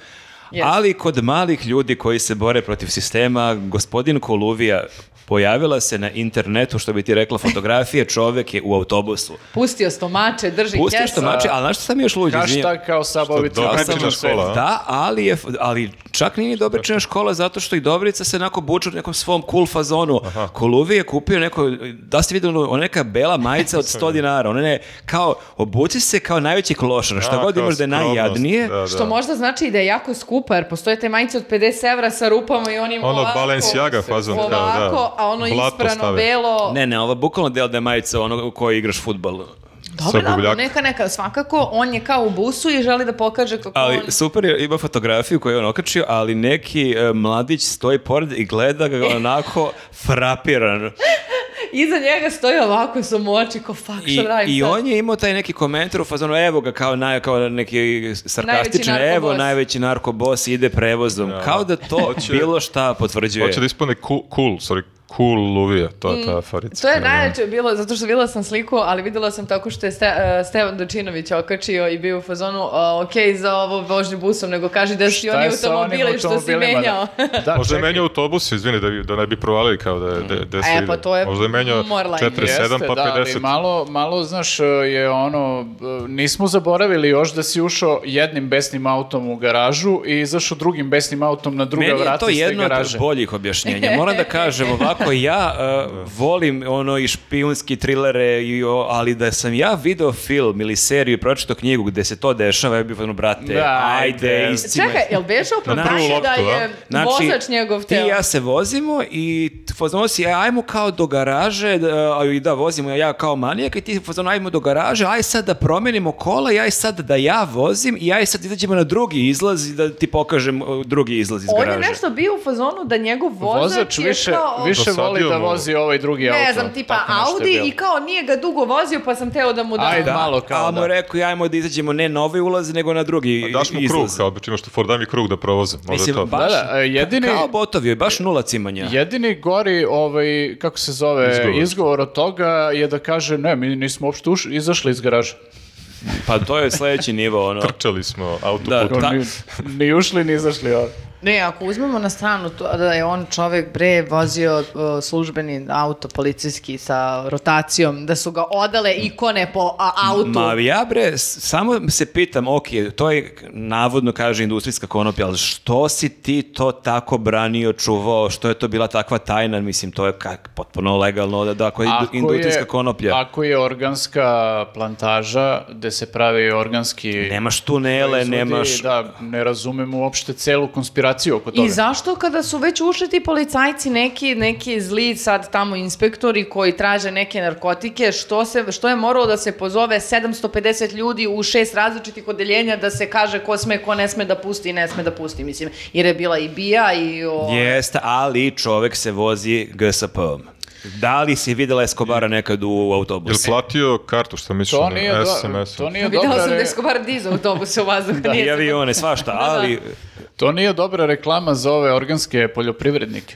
B: Yes.
A: Ali kod malih ljudi koji se bore protiv sistema, gospodin Koluvija pojavila se na internetu, što bi ti rekla, fotografije, čovek je u autobusu.
B: Pustio stomače, drži
A: Pusti
B: kesu.
A: što mače, ali znaš što sam još luđi? izvinjam?
D: Hashtag kao
C: Što,
D: sabovica.
C: dobra
D: Znači,
C: priča
D: na sve.
C: škola, a?
A: Da, ali, je, ali čak nije ni Dobričina škola zato što i Dobrica se onako buče u nekom svom cool fazonu. Koluvi je kupio neko, da ste vidjeli, ono, neka bela majica od 100 dinara. Ona je kao, obuci se kao najveći klošar, šta
C: A,
A: god
C: kao
A: imaš da je
C: skromnost,
A: najjadnije.
C: da, da.
B: Što možda znači i da je jako skupa, jer postoje te majice od 50 evra sa rupama i onim
C: Ono,
B: ovako,
C: Balenciaga fazon, kao, da.
B: ovako, a ono
C: Blato
B: isprano
C: stave.
B: belo.
A: Ne, ne, ovo je bukvalno deo da je majica ono u kojoj igraš futbol.
B: Dobro,
C: Sa
B: dobro,
C: bubljaka.
B: neka, neka, svakako, on je kao u busu i želi da pokaže kako
A: Ali
B: on...
A: super je, ima fotografiju koju je on okačio, ali neki e, mladić stoji pored i gleda ga onako frapiran.
B: iza njega stoji ovako sa moči, ko fuck,
A: I,
B: šta da radim
A: I
B: sad?
A: on je imao taj neki komentar u fazonu, evo ga, kao, naj, kao neki sarkastičan,
B: Najveći
A: evo,
B: narkobos."
A: najveći narkobos ide prevozom.
C: Da.
A: Kao da to
C: Hoće-
A: bilo šta potvrđuje.
C: Hoće da ispane cool, cool sorry, cool luvija, to je ta farica.
B: Mm, To je
C: koja
B: najjače bilo, zato što videla sam sliku, ali videla sam tako što je Ste, eh, Stevan Dočinović okačio i bio u fazonu, "A, ok, za ovo vožnju busom, nego kaži da si
D: Šta
B: oni
D: je sa onim
B: automobili što si
D: automobilima,
B: menjao.
D: Da, da
C: Možda je
D: čekaj.
C: menjao autobus, izvini, da, vi- da ne bi provalili kao da je
A: Mm.
C: de, de se
B: E,
C: ide.
B: pa to je
C: Možda je menjao
B: morala
C: 47 pa
D: da, ali
C: 50.
D: malo, malo, znaš, e, je ono, e, nismo zaboravili još da si ušao jednim besnim autom u garažu i izašao drugim besnim autom na druga
A: Meni je
D: vrata
A: to
D: iz te
A: jedno od
D: garaže.
A: boljih objašnjenja. Moram da kažem ovako, ja uh, volim ono i špijunski trilere, i, o- ali da sam ja video film ili seriju i pročito knjigu gde se to dešava, ja bih ono, brate,
D: Da,
A: ajde,
D: ajde.
A: iscimaj.
B: Čekaj, jel beše
C: prvu
B: opravdanje
C: loptu,
B: da je
C: a?
D: Znači,
B: vozač njegov
A: Znači, ti
B: teo?
A: i ja se vozimo i fazon si, ajmo kao do garaže, da, a i da vozimo ja kao manijak i ti fazon, ajmo do garaže, aj sad da promenimo kola, i aj sad da ja vozim i aj sad izađemo na drugi izlaz i da ti pokažem uh, drugi izlaz iz
B: On je
A: garaže.
B: nešto bio u fazonu da njegov vozač,
D: Vozač
B: je
D: više,
B: kao...
D: više
C: Dosadio
D: voli da
C: mu.
D: vozi ovaj drugi auto.
B: ne znam, tipa
D: tako nešto je
B: Audi
D: bilo.
B: i kao nije ga dugo vozio pa sam teo da mu dam.
D: Ajde,
A: Da,
D: malo kao
A: a mu
D: da.
A: je rekao, ajmo da izađemo ne na ovaj ulaz, nego na drugi
C: A Pa daš mu
A: izlaz.
C: krug, kao čim što Ford da mi krug da provoze. Možda
A: Mislim,
C: to.
A: baš,
D: Da, da, e, jedini-
A: kao botovi, baš nula cimanja.
D: Jedini gori, ovaj, kako se zove,
C: Izgovor.
D: izgovor, od toga je da kaže ne, mi nismo uopšte uš- izašli iz garaža.
A: Pa to je sledeći nivo, ono.
C: Trčali smo
A: Da,
C: autoputom.
A: da.
D: Ni, ni ušli, ni izašli. ovaj.
E: Ne, ako uzmemo na stranu to da je on čovek bre vozio uh, službeni auto policijski sa rotacijom, da su ga odale ikone po a, autu.
A: Ma ja bre, s- samo se pitam, ok, to je navodno kaže industrijska konoplja, ali što si ti to tako branio, čuvao, što je to bila takva tajna, mislim, to je kak, potpuno legalno, da, da ako je
D: Ako je-
A: industrijska konoplja,
D: Ako je organska plantaža gde se pravi organski...
A: nemaš tunele,
D: proizvodi,
A: nemaš...
D: Da, ne razumem uopšte celu konspiraciju oko toga.
E: I zašto kada su već ušli ti policajci neki, neki zli sad tamo inspektori koji traže neke narkotike, što, se, što je moralo da se pozove 750 ljudi u šest različitih odeljenja da se kaže ko sme, ko ne sme da pusti i ne sme da pusti, mislim, jer je bila i bija i... O...
A: Jeste, ali čovek se vozi GSP-om. Da li si videla Escobara nekad u
C: Jel
A: autobusu?
C: platio kartu, šta misliš?
D: To
C: ono,
D: nije, do,
C: SMS-om?
D: to nije e.
B: Videla
D: dobra
B: sam da
D: re-
B: je Skobar dizao autobuse u vazduhu.
D: Da,
B: nije
A: I
B: se-
A: avione, svašta, ali...
D: To nije dobra reklama za ove organske poljoprivrednike.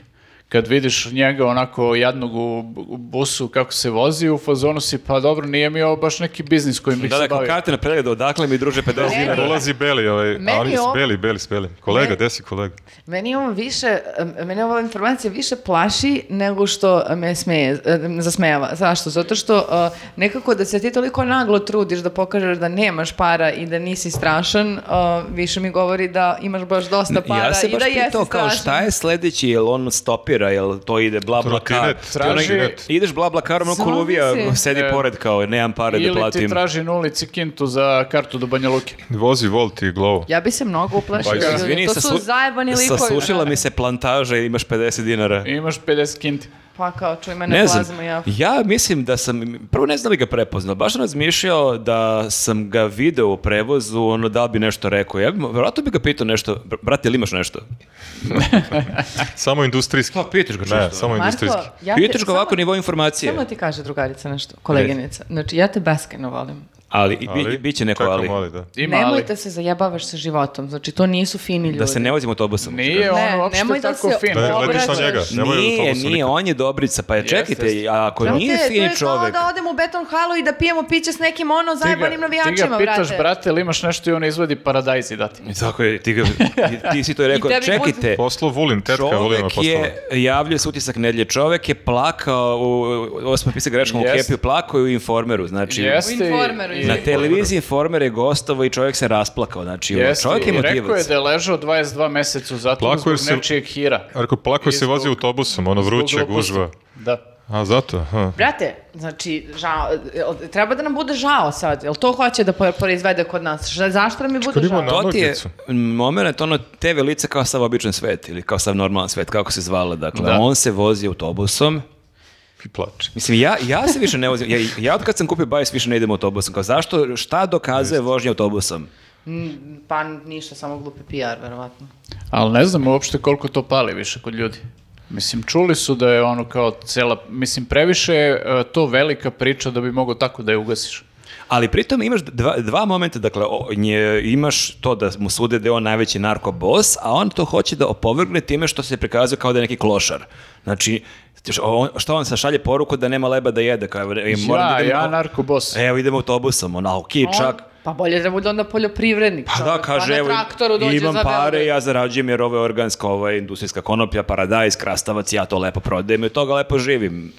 D: Kad vidiš njega onako jadnog u, u busu kako se vozi, u fazonu si pa dobro, nije mi ovo baš neki biznis kojim bih
A: Da,
D: se
A: da, kao
D: bavio.
A: karte na pregled, odakle mi druže 50 dinara?
C: Dolazi Beli, ovaj,
E: Meni
C: a oni su
E: ovo-
C: Beli, Beli s Belim. Kolega, gde si kolega?
E: Meni ovo više, meni ova informacija više plaši nego što me smeje, em, zasmejava. Zašto? Zato što eh, nekako da se ti toliko naglo trudiš da pokažeš da nemaš para i da nisi strašan, eh, više mi govori da imaš baš dosta para
A: ja se
E: i
A: baš
E: da jesi
A: pitao
E: strašan.
A: kao šta je sledeći, jel on stopira, jel to ide bla bla kar.
C: Trotinet,
D: Traži-
C: trotinet.
A: Ideš bla bla karom, ono koluvija
E: Zamisli.
A: sedi
D: E.
A: pored kao, nemam pare da
D: Ili ti
A: platim.
D: traži na ulici kintu za kartu do Banja Luke.
C: Vozi Volt i Glovo.
E: Ja bi se mnogo uplašila.
C: Pa,
A: Izvini,
E: to su
A: saslu-
E: zajebani likovi. da.
A: Saslušila mi se plantaža i imaš 50 dinara.
D: I imaš 50 kinti.
E: Pa kao, čuj mene
A: Ne znam,
E: plazma, ja.
A: ja mislim da sam, prvo ne znam li ga prepoznao, baš sam razmišljao da sam ga video u prevozu, ono da li bi nešto rekao, ja bi, mu- vjerojatno bi ga pitao nešto, "Br- brate, ili imaš nešto?
C: Samo industrijski.
A: Pa pitaš ga
C: Ne,
A: čisto.
C: samo
E: Marko,
C: industrijski.
E: ja te,
A: Pitaš ga ovako
E: samo-
A: nivo informacije,
E: Samo ti kaže drugarica nešto, koleginica. Znači, ja te beskreno volim.
A: ali, i-
C: Ali-
A: bi, biće neko
C: čekam,
A: ali.
C: da.
D: Ima ali.
E: Nemoj da se zajebavaš sa životom, znači to nisu fini ljudi.
A: Da se ne vozimo autobusom.
D: Nije
E: Ne,
D: on uopšte
E: nemoj da
D: tako
E: se
D: fin.
C: Ne, letiš na
E: obraćaš.
C: njega. Nemoj
A: Nije,
C: autobusu
A: nije,
C: nikad.
A: on je dobrica, pa je čekajte,
D: jeste.
A: a ako
E: Brate,
A: nije
E: to je
A: fin
E: kao
A: čovek,
E: da odem u Beton halu i da pijemo piće s nekim ono
D: Ti ga,
E: zajebanim
D: ti ga
E: navijačima,
D: pitaš,
E: brate.
D: brate, ili imaš nešto i on izvadi da paradajz i dati.
A: I tako je, ti, ga- ti- ti si to rekao,
B: I tebi
A: čekajte,
C: Poslo Vulin, tetka Vulin
A: čovek
C: poslala.
A: je, javljao se utisak nedlje, čovek je plakao, u, ovo smo pisao greškom u
D: Jeste.
A: Happy, plakao je u informeru, znači...
D: Jeste. i-
B: Informeru,
D: i-
B: izvini.
A: Na televiziji informer je gostovo i čovjek se rasplakao, znači
D: Jeste,
A: čovjek je
D: i Rekao je
A: motivac.
D: da je ležao 22 meseca u zatvoru
C: Plako jer
D: zbog
C: se-
D: nečijeg hira.
C: Arko, plako
D: I
C: se
D: zbog-
C: vozi autobusom, ono
D: Zbog
C: vruće,
D: gluposti.
C: gužva.
D: Da.
C: A zato, ha.
E: Brate, znači, žao, jel- treba da nam bude žao sad, jel to hoće da po- proizvede kod nas? Šta- Zašto nam je bude
C: Kad ima
E: žao?
C: na-
A: To ti je
C: Analognicu.
A: moment, ono, TV lice kao sav običan svet ili kao sav normalan svet, kako se zvala, dakle,
D: Da.
A: on se vozi autobusom,
C: I plače.
A: Mislim, ja, ja se više ne vozim. Ja, ja od kad sam kupio bajs više ne idem autobusom. Kao zašto, šta dokazuje vožnja autobusom?
E: Mm, Pa ništa, samo glupi PR, verovatno.
D: Ali ne znam uopšte koliko to pali više kod ljudi. Mislim, čuli su da je ono kao cela, mislim, previše je e, to velika priča da bi mogao tako da je ugasiš.
A: Ali pritom imaš dva, dva momenta, dakle, o, nje, imaš to da mu sude da je on najveći narkobos, a on to hoće da opovrgne time što se prikazuje kao da je neki klošar. Znači, š- on, što on sa šalje poruku da nema leba da jede? Kao, evo, e, moram da
D: Ja,
A: idem-
D: ja narkobos.
A: Evo, idemo autobusom, ono, a ok, čak.
F: Pa bolje da bude onda poljoprivrednik.
A: Pa da,
F: čovek,
A: kaže,
F: na
A: evo,
F: traktoru dođe
A: imam
F: za
A: pare,
F: Beograd.
A: ja zarađujem jer ovo je organska, ovo je industrijska konoplja, paradajz, krastavac, ja to lepo prodajem i od toga lepo živim.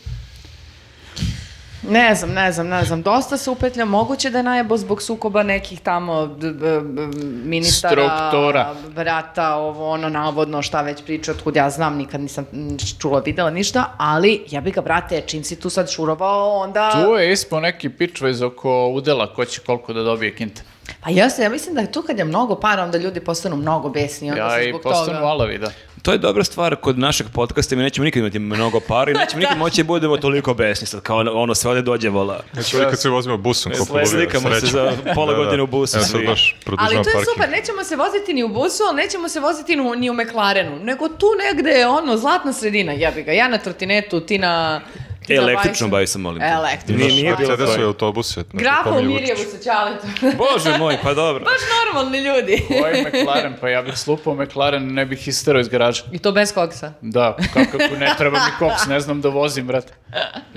F: Ne znam, ne znam, ne znam. Dosta se upetlja. Moguće da je najebo zbog sukoba nekih tamo d- b- b- ministara,
D: Struktura.
F: brata, ovo ono, navodno šta već priča, otkud ja znam, nikad nisam mm, čula, videla ništa, ali jebi ga, brate, čim si tu sad šurovao, onda...
D: Tu je ispao neki pičvez oko udela ko će koliko da dobije kinta.
F: Pa jasno, ja mislim da je tu kad je mnogo para, onda ljudi postanu mnogo besni, onda
D: Ja
F: se
D: i
F: zbog
D: postanu
F: toga...
D: alavi, da.
A: To je dobra stvar kod našeg podcasta, mi nećemo nikad imati mnogo pari, nećemo nikad moći da budemo toliko besni sad, kao ono, ono sve ovde dođe vola.
C: Znači, uvijek kad se vozimo busom, ko
A: Sle- slikamo se za pola godine u busu
C: Evo da. E, sad
A: svi.
C: baš
B: Ali
C: produžavam
B: to je
C: parking.
B: super, nećemo se voziti ni u busu, ali nećemo se voziti ni u, ni u McLarenu, nego tu negde je ono, zlatna sredina, jebi ga, ja na trotinetu, ti na... ti na
A: Električnom
B: bajsu.
A: bajsu, molim te.
B: Električno.
A: Nije- nije bilo
C: Mercedes
A: to.
C: su i autobuse. znači,
B: Grafa u
C: pominju
B: Mirjevu
C: Vučića.
B: sa Ćaletom.
A: Bože moj, pa dobro.
B: Baš normalni ljudi.
D: Ovo je McLaren, pa ja bih slupao McLaren, ne bih isterao iz garaža.
B: I to bez koksa.
D: Da, kako ne treba mi koks, ne znam da vozim, brate.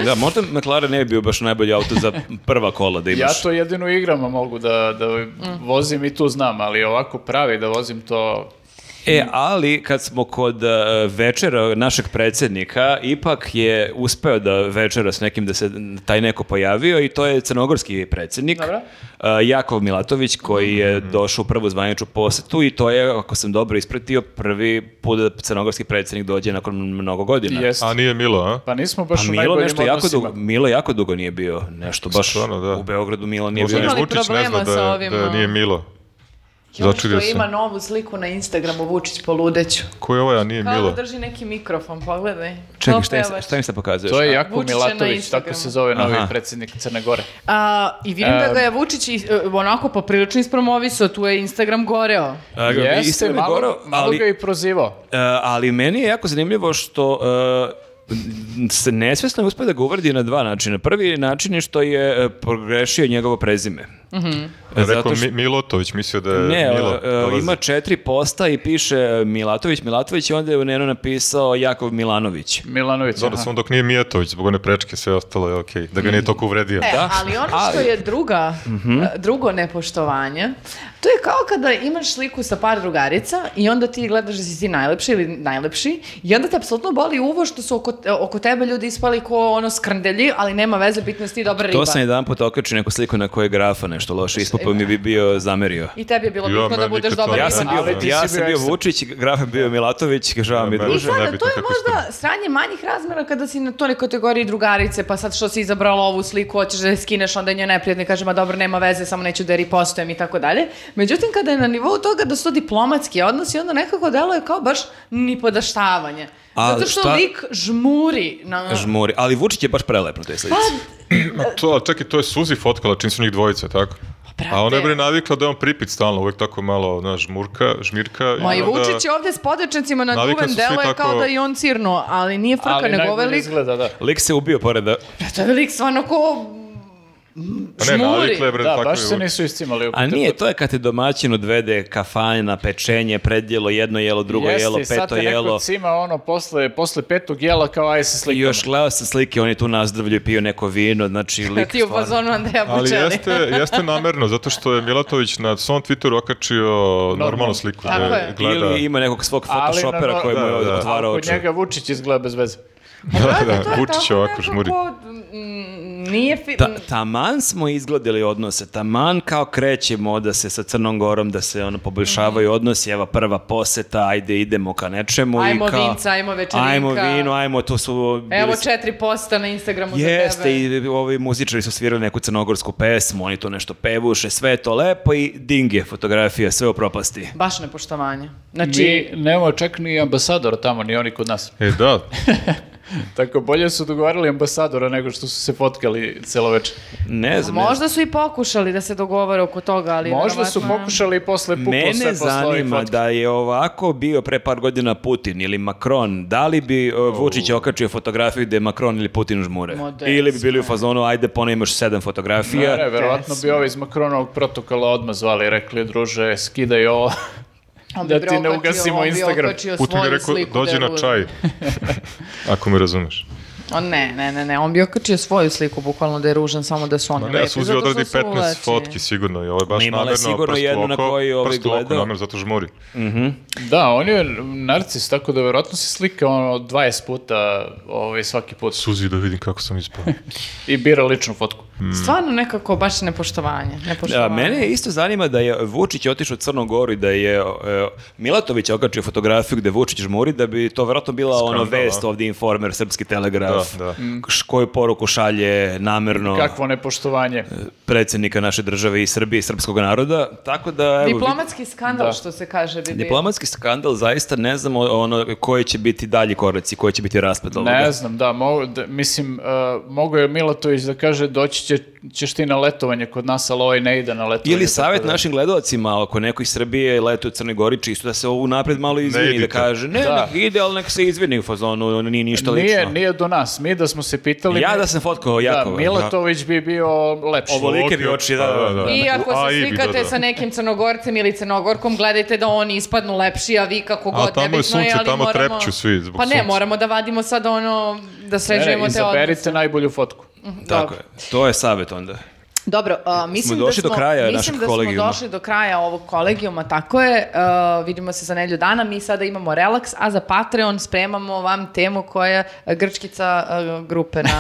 A: Da, možda McLaren ne bi bio baš najbolji auto za prva kola da
D: Ja
A: imaš.
D: to jedino u igrama mogu da, da
F: Mm.
D: vozim i tu znam, ali ovako pravi da vozim to...
A: E, ali kad smo kod e, večera našeg predsjednika, ipak je uspeo da večera s nekim da se taj neko pojavio i to je crnogorski predsjednik.
D: Dobro.
A: e, Jakov Milatović koji je
C: Mhm.
A: došao u prvu zvaničnu posetu i to je, ako sam dobro ispratio, prvi put da crnogorski predsjednik dođe nakon mnogo godina.
D: Jest.
C: A nije Milo, a?
D: Pa nismo
A: Pa
D: baš u
A: Milo
D: najboljim
A: nešto jako
D: odnosima.
A: dugo, Milo jako dugo nije bio, nešto baš
C: Stvarno, da.
A: u Beogradu Milo nije
C: Možda
A: bio.
C: ni
B: Imali
C: Vučić ne zna
B: problema
C: da,
B: sa
C: je-
B: ovim,
C: da je
B: a?
C: nije Milo.
B: I ono
C: Začudio
B: što ima
C: sam.
B: novu sliku na Instagramu Vučić po ludeću.
C: Ko je ovaj, a nije
B: Kao
C: Milo?
B: da drži neki mikrofon, pogledaj.
A: Čekaj,
B: To
A: šta, im,
B: pevaš.
A: šta im sad pokazuješ?
D: To je Jako
B: Vučić je na
D: Milatović, tako
B: Instagramu.
D: se zove novi
A: Aha.
D: predsjednik Crne Gore.
B: A, I vidim da
D: E,
B: ga je Vučić i- e, onako poprilično ispromovisao, tu je Instagram goreo.
A: A,
D: Jeste,
A: istina mi je
D: malo,
A: Goro,
D: malo
A: ali-
D: ga je i prozivao.
A: E, ali meni je jako zanimljivo što e, se nesvesno je uspio da ga uvredi na dva načina. Prvi način je što je e, pogrešio njegovo prezime. E,
C: Rekao
A: zato što-
C: Mi- Milotović, mislio da je
A: Ne,
C: Milo.
A: e, e,
C: dolazi.
A: ima četiri posta i piše e, Milatović, Milatović i onda je u njeno napisao Jakov Milanović.
D: Milanović,
C: Dobro,
D: aha.
C: samo da dok nije Mijatović, zbog one prečke, sve ostalo je okej. Da ga nije
A: Mm.
C: toliko uvredio.
B: E,
A: Da.
B: ali ono što je druga,
A: Mhm.
B: e, drugo nepoštovanje, to je kao kada imaš sliku sa par drugarica i onda ti gledaš da si ti najlepši ili najlepši i onda te apsolutno boli uvo što su oko, e, oko tebe ljudi ispali ko ono skrndelji, ali nema veze, bitno si ti dobra riba.
A: To sam jedan put okačio neku sliku na kojoj je grafa nešto loše ispao, pa mi bi bio zamerio.
B: I tebi je bilo
C: Ja,
B: bitno da
C: meni
B: budeš
C: nikad to
B: dobar
C: ne-
A: Ja sam
D: Ali
A: bio,
D: ti
A: ja
D: si
A: sam
D: bio
A: bio
D: ekstra.
A: Vučić, graf je bio Milatović, žao mi je da
C: Ne,
A: duže.
C: meni-
B: Sada,
C: Nebitno
B: to je
C: kako
B: možda sranje manjih razmera kada si na toj nekoj kategoriji drugarice, pa sad što si izabrala ovu sliku, hoćeš da je skineš, onda je njoj neprijatno i kaže, ma dobro, nema veze, samo neću da je ripostujem i tako dalje. Međutim, kada je na nivou toga da su to diplomatski odnosi, onda nekako deluje kao baš nipodaštavanje.
A: A
B: Zato što
A: šta-
B: lik žmuri na...
A: Žmuri. Ali Vučić je baš prelep na toj slici.
C: Ma
A: Da.
C: to, ali čekaj, to je Suzi fotkala čim su njih dvojica, tako?
B: Pa,
C: A ona je bre navikla da je on pripit stalno, uvek tako malo, znaš, žmurka, žmirka.
B: Ma i
C: onda-
B: Vučić je ovde s podočnicima na
C: Navikli
B: duven
C: da- su svi
B: delo je
C: tako-
B: kao da je on cirno, ali nije frka,
D: Ali
B: nego ovaj
D: najbolje
B: lik... Pa
D: izgleda, da.
A: Lik se ubio pored
B: To je lik stvarno ko...
C: Pa ne,
B: žmuri.
C: navikla je bre,
D: Da,
C: tako
D: baš
C: je
D: se
C: uvek.
D: nisu iscimali. oko
A: A
D: te-
A: nije, to je kad te domaćin odvede kafana, pečenje, predjelo, jedno jelo, drugo
D: Jeste,
A: jelo,
D: i sad
A: peto
D: te neko
A: jelo.
D: cima ono posle, posle petog jela kao aj se
A: I
D: slikamo.
A: još gledao sam slike, on je tu nazdravlju i pio neko vino, znači lik
B: Ti u
A: stvarno-
B: fazonu Andreja
C: Ali
B: Bocelli.
C: jeste, jeste namerno, zato što je Milatović na svom Twitteru okačio normalnu sliku. da
B: Tako je.
C: gleda-
A: Ili ima nekog svog
D: Ali na
A: photoshopera
D: no-
A: koji mu je
C: Da, da.
A: otvarao
D: Kod
A: oči.
D: njega Vučić izgleda bez veze.
C: Da, da,
B: to je
C: Vučić
B: tako
C: ovako
B: nekako,
C: žmuri.
B: mm, Nije fi...
A: Ta, taman smo izgledali odnose, taman kao krećemo da se sa Crnom Gorom, da se ono poboljšavaju odnosi, evo prva poseta, ajde idemo ka nečemu.
B: Ajmo
A: i kao,
B: vinca, ajmo večerinka.
A: Ajmo vino, ajmo, to su... bili
B: Evo
A: su-
B: četiri posta na Instagramu za tebe.
A: Jeste, i ovi muzičari su svirali neku crnogorsku pesmu, oni to nešto pevuše, sve je to lepo i ding je fotografija, sve u propasti.
B: Baš nepoštovanje. Znači,
D: Znači, nema čak ni ambasadora tamo, ni oni kod nas.
C: E, da.
D: Tako, bolje su dogovarali ambasadora nego što su se fotkali celo večer.
A: Ne znam. ne znam.
B: Možda su i pokušali da se dogovore oko toga, ali...
D: Možda su
B: verovatno je-
D: pokušali i posle puklo sve
A: Mene
D: posle ovih
A: zanima
D: fotki.
A: da je ovako bio pre par godina Putin ili Macron, da li bi uh, Vučić okačio fotografiju gde Macron ili Putin žmure?
B: Modest,
A: ili bi bili u fazonu, ajde, ponovo imaš sedam fotografija.
D: Ne, ne, verovatno bi ovo iz Makronovog protokola odmah zvali, i rekli, druže, skidaj ovo.
B: On bi
D: Da ti
B: bre
D: ne
B: okačio-
D: ugasimo
B: on bi
D: Instagram.
B: okačio
C: Put mi je
B: svoju
C: rekao,
B: sliku
C: dođi
B: da
C: na
B: ruža.
C: čaj, ako me razumeš.
B: On ne, ne, ne, ne, on bi okačio svoju sliku, bukvalno da je ružan, samo da su oni
C: Ma
B: lepi.
C: ne, Suzi
B: zato što
C: odradi
B: su
C: 15
B: uvlači.
C: fotki sigurno i ovo je baš
A: Ma imala je
C: namerno.
A: sigurno
C: prst u
A: jednu na
C: oko,
A: koju ovaj
C: prst u oko
A: gledao.
C: namerno, zato žmuri.
D: Da, on je narcis, tako da verovatno se slika ono 20 puta ovaj, svaki put
C: Suzi da vidim kako sam ispao.
D: i bira ličnu fotku.
B: Stvarno nekako baš nepoštovanje.
A: Da,
B: nepoštovanje.
A: mene isto zanima da je Vučić otišao u Crnu Goru i da je e, Milatović okačio fotografiju gde Vučić žmuri, da bi to vjerojatno bila ono
C: Skandal, a?
A: vest ovdje Informer, Srpski telegraf,
C: Da, da.
A: Š- koju poruku šalje namerno
D: Kakvo
A: E,
D: nepoštovanje.
A: predsjednika naše države i Srbije i srpskog naroda. Tako da, evo, vid-
B: Diplomatski skandal,
D: Da.
B: što se kaže, bi bio.
A: diplomatski skandal, zaista ne znam o- ono koji će biti dalji koraci, koji će biti raspad ovoga.
D: Ne znam, da, mogu, da mislim, uh, mogu je Milatović da kaže doći će, ćeš ti na letovanje kod nas, ali ovaj ne ide na letovanje.
A: Ili
D: tako
A: savjet
D: da-
A: našim gledalcima, ako neko iz Srbije leti u Crnoj Gori, čisto da se ovu napred malo izvini, da
C: idite.
A: kaže, ne,
D: Da.
A: nek ide, ali nek se izvini u fazonu, ono nije ništa
D: Nije,
A: lično.
D: nije do nas. Mi da smo se pitali...
A: Ja
D: mi-
A: da sam fotkao
D: Da,
A: Jakova.
D: Milatović bi bio lepši.
A: Ovolike bi oči, da, da, da.
B: I ako
C: Pa, A,
B: se
C: i bi,
B: slikate
C: da, da.
B: sa nekim crnogorcem ili crnogorkom, gledajte da oni ispadnu lepši, a vi kako god
C: A tamo je
B: nebitno
C: sunce,
B: ali
C: tamo
B: moramo...
C: trepću svi zbog
B: Pa ne,
C: sunca.
B: moramo da vadimo sad ono, da
D: Ne, ne,
B: srežemo te Da.
D: izaberite najbolju fotku.
A: Tako je. To je savjet onda.
B: Dobro, a, mislim
A: došli
B: da
A: do
B: smo,
A: kraja našeg
B: mislim da smo
A: kolegijuma.
B: došli do kraja ovog kolegijuma, tako je. A, vidimo se za nedelju dana, mi sada imamo relaks, a za Patreon spremamo vam temu koja je grčkica a, grupe na...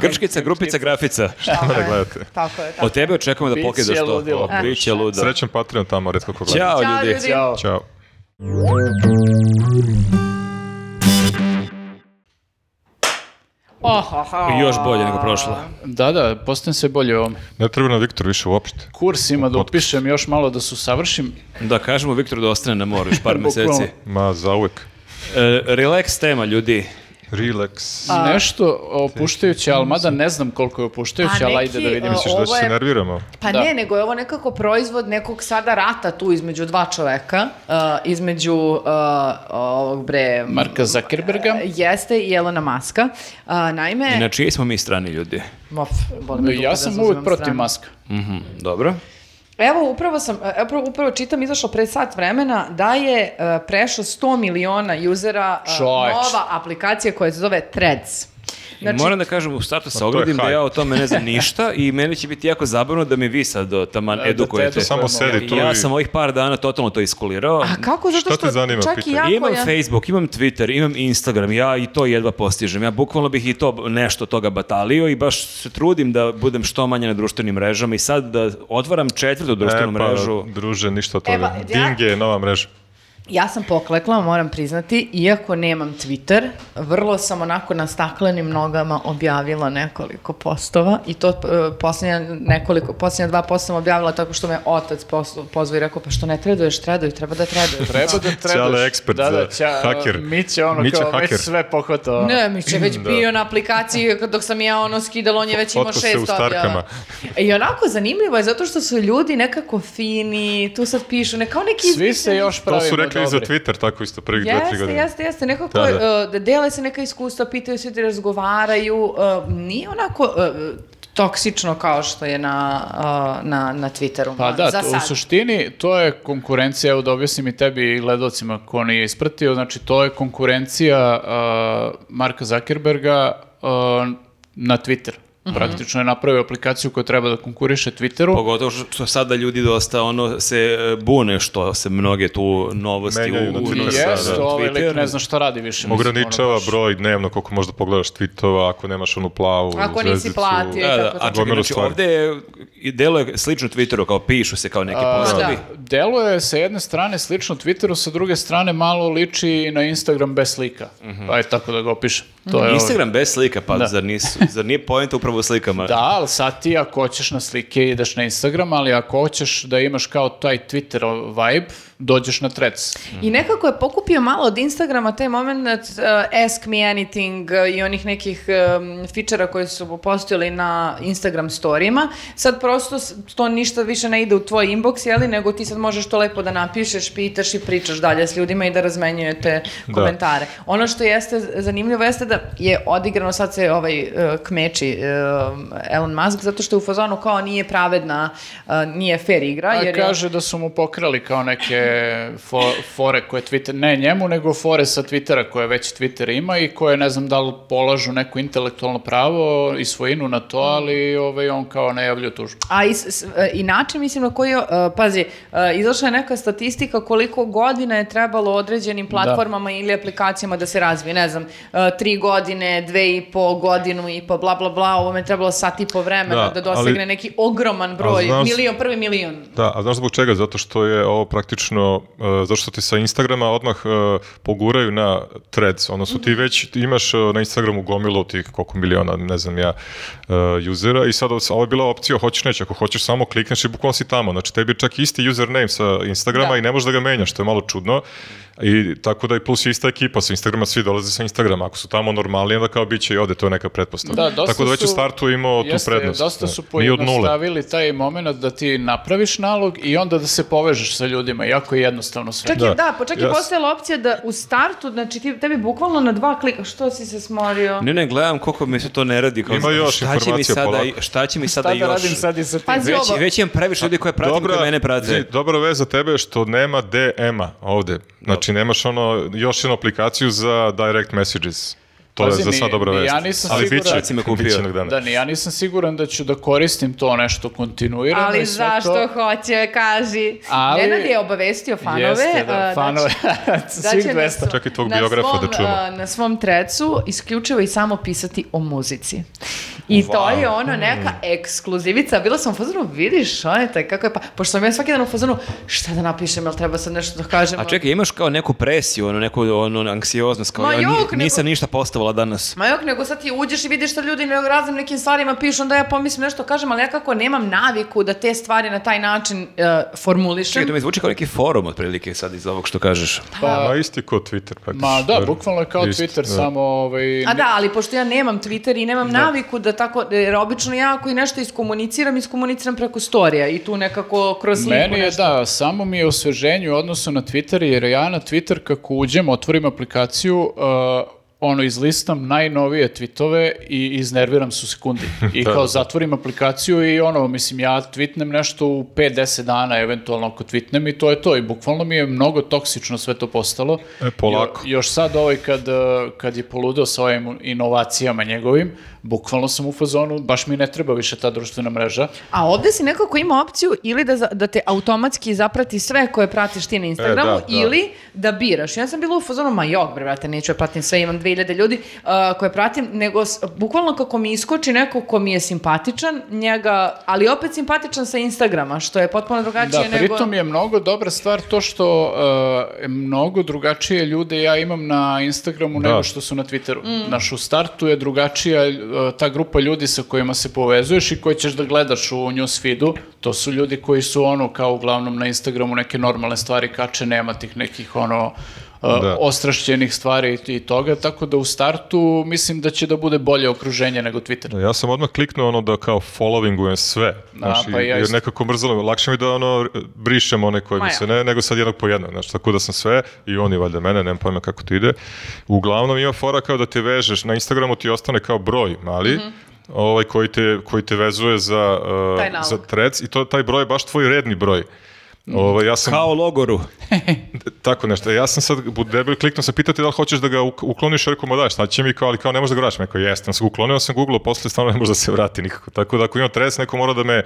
A: Grčkica, grupica, grafica.
B: Tako
C: Da
B: je,
C: gledate.
B: Tako je, tako
A: Od
B: je.
A: tebe očekujemo da
D: Biće
A: pokideš to.
D: ludilo.
A: O, Biće luda.
C: Srećan Patreon tamo, redko ko gleda.
A: Da. Ćao
B: Ćao
A: ljudi.
B: ljudi.
D: Ćao.
C: Ćao.
B: Ohoho.
A: Još bolje nego prošlo.
D: Da, da, postajem sve bolje u ovome.
C: Ne treba nam Viktor više uopšte.
D: Kurs ima da upišem još malo da su savršim.
A: Da kažemo Viktoru da ostane na moru još par
D: Bukvalno.
A: mjeseci.
C: Ma, zauvek.
A: E, relax tema ljudi.
C: Relax.
D: Nešto opuštajuće, ali mada ne znam koliko je opuštajuće,
B: A
D: ali ajde
B: neki,
D: da vidimo.
B: a,
C: Misliš da
B: ovo
C: se
B: je-
C: nerviramo?
B: Pa
D: Da.
B: ne, nego je ovo nekako proizvod nekog sada rata tu između dva čoveka, a, između a, ovog bre... uh,
D: Marka Zuckerberga.
B: Jeste i Elona Maska. A, naime...
A: I na čijoj smo mi strani ljudi?
B: Mof, boli me dupe da
D: Ja sam
B: zauzimam
D: uvijek protiv
B: stranu.
D: maska.
A: Mhm, dobro.
B: Evo, upravo sam, e, upravo, upravo čitam, izašlo pre sat vremena, da je e, prešlo 100 miliona juzera e,
D: Čoveč.
B: nova aplikacija koja se zove Threads. Znači,
A: Moram da kažem u startu se
C: Pa je
A: ogradim da
C: hype.
A: ja o tome ne znam ništa i meni će biti jako zabavno da mi vi sad o, taman
D: da
A: edukujete.
D: tebe
C: Samo sedi tu
A: Ja
C: i...
A: sam ovih par dana totalno to iskulirao.
B: a kako? Zato
C: Šta te
B: što
C: zanima,
B: čak i
C: pitaj.
B: ja
A: imam
B: koja-
A: Facebook, imam Twitter, imam Instagram, ja i to jedva postižem. Ja bukvalno bih i to b- nešto toga batalio i baš se trudim da budem što manje na društvenim mrežama i sad da otvaram četvrtu društvenu
C: E, pa,
A: mrežu.
C: druže, ništa od
B: E,
C: toga.
B: pa, ja-
C: Dinge je nova mreža.
B: Ja sam poklekla, moram priznati, iako nemam Twitter, vrlo sam onako na staklenim nogama objavila nekoliko postova i to e, posljednja nekoliko, posljednja dva posta sam objavila tako što me otac poslu- pozvao i rekao, pa što ne traduješ, traduj, treba da traduješ.
D: Treba da trebaš.
C: Ćale ekspert
D: da, da,
C: za haker.
D: Mića ono
C: Mića
D: kao
C: haker.
D: već sve pohvatao.
B: Ne, mi će već bio na aplikaciji dok sam ja ono skidala, on je već imao
C: Otko se u
B: šest objava.
C: starkama.
B: I onako zanimljivo je zato što su ljudi nekako fini, tu sad pišu, ne kao neki...
D: Svi se
B: izmišljeni-
D: još
C: To
D: pravimo
C: su rekli i za
D: dobri.
C: Twitter, tako isto, prvih dve, tri
B: Jeste,
C: godine.
B: jeste, jeste, nekako
C: Da,
B: da,
C: da.
B: dele se neka iskustva, pitaju se, ti razgovaraju, e, nije onako e, toksično kao što je na, e, na, na Twitteru.
D: Pa da,
B: za
D: to- u
B: sad.
D: suštini to je konkurencija, evo da objasnim i tebi i gledalcima ko nije ispratio, znači to je konkurencija uh, Marka Zuckerberga uh, na Twitter.
B: Mhm.
D: Praktično je napravio aplikaciju koja treba da konkuriše Twitteru.
A: Pogotovo što sada ljudi dosta ono se e, bune što se mnoge tu novosti
C: Menjaju
A: u,
C: na
A: u,
C: Twitteru,
A: na-
D: Jest,
A: na
D: ovaj lik
A: Twitter.
D: ne zna šta radi više. mislim, ono
C: Ograničava
D: baš.
C: broj dnevno koliko možda pogledaš tweetova, ako nemaš onu plavu
B: Ako nisi
C: zvezdicu. E,
B: platio.
A: Da, da, a
B: Gomilu
A: čekaj, znači
C: stvari.
A: ovdje je, i delo je slično Twitteru, kao pišu se kao neki
D: A,
A: postovi.
B: da.
D: Deluje sa jedne strane slično Twitteru, sa druge strane malo liči i na Instagram bez slika. Ajde tako da ga opišem. To je ovo.
A: Instagram bez slika, pa
D: Da.
A: zar, nisu, zar nije pojenta upravo u slikama?
D: Da, ali sad ti ako hoćeš na slike ideš na Instagram, ali ako hoćeš da imaš kao taj Twitter vibe, dođeš na trec.
B: I nekako je pokupio malo od Instagrama taj moment uh, Ask Me Anything uh, i onih nekih um, fičera koji su postojali na Instagram storijima. Sad prosto s- to ništa više ne ide u tvoj inbox, jeli, nego ti sad možeš to lepo da napišeš, pitaš i pričaš dalje s ljudima i da razmenjujete
C: Da.
B: komentare. Ono što jeste zanimljivo jeste da je odigrano sad se ovaj uh, kmeči uh, Elon Musk zato što je u fazonu kao nije pravedna, uh, nije fair igra.
D: A
B: jer je-
D: kaže da su mu pokrali kao neke fo- fore koje Twitter, ne njemu, nego fore sa Twittera koje već Twitter ima i koje ne znam da li polažu neko intelektualno pravo i svojinu na to, ali ovaj, on kao najavljuje tužbu.
B: A i, s- s- e, i način, mislim, na koji, je, e, pazi, e, izašla je neka statistika koliko godina je trebalo određenim platformama ili aplikacijama da se razvije, ne znam, e, tri godine, dve i po, godinu i po, bla, bla, bla, ovome je trebalo sat i po vremena da,
C: Da,
B: dosegne
C: ali-
B: neki ogroman broj,
C: A znaš-
B: milion, prvi milion.
C: Da, a znaš zbog čega? Zato što je ovo praktično, e, zato što ti sa Instagrama odmah e, poguraju na threads, odnosno
D: Mhm.
C: ti već ti imaš e, na Instagramu gomilu tih koliko miliona, ne znam ja, e, usera i sad ovo- ovo je bila opcija hoćeš neće, ako hoćeš samo klikneš i bukvalno si tamo, znači tebi je čak isti username sa Instagrama
B: Da.
C: i ne možeš da ga menjaš, što je malo čudno. I tako da i plus je ista ekipa sa Instagrama, svi dolaze sa Instagrama, ako su tamo normalni, onda kao bit će i ovde, to je neka pretpostavka.
D: Da, dosta
C: tako da već u
D: su-
C: startu je imao tu
D: Jeste,
C: prednost.
D: dosta
C: da.
D: su
C: Nije od nule.
D: pojednostavili taj moment da ti napraviš nalog i onda da se povežeš sa ljudima, jako je jednostavno sve.
B: Čak da, je,
C: Da,
B: da, pa čak je
C: jas-
B: postojala opcija da u startu, znači ti, tebi bukvalno na dva klika, što si se smorio?
A: Ne, ne, gledam koliko mi se to ne radi. Kao,
C: Ima još
A: šta će mi
C: informacija
A: sada,
C: polako.
A: Šta će mi sada
D: Šta da
A: još?
D: radim sad i sa tim?
B: Pazi
A: Već,
B: ovo,
A: već imam previše ljudi koje pratim koje mene prate.
C: zi- dobra vez za tebe je što nema DM-a ovde. Znači, nemaš ono, još jednu aplikaciju za direct messages. To
D: Pazi,
C: je za
D: ni-
C: sad dobra
D: ni
C: vez.
D: ja nisam
C: Ali
D: siguran.
C: biće,
A: Sad si me kupio.
C: biće jednog dana.
D: Da, ni ja nisam siguran da ću da koristim to nešto kontinuirano
B: Ali
D: i sve
B: zašto
D: to.
B: hoće, kaži.
D: Ali-
B: Nenad je obavestio fanove. e,
D: Jeste,
B: a, da
D: da, fanove, svih 200.
B: svom-
C: Čak i tvog
B: na
C: biografa
B: svom,
C: da čujemo.
B: a, na svom trecu isključivo i samo pisati o muzici. I to
A: Wow.
B: je ono neka ekskluzivica. Bila sam u fazonu, vidiš, Šoneta, kako je pa... Pošto sam ja svaki dan u fazonu, šta da napišem, jel treba sad nešto da kažem?
A: A čekaj, imaš kao neku presiju, ono, neku ono, anksioznost, kao
B: Ma
A: ja,
B: jok,
A: ni-
B: nego-
A: nisam ništa postavala danas.
B: Ma jok, nego sad ti uđeš i vidiš šta ljudi na raznim nekim stvarima pišu, onda ja pomislim nešto kažem, ali ja kako nemam naviku da te stvari na taj način e, formulišem.
A: Čekaj, to mi zvuči kao neki forum otprilike sad iz ovog što kažeš.
D: Pa-
C: Ma isti ko Twitter. Praktično.
D: Ma da, bukvalno je kao
C: Isto,
D: Twitter,
C: da.
D: samo ovaj...
B: A da, ali pošto ja nemam Twitter i nemam naviku da tako, jer obično ja ako i nešto iskomuniciram, iskomuniciram preko storija i tu nekako kroz sliku
D: Meni je
B: nešto.
D: da, samo mi je osveženje u odnosu na Twitter, jer ja na Twitter kako uđem, otvorim aplikaciju, uh, ono, izlistam najnovije tweetove i iznerviram se u sekundi.
C: Da,
D: I kao zatvorim aplikaciju i ono, mislim, ja tweetnem nešto u 5-10 dana, eventualno ako tweetnem i to je to. I bukvalno mi je mnogo toksično sve to postalo.
C: E, polako.
D: Jo- još sad ovaj kad, uh, kad je poludeo sa ovim inovacijama njegovim, bukvalno sam u fazonu, baš mi ne treba više ta društvena mreža.
B: A ovde si nekako ima opciju ili da, za- da te automatski zaprati sve koje pratiš ti na Instagramu
C: da, da.
B: ili da biraš. Ja sam bila u fazonu, ma jok, bre, brate, neću ja pratim sve, imam 2000 ljudi uh, koje pratim, nego s- bukvalno kako mi iskoči neko ko mi je simpatičan, njega, ali opet simpatičan sa Instagrama, što je potpuno drugačije
D: Da,
B: nego...
D: pritom je mnogo dobra stvar to što uh, mnogo drugačije ljude ja imam na Instagramu
C: Da.
D: nego što su na Twitteru.
B: Mm.
D: Naš u startu je drugačija uh, ta grupa ljudi sa kojima se povezuješ i koje ćeš da gledaš u newsfeedu. To su ljudi koji su ono kao uglavnom na Instagramu neke normalne stvari kače, nema tih nekih ono uh,
C: Da.
D: ostrašćenih stvari i, i toga, tako da u startu mislim da će da bude bolje okruženje nego Twitter.
C: Da, Ja sam odmah kliknuo ono da kao followingujem sve. Znaš,
D: pa
C: i-
D: i ja
C: jer
D: isto.
C: nekako mrzalo, me. lakše mi da ono brišem one koje
B: Ma
C: mi
B: ja.
C: se ne, nego sad jednog po jednog. Znaš, tako da sam sve i oni valjda mene, nemam pojma kako to ide. Uglavnom ima fora kao da te vežeš, na Instagramu ti ostane kao broj mali, ovaj koji te, koji te vezuje za, uh,
B: Mhm. Taj nalog.
C: za trec i to, taj broj je baš tvoj redni broj.
D: Mhm.
C: Ovaj, ja sam,
A: Kao logoru.
C: tako nešto. Ja sam sad bu- debel kliknuo sam pitati da li hoćeš da ga uk- ukloniš, rekao ma da, šta će mi kao, ali kao ne možeš da ga vraćam. Rekao jesam, sam ga uklonio sam Google, posle stvarno ne može da se vrati nikako. Tako da ako imam tres, neko mora da me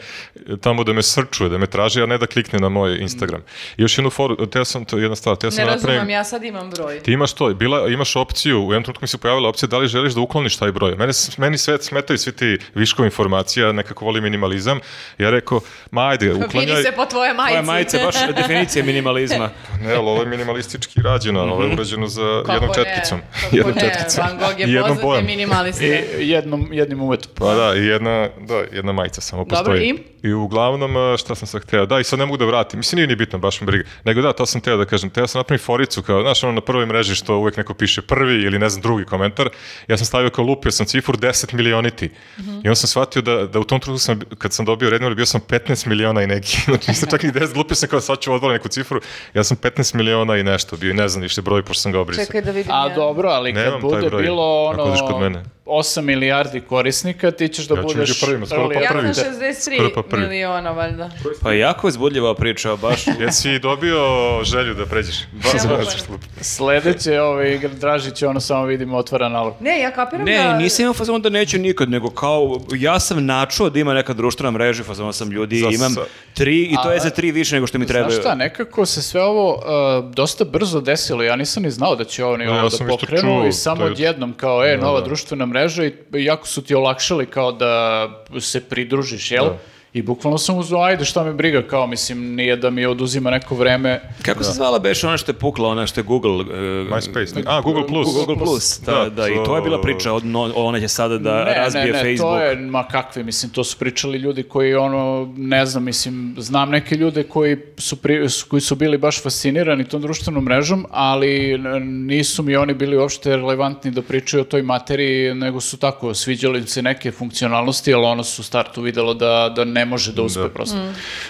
C: tamo da me srčuje, da me traži, a ne da klikne na moj Instagram. I još jednu foru, te sam to jedna stvar, te sam
B: Ne
C: da napravim-
B: razumem, ja sad imam broj.
C: Ti imaš to, bila, imaš opciju, u jednom trenutku mi se pojavila opcija da li želiš da ukloniš taj broj. Mene, s- meni sve smetaju svi ti viškovi informacija, nekako volim minimalizam. Ja rekao, ma ajde, uklanjaj.
B: Vidi se po tvoje majici.
A: Tvoja definicija, baš definicija minimalizma.
C: Ne, ali ovo je minimalistički rađeno, ovo je urađeno za jednom četkicom. jednom
G: ne,
C: četkicom.
G: Van Gogh
C: I
G: je
C: jednom
G: poznat
C: bojem.
G: minimalista.
D: I jednom, jednim umetom.
C: Pa da, i jedna, da, jedna majica samo
G: Dobro,
C: postoji. i? uglavnom, a, šta sam sad hteo, da, i sad ne mogu da vratim, mislim nije ni bitno, baš mi briga. Nego da, to sam hteo da kažem, teo sam napravim foricu, kao, znaš, ono na prvoj mreži što uvek neko piše prvi ili ne znam drugi komentar, ja sam stavio kao lupio sam cifru 10 milioniti. I onda sam shvatio da, da u tom trenutku sam, kad sam dobio redno, bio sam 15 miliona i neki, znači nisam čak ni 10, lupio sam kao sad ću odvala neku cifru, ja sam 15 miliona i nešto bio i ne znam više broj, pošto sam ga obrisao.
B: Čekaj da vidim
D: A
B: ja.
D: dobro, ali kad
C: Nemam taj
D: bude
C: broj,
D: bilo
C: ako
D: ono
C: odeš kod mene.
D: 8 milijardi korisnika, ti ćeš da
C: Ja ću među
D: budeš
C: prvima, skoro pa
D: early-
G: Ja
C: prvi.
G: sam
C: Skoro pa
G: 63
C: prvi.
G: miliona, valjda.
A: Pa jako uzbudljiva priča, baš.
C: Jesi dobio želju da pređeš?
G: Ne mogu.
D: Sledeće, ovaj, Igor Dražić, ono samo vidimo, otvara nalog.
G: Ne, ja kapiram da...
A: Ne, nisam imao fazon da neću nikad, nego kao, ja sam načuo da ima neka društvena mreža, fazon sam ljudi,
C: Za
A: imam
C: sa-
A: tri i to je
D: A-
A: za tri više nego što mi trebaju.
D: Znaš šta, nekako se sve ovo uh, dosta brzo desilo, ja nisam ni znao da će oni
C: Ne,
D: ovo
C: ja
D: da
C: sam isto
D: pokrenu
C: čuo
D: i samo
C: to Da, jutro.
D: odjednom kao, e, nova društvena mreža i jako su ti olakšali kao da se pridružiš,
C: Da.
D: jel? I bukvalno sam uzao, ajde, šta me briga, kao, mislim, nije da mi oduzima neko vreme.
A: Kako se zvala beše ona što je pukla, ona što je Google... e,
C: MySpace, ne? A, Google Plus.
A: Google Plus, da, da, i to je bila priča, od, no, ona će sada da razbije
D: ne, ne,
A: Facebook.
D: to je, ma kakve, mislim, to su pričali ljudi koji, ono, ne znam, mislim, znam neke ljude koji su, pri- su- koji su bili baš fascinirani tom društvenom mrežom, ali n- nisu mi oni bili uopšte relevantni da pričaju o toj materiji, nego su tako, sviđali im se neke funkcionalnosti, ali ono su u startu videlo da, da ne može da uspe prosto.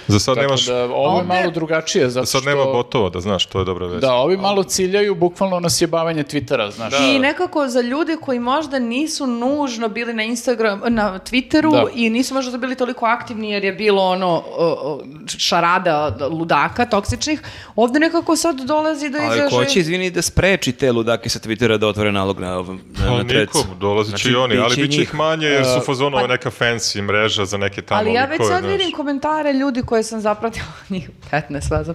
C: Za sad
D: Tako
C: Mm. nemaš... E,
D: da, ovo je malo drugačije, zato
C: Sad
D: što...
C: nema botova, da znaš, to je dobra vest.
D: Da, ovi malo ciljaju bukvalno na sjebavanje Twittera,
C: Da.
D: znaš.
A: Da,
B: I nekako za ljude koji možda nisu nužno bili na Instagram, na Twitteru
D: Da.
B: i nisu možda bili toliko aktivni jer je bilo ono o, o, šarada ludaka, toksičnih, ovde nekako sad dolazi do izražaja.
A: Ali ko će, izvini, da spreči te ludake sa Twittera da otvore nalog na, ovom- na,
C: Pa
A: na trecu?
C: nikom, dolazit
B: Znači,
C: će i oni, ali
A: biće
C: bit će ih manje jer su
D: Uh,
C: fazonu ovo je neka fancy mreža za neke tamo
B: pa- Ali ja već
C: likove,
B: sad
C: znaš.
B: vidim komentare ljudi koje sam zapratila, njih 15 vazom,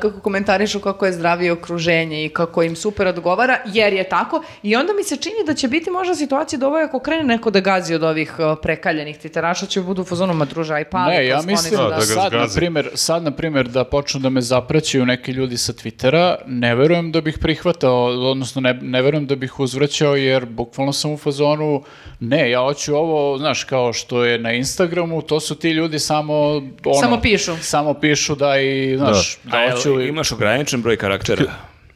B: kako komentarišu kako je zdravije okruženje i kako im super odgovara, jer je tako. I onda mi se čini da će biti možda situacija da ovo ako krene neko da gazi od ovih a, prekaljenih titeraša, će budu u fazonu madruža i pali. pa
D: Ne, ja
B: skloni
D: mislim
B: su
C: Da,
D: da,
C: da ga
D: sad, na
C: zgazi.
D: primjer, sad, na primjer, da počnu da me zapraćaju neki ljudi sa Twittera, ne verujem da bih prihvatao, odnosno ne, ne verujem da bih uzvraćao, jer bukvalno sam u fazonu, ne, ja hoću ovo, znaš, kao što je na Instagramu, to su ti ljudi samo, ono,
B: Samo pišu.
D: Samo pišu da i, znaš, da,
A: A jel
D: hoću... i-
A: Imaš ograničen broj karaktera.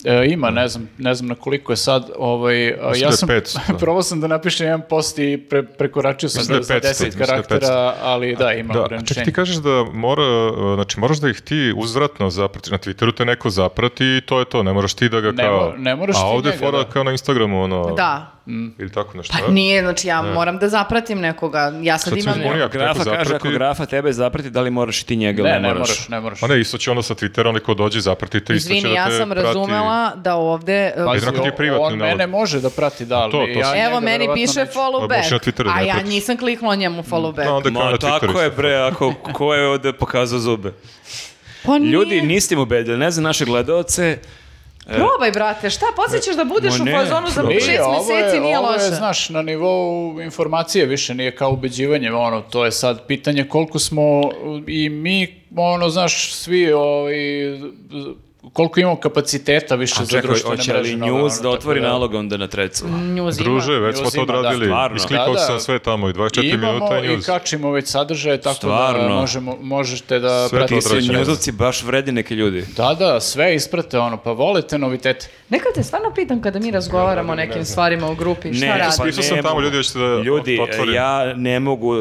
D: E, ima, ne znam, ne znam na koliko je sad, ovaj, a,
C: Mislim da
D: ja
C: je
D: sam,
C: 500.
D: probao sam da napišem jedan post i pre, prekoračio sam
C: Mislim da
D: da
C: je 500,
D: za 10
C: mislim da je
D: karaktera, ali da,
B: Pa,
D: ima
C: Da, a čekaj,
D: ograničenje.
C: ti kažeš da mora, uh, znači moraš da ih ti uzvratno zapratiš, na Twitteru te neko zaprati i to je to, ne moraš ti da ga
D: Ne
C: kao...
D: mo- ne moraš
C: A
D: ti
C: ovde je
D: njega,
C: fora
D: da.
C: kao na Instagramu, ono...
B: Da.
C: Ili tako nešto.
B: Pa nije, znači ja moram da zapratim nekoga. Ja sad,
C: Sad se
B: imam...
C: uzbunio.
A: Ako
C: Ako neko
A: grafa kaže, ako
C: zaprati-
A: grafa tebe zaprati, da li moraš i ti njega ili
D: Ne, ne moraš, ne moraš.
C: A Pa ne, isto će ono sa Twittera, onaj ko dođe zaprati te, isto će da te
B: Izvini, ja sam
C: prati.
B: razumela da ovde... e,
D: Pazi,
C: Jednako ti je
D: on-
C: privatni
D: Pa on
C: nalog.
D: mene može da prati, da, ali
C: To, to
D: ja
C: sam-
D: njega
B: Evo, meni
D: verovatno
B: piše
D: neću.
B: follow
C: A možeš na
B: back,
C: Twitteru da
B: a
C: ne
B: ja
C: pratiš.
B: nisam kliknula njemu follow back.
C: Da, onda kao
A: Ma
C: na Twitteru.
A: tako
C: isto.
A: je bre, ako ko je ovde pokazao zube.
B: Pa nije.
A: Ljudi, niste im ubedili, ne znam naše gledaoce. E.
B: Probaj, brate, šta? Poslije ćeš da budeš
A: Ma
B: u
A: ne,
B: fazonu za
A: probaj.
B: šest
D: E, ovo je-
B: meseci, nije
D: ovo je,
B: loše.
D: znaš, na nivou informacije više nije kao ubeđivanje, ono, to je sad pitanje koliko smo i mi, ono, znaš, svi, ovaj, koliko imamo kapaciteta više za
A: Čekaj,
D: društvene
A: hoće li
D: mreže, naravno,
A: news da
D: tako
A: otvori
D: da-
A: nalog onda na trecu?
B: Njuz ima.
C: Druže, već smo to
D: Uzima, da,
C: odradili.
A: stvarno.
C: Isklikao
D: Da, da.
C: sam sve tamo i
D: I
C: 24 minuta
D: imamo
C: i
D: i
C: news.
D: kačimo već sadržaje, tako da
A: Stvarno.
D: možemo, možete da
C: Sve to
A: Ti
D: pratite.
A: su
C: odrađeno.
A: njuzovci baš vredi neke ljudi.
D: Da, da, sve isprate, ono, pa volite novitete.
B: Nekad te stvarno pitam kada mi razgovaramo o nekim stvarima u grupi, šta
A: Ne,
B: radi?
A: pa
C: Pisao sam
A: ne
C: tamo,
A: mogu.
C: ljudi, hoćete da
A: Ljudi, e,
C: otvorim?
A: ja ne mogu, e,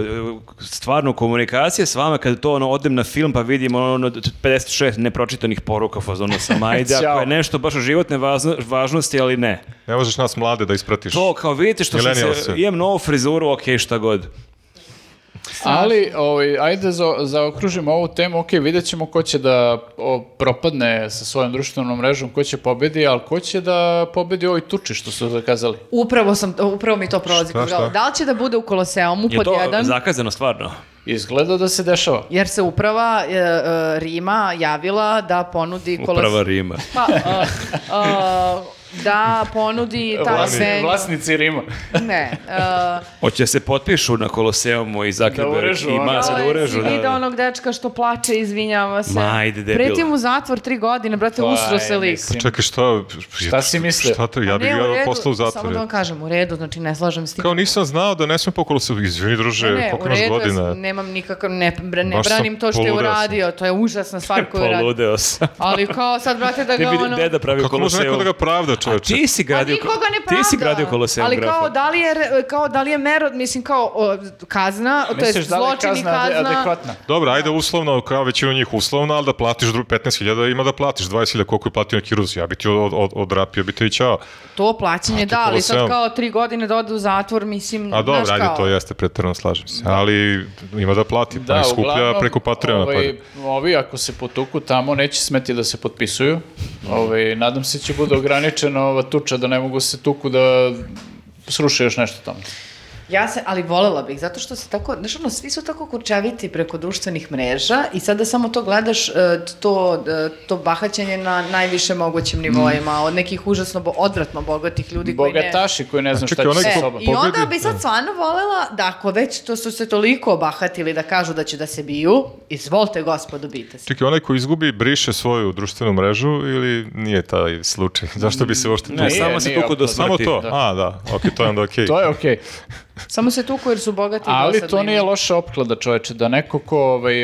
A: stvarno komunikacija s vama, kada to ono, odem na film pa vidim ono, ono 56 nepročitanih poruka, fazonu sam, ajde,
D: Ćao.
A: ako je nešto baš o životne vazno- važnosti, ali ne.
C: Ne možeš nas mlade da ispratiš.
A: To, kao vidite što sam
C: Millennials
A: se,
C: je.
A: imam novu frizuru, okej, šta god.
D: Ali, ovaj, ajde za, zaokružimo ovu temu, ok, vidjet ćemo ko će da o, propadne sa svojom društvenom mrežom, ko će pobedi, ali ko će da pobedi ovoj tuči što su zakazali.
B: Upravo, sam, upravo mi to prolazi
C: Šta,
B: kroz glavu.
C: šta?
B: Da li će da bude u Koloseumu
A: Je
B: pod
A: to
B: jedan?
A: zakazano stvarno?
D: Izgleda da se dešava.
B: Jer se uprava e, e, Rima javila da ponudi kolos...
A: Uprava Rima.
B: Pa, e, e,
H: da ponudi ta
D: Vlasni-
H: menu.
D: Vlasnici Rima.
H: Ne. Uh,
B: e,
A: Hoće da se potpišu na Koloseumu i Zagrebe
D: Da urežu,
A: i
D: ono.
A: Maza
B: ovaj,
A: da urežu. Da,
H: video
A: da.
H: onog dečka što plače, izvinjava se.
A: Ma, ajde, debila.
H: Preti mu zatvor tri godine, brate,
D: Pa,
H: usro se
D: e,
H: lik.
D: mislim.
C: Čekaj, šta?
D: Šta si mislio?
C: Šta to, Pa ja bih
H: Ne, u
C: ga
H: redu,
C: poslao u
H: Samo
C: zatvor.
H: da vam kažem, u redu, znači ne slažem s tim.
C: Kao nisam znao da ne smem pokolo se, izvini druže,
H: ne,
C: koliko
H: u
C: imaš
H: redu, ja
C: godina?
H: sam- nemam nikakav, ne, bra- ne
C: Baš sam
H: branim to što je
C: poludeo sam.
H: uradio, to je užasna stvar koju je uradio.
A: Poludeo sam.
H: Ali kao sad, brate, da
A: Ti
H: ga
A: vidi
H: ono...
A: deda pravi
C: Kako može neko
A: Koloseum.
C: da ga pravda,
A: A
C: čoveče?
A: ti si
H: Pa
A: gradio,
H: nikoga ne pravda.
A: ti si gradio Koloseum
H: Ali kao
A: grafa.
H: da li je, re- kao da li je mero, mislim kao o, kazna, to je
D: Misliš da li je
H: zločin i
D: kazna ade-
H: kazna.
D: adekvatna?
C: Dobro, ajde uslovno, kao većinu njih uslovno, ali da platiš dru- 15.000, ima da platiš 20.000 koliko je platio neki Rus. Ja bi ti od, od, odrapio, bi te i čao.
H: To plaćanje da, ali sad
C: Koloseum.
H: kao tri godine da ode u zatvor, mislim,
C: A dobro,
H: znaš
C: ajde,
H: kao.
C: to jeste, pretrano slažem se. Ali ima da plati, da, pa ne skuplja
D: uglavnom,
C: preko Patreona
D: ovaj,
C: pare.
D: Ovi, ako se potuku tamo, neće smeti da se potpisuju. Ovaj, nadam se će bude ograničena ova tuča da ne mogu se tuku da sruše još nešto tamo.
B: Ja se, ali volela bih, zato što se tako, znaš ono, svi su tako kurčaviti preko društvenih mreža i sada samo to gledaš, e, to, e, to bahaćenje na najviše mogućim nivoima, od nekih užasno, bo, odvratno bogatih ljudi koji ne...
D: Mm.
B: E,
D: Bogataši koji ne znam šta
C: čekaj,
D: će
C: onaj
D: sa
C: ko-
D: sobom.
B: I onda
C: Pobedi,
B: bi sad
C: da.
B: stvarno volela da ako već to su se toliko obahatili da kažu da će da se biju, izvolite gospodu, bijte se.
C: Čekaj, onaj ko izgubi, briše svoju društvenu mrežu ili nije taj slučaj? Zašto bi se uopšte tu...
A: Ne,
D: Nije,
A: samo se
D: nije
A: tuku do
D: opasno.
A: smrti.
C: Samo to? A, da, ok, to je onda ok.
D: E, To je okej.
H: Samo se tuku jer su bogati i
D: Ali
H: dosadni.
D: to nije loša opklada, čoveče, da neko ko ovaj,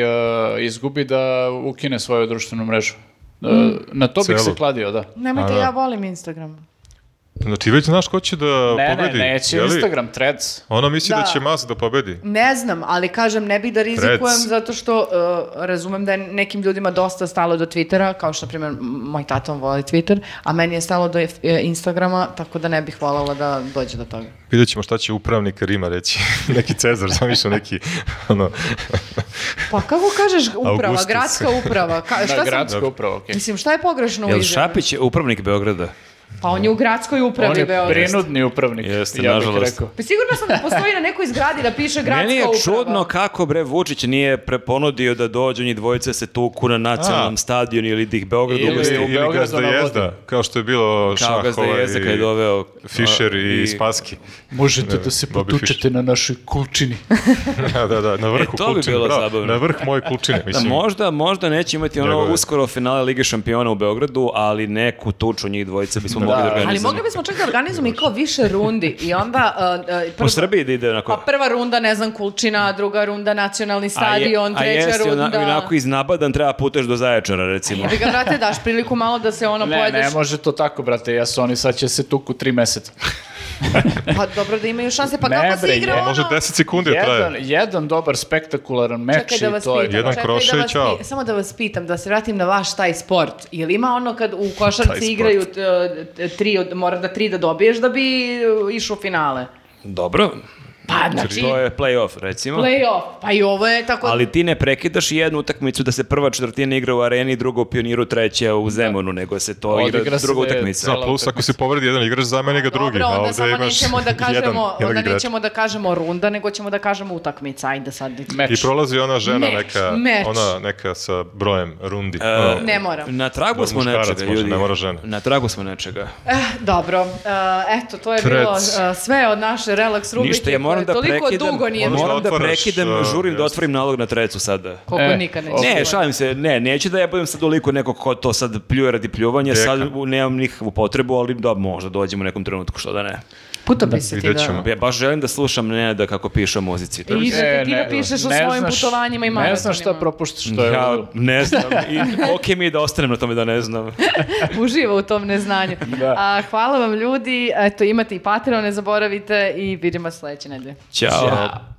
D: e, izgubi da ukine svoju društvenu mrežu. E,
B: Mm.
D: Na to bih se
C: Celu.
D: kladio, da.
H: Nemojte,
C: A, da.
H: ja volim Instagram.
C: Znači, već znaš ko će da
D: Ne,
C: pobedi.
D: ne, neće
C: je li?
D: Instagram, threads.
C: Ona misli da,
B: Da.
C: će Mas da pobedi.
B: Ne znam, ali kažem, ne bih da rizikujem
C: Rec.
B: zato što uh, razumem da je nekim ljudima dosta stalo do Twittera, kao što, na primjer, m- moj tata on voli Twitter, a meni je stalo do F- e, Instagrama, tako da ne bih voljela da dođe do toga.
C: Vidjet ćemo šta će upravnik Rima reći. neki Cezar, zamišljam neki, ono,
B: Pa kako kažeš uprava,
C: Augustus.
B: gradska uprava? Ka, šta
D: Da,
B: sam-
D: gradska upravo, okej.
B: Mislim, šta je pogrešno u
A: Jel
B: izjavi?
A: Šapić je upravnik Beograda?
B: Pa on je u gradskoj
D: On
B: upravi
D: je
B: Beograda.
D: prinudni upravnik,
A: Jeste,
D: ja bih
A: nažalost.
D: rekao.
B: Pa sigurno sam da postoji na nekoj zgradi da piše gradska
A: Meni je
B: uprava.
A: čudno kako bre Vučić nije preponudio da dođu njih dvojice se tuku na nacionalnom
C: A.
A: stadionu ili da ih Beograd
D: Ili-
A: ugosti.
D: u
C: ili
D: Beogradu
C: gazda
D: na vodi.
C: jezda, kao što je bilo
A: Kao ga
C: Šahova
A: jezda kad je
C: i
A: doveo...
C: Fischer i,
A: a,
C: Spaski.
D: Možete
C: Ne,
D: da se
C: Bobby
D: potučete
C: Fischer.
D: na našoj kulčini.
C: da, da, da, na vrhu
A: E, to bi
C: kulčine,
A: bilo
C: bravo,
A: zabavno.
C: Na vrh moje kulčine,
A: Da,
C: mislim.
A: možda, možda neće imati ono
C: Njegove.
A: uskoro finale Lige šampiona u Beogradu, ali neku tuču njih dvojice bismo mogli da
B: Ali
A: organizujemo.
B: mogli bismo čak da organizujemo i kao više rundi i onda... uh, uh,
A: Po
B: prvo-
A: Srbiji da ide onako...
B: Pa prva runda, ne znam, Kulčina, druga runda, nacionalni stadion,
A: a je-
B: treća
A: A jesi
B: runda.
A: ona- onako iznabadan, treba puteš do Zaječara, recimo.
B: Jebi ga, brate, daš priliku malo da se ono
D: Ne, ne
B: pojedeš.
D: može to tako, brate, ja su oni sad će se tuku tri meseca.
B: Pa dobro da imaju šanse. Pa
D: Ne,
B: kako se
D: bre,
B: igra
D: je-
B: ono?
C: Može 10 sekundi da
D: Jedan,
C: traje.
D: jedan dobar spektakularan meč
B: Čekaj da
D: i
B: vas
D: to
B: pitam.
D: je...
C: Jedan
B: čekaj
C: kroše
B: da
C: i
B: vas
C: ćao.
B: pi- Samo da vas pitam, da se vratim na vaš taj sport. Je li ima ono kad u košarci igraju t- t- tri, od, mora da tri da dobiješ da bi uh, išao u finale?
A: Dobro,
B: Pa znači,
A: to je play-off, recimo.
B: play-off. Pa i ovo je tako...
A: Ali ti ne prekidaš jednu utakmicu da se prva četvrtina igra u areni, druga u pioniru, treća
B: Da.
A: u Zemunu, nego se to
D: Odigra
A: igra
D: se
A: druga
D: da je
A: utakmica.
D: cela-
C: Da, plus ako se povredi jedan igrač, zameni ga da drugi.
B: Dobro,
C: a
B: onda
C: ovde
B: samo
C: imaš
B: nećemo da kažemo,
C: jedan, jednog
B: onda
C: igrača.
B: nećemo da kažemo runda, nego ćemo da kažemo utakmica. Ajde sad.
D: Meč.
C: I prolazi ona žena
B: Meč,
C: neka,
B: meč.
C: ona neka sa brojem rundi.
A: E,
C: Ono,
B: Ne mora.
A: Na tragu
C: Dobro,
A: smo
C: muškarac
A: nečega,
C: može,
A: ljudi.
C: ne mora žena.
A: Na tragu smo nečega.
B: Eh, dobro, Eh, eto, to je
C: Trec.
B: bilo eh, sve od naše relax rubrike.
A: Ništa, ja moram
B: koje
A: da
B: toliko
A: prekidam,
B: dugo nije
C: Možda
A: moram da
C: otvaraš,
A: prekidam,
C: a,
A: žurim da
C: jeste.
A: otvorim nalog na trecu sada.
B: Koliko
D: E,
B: nikad neće.
A: Ne,
B: biti.
A: šalim se, ne, neću da jebavim sad oliko nekog ko to sad pljuje radi pljuvanja, sad u- nemam nikakvu potrebu, ali da, možda dođemo u nekom trenutku, što da ne.
B: Putopise ti
C: vidjet
B: da.
C: ćemo.
A: Ja baš želim da slušam Nenada kako piše o muzici. To mi
B: I
A: se-
B: da ti da pišeš o svojim
D: znaš-
B: putovanjima i
D: E, Ne
B: maratonima.
D: znam šta propuštaš, to je...
A: Ja
D: ludilo.
A: ne znam, i okej mi je da ostanem na tome da ne znam.
H: uživa u tom neznanju.
D: Da.
H: A, hvala vam ljudi, eto imate i Patreon, ne zaboravite i vidimo sledeće nedelje.
A: Ćao.
D: Ja.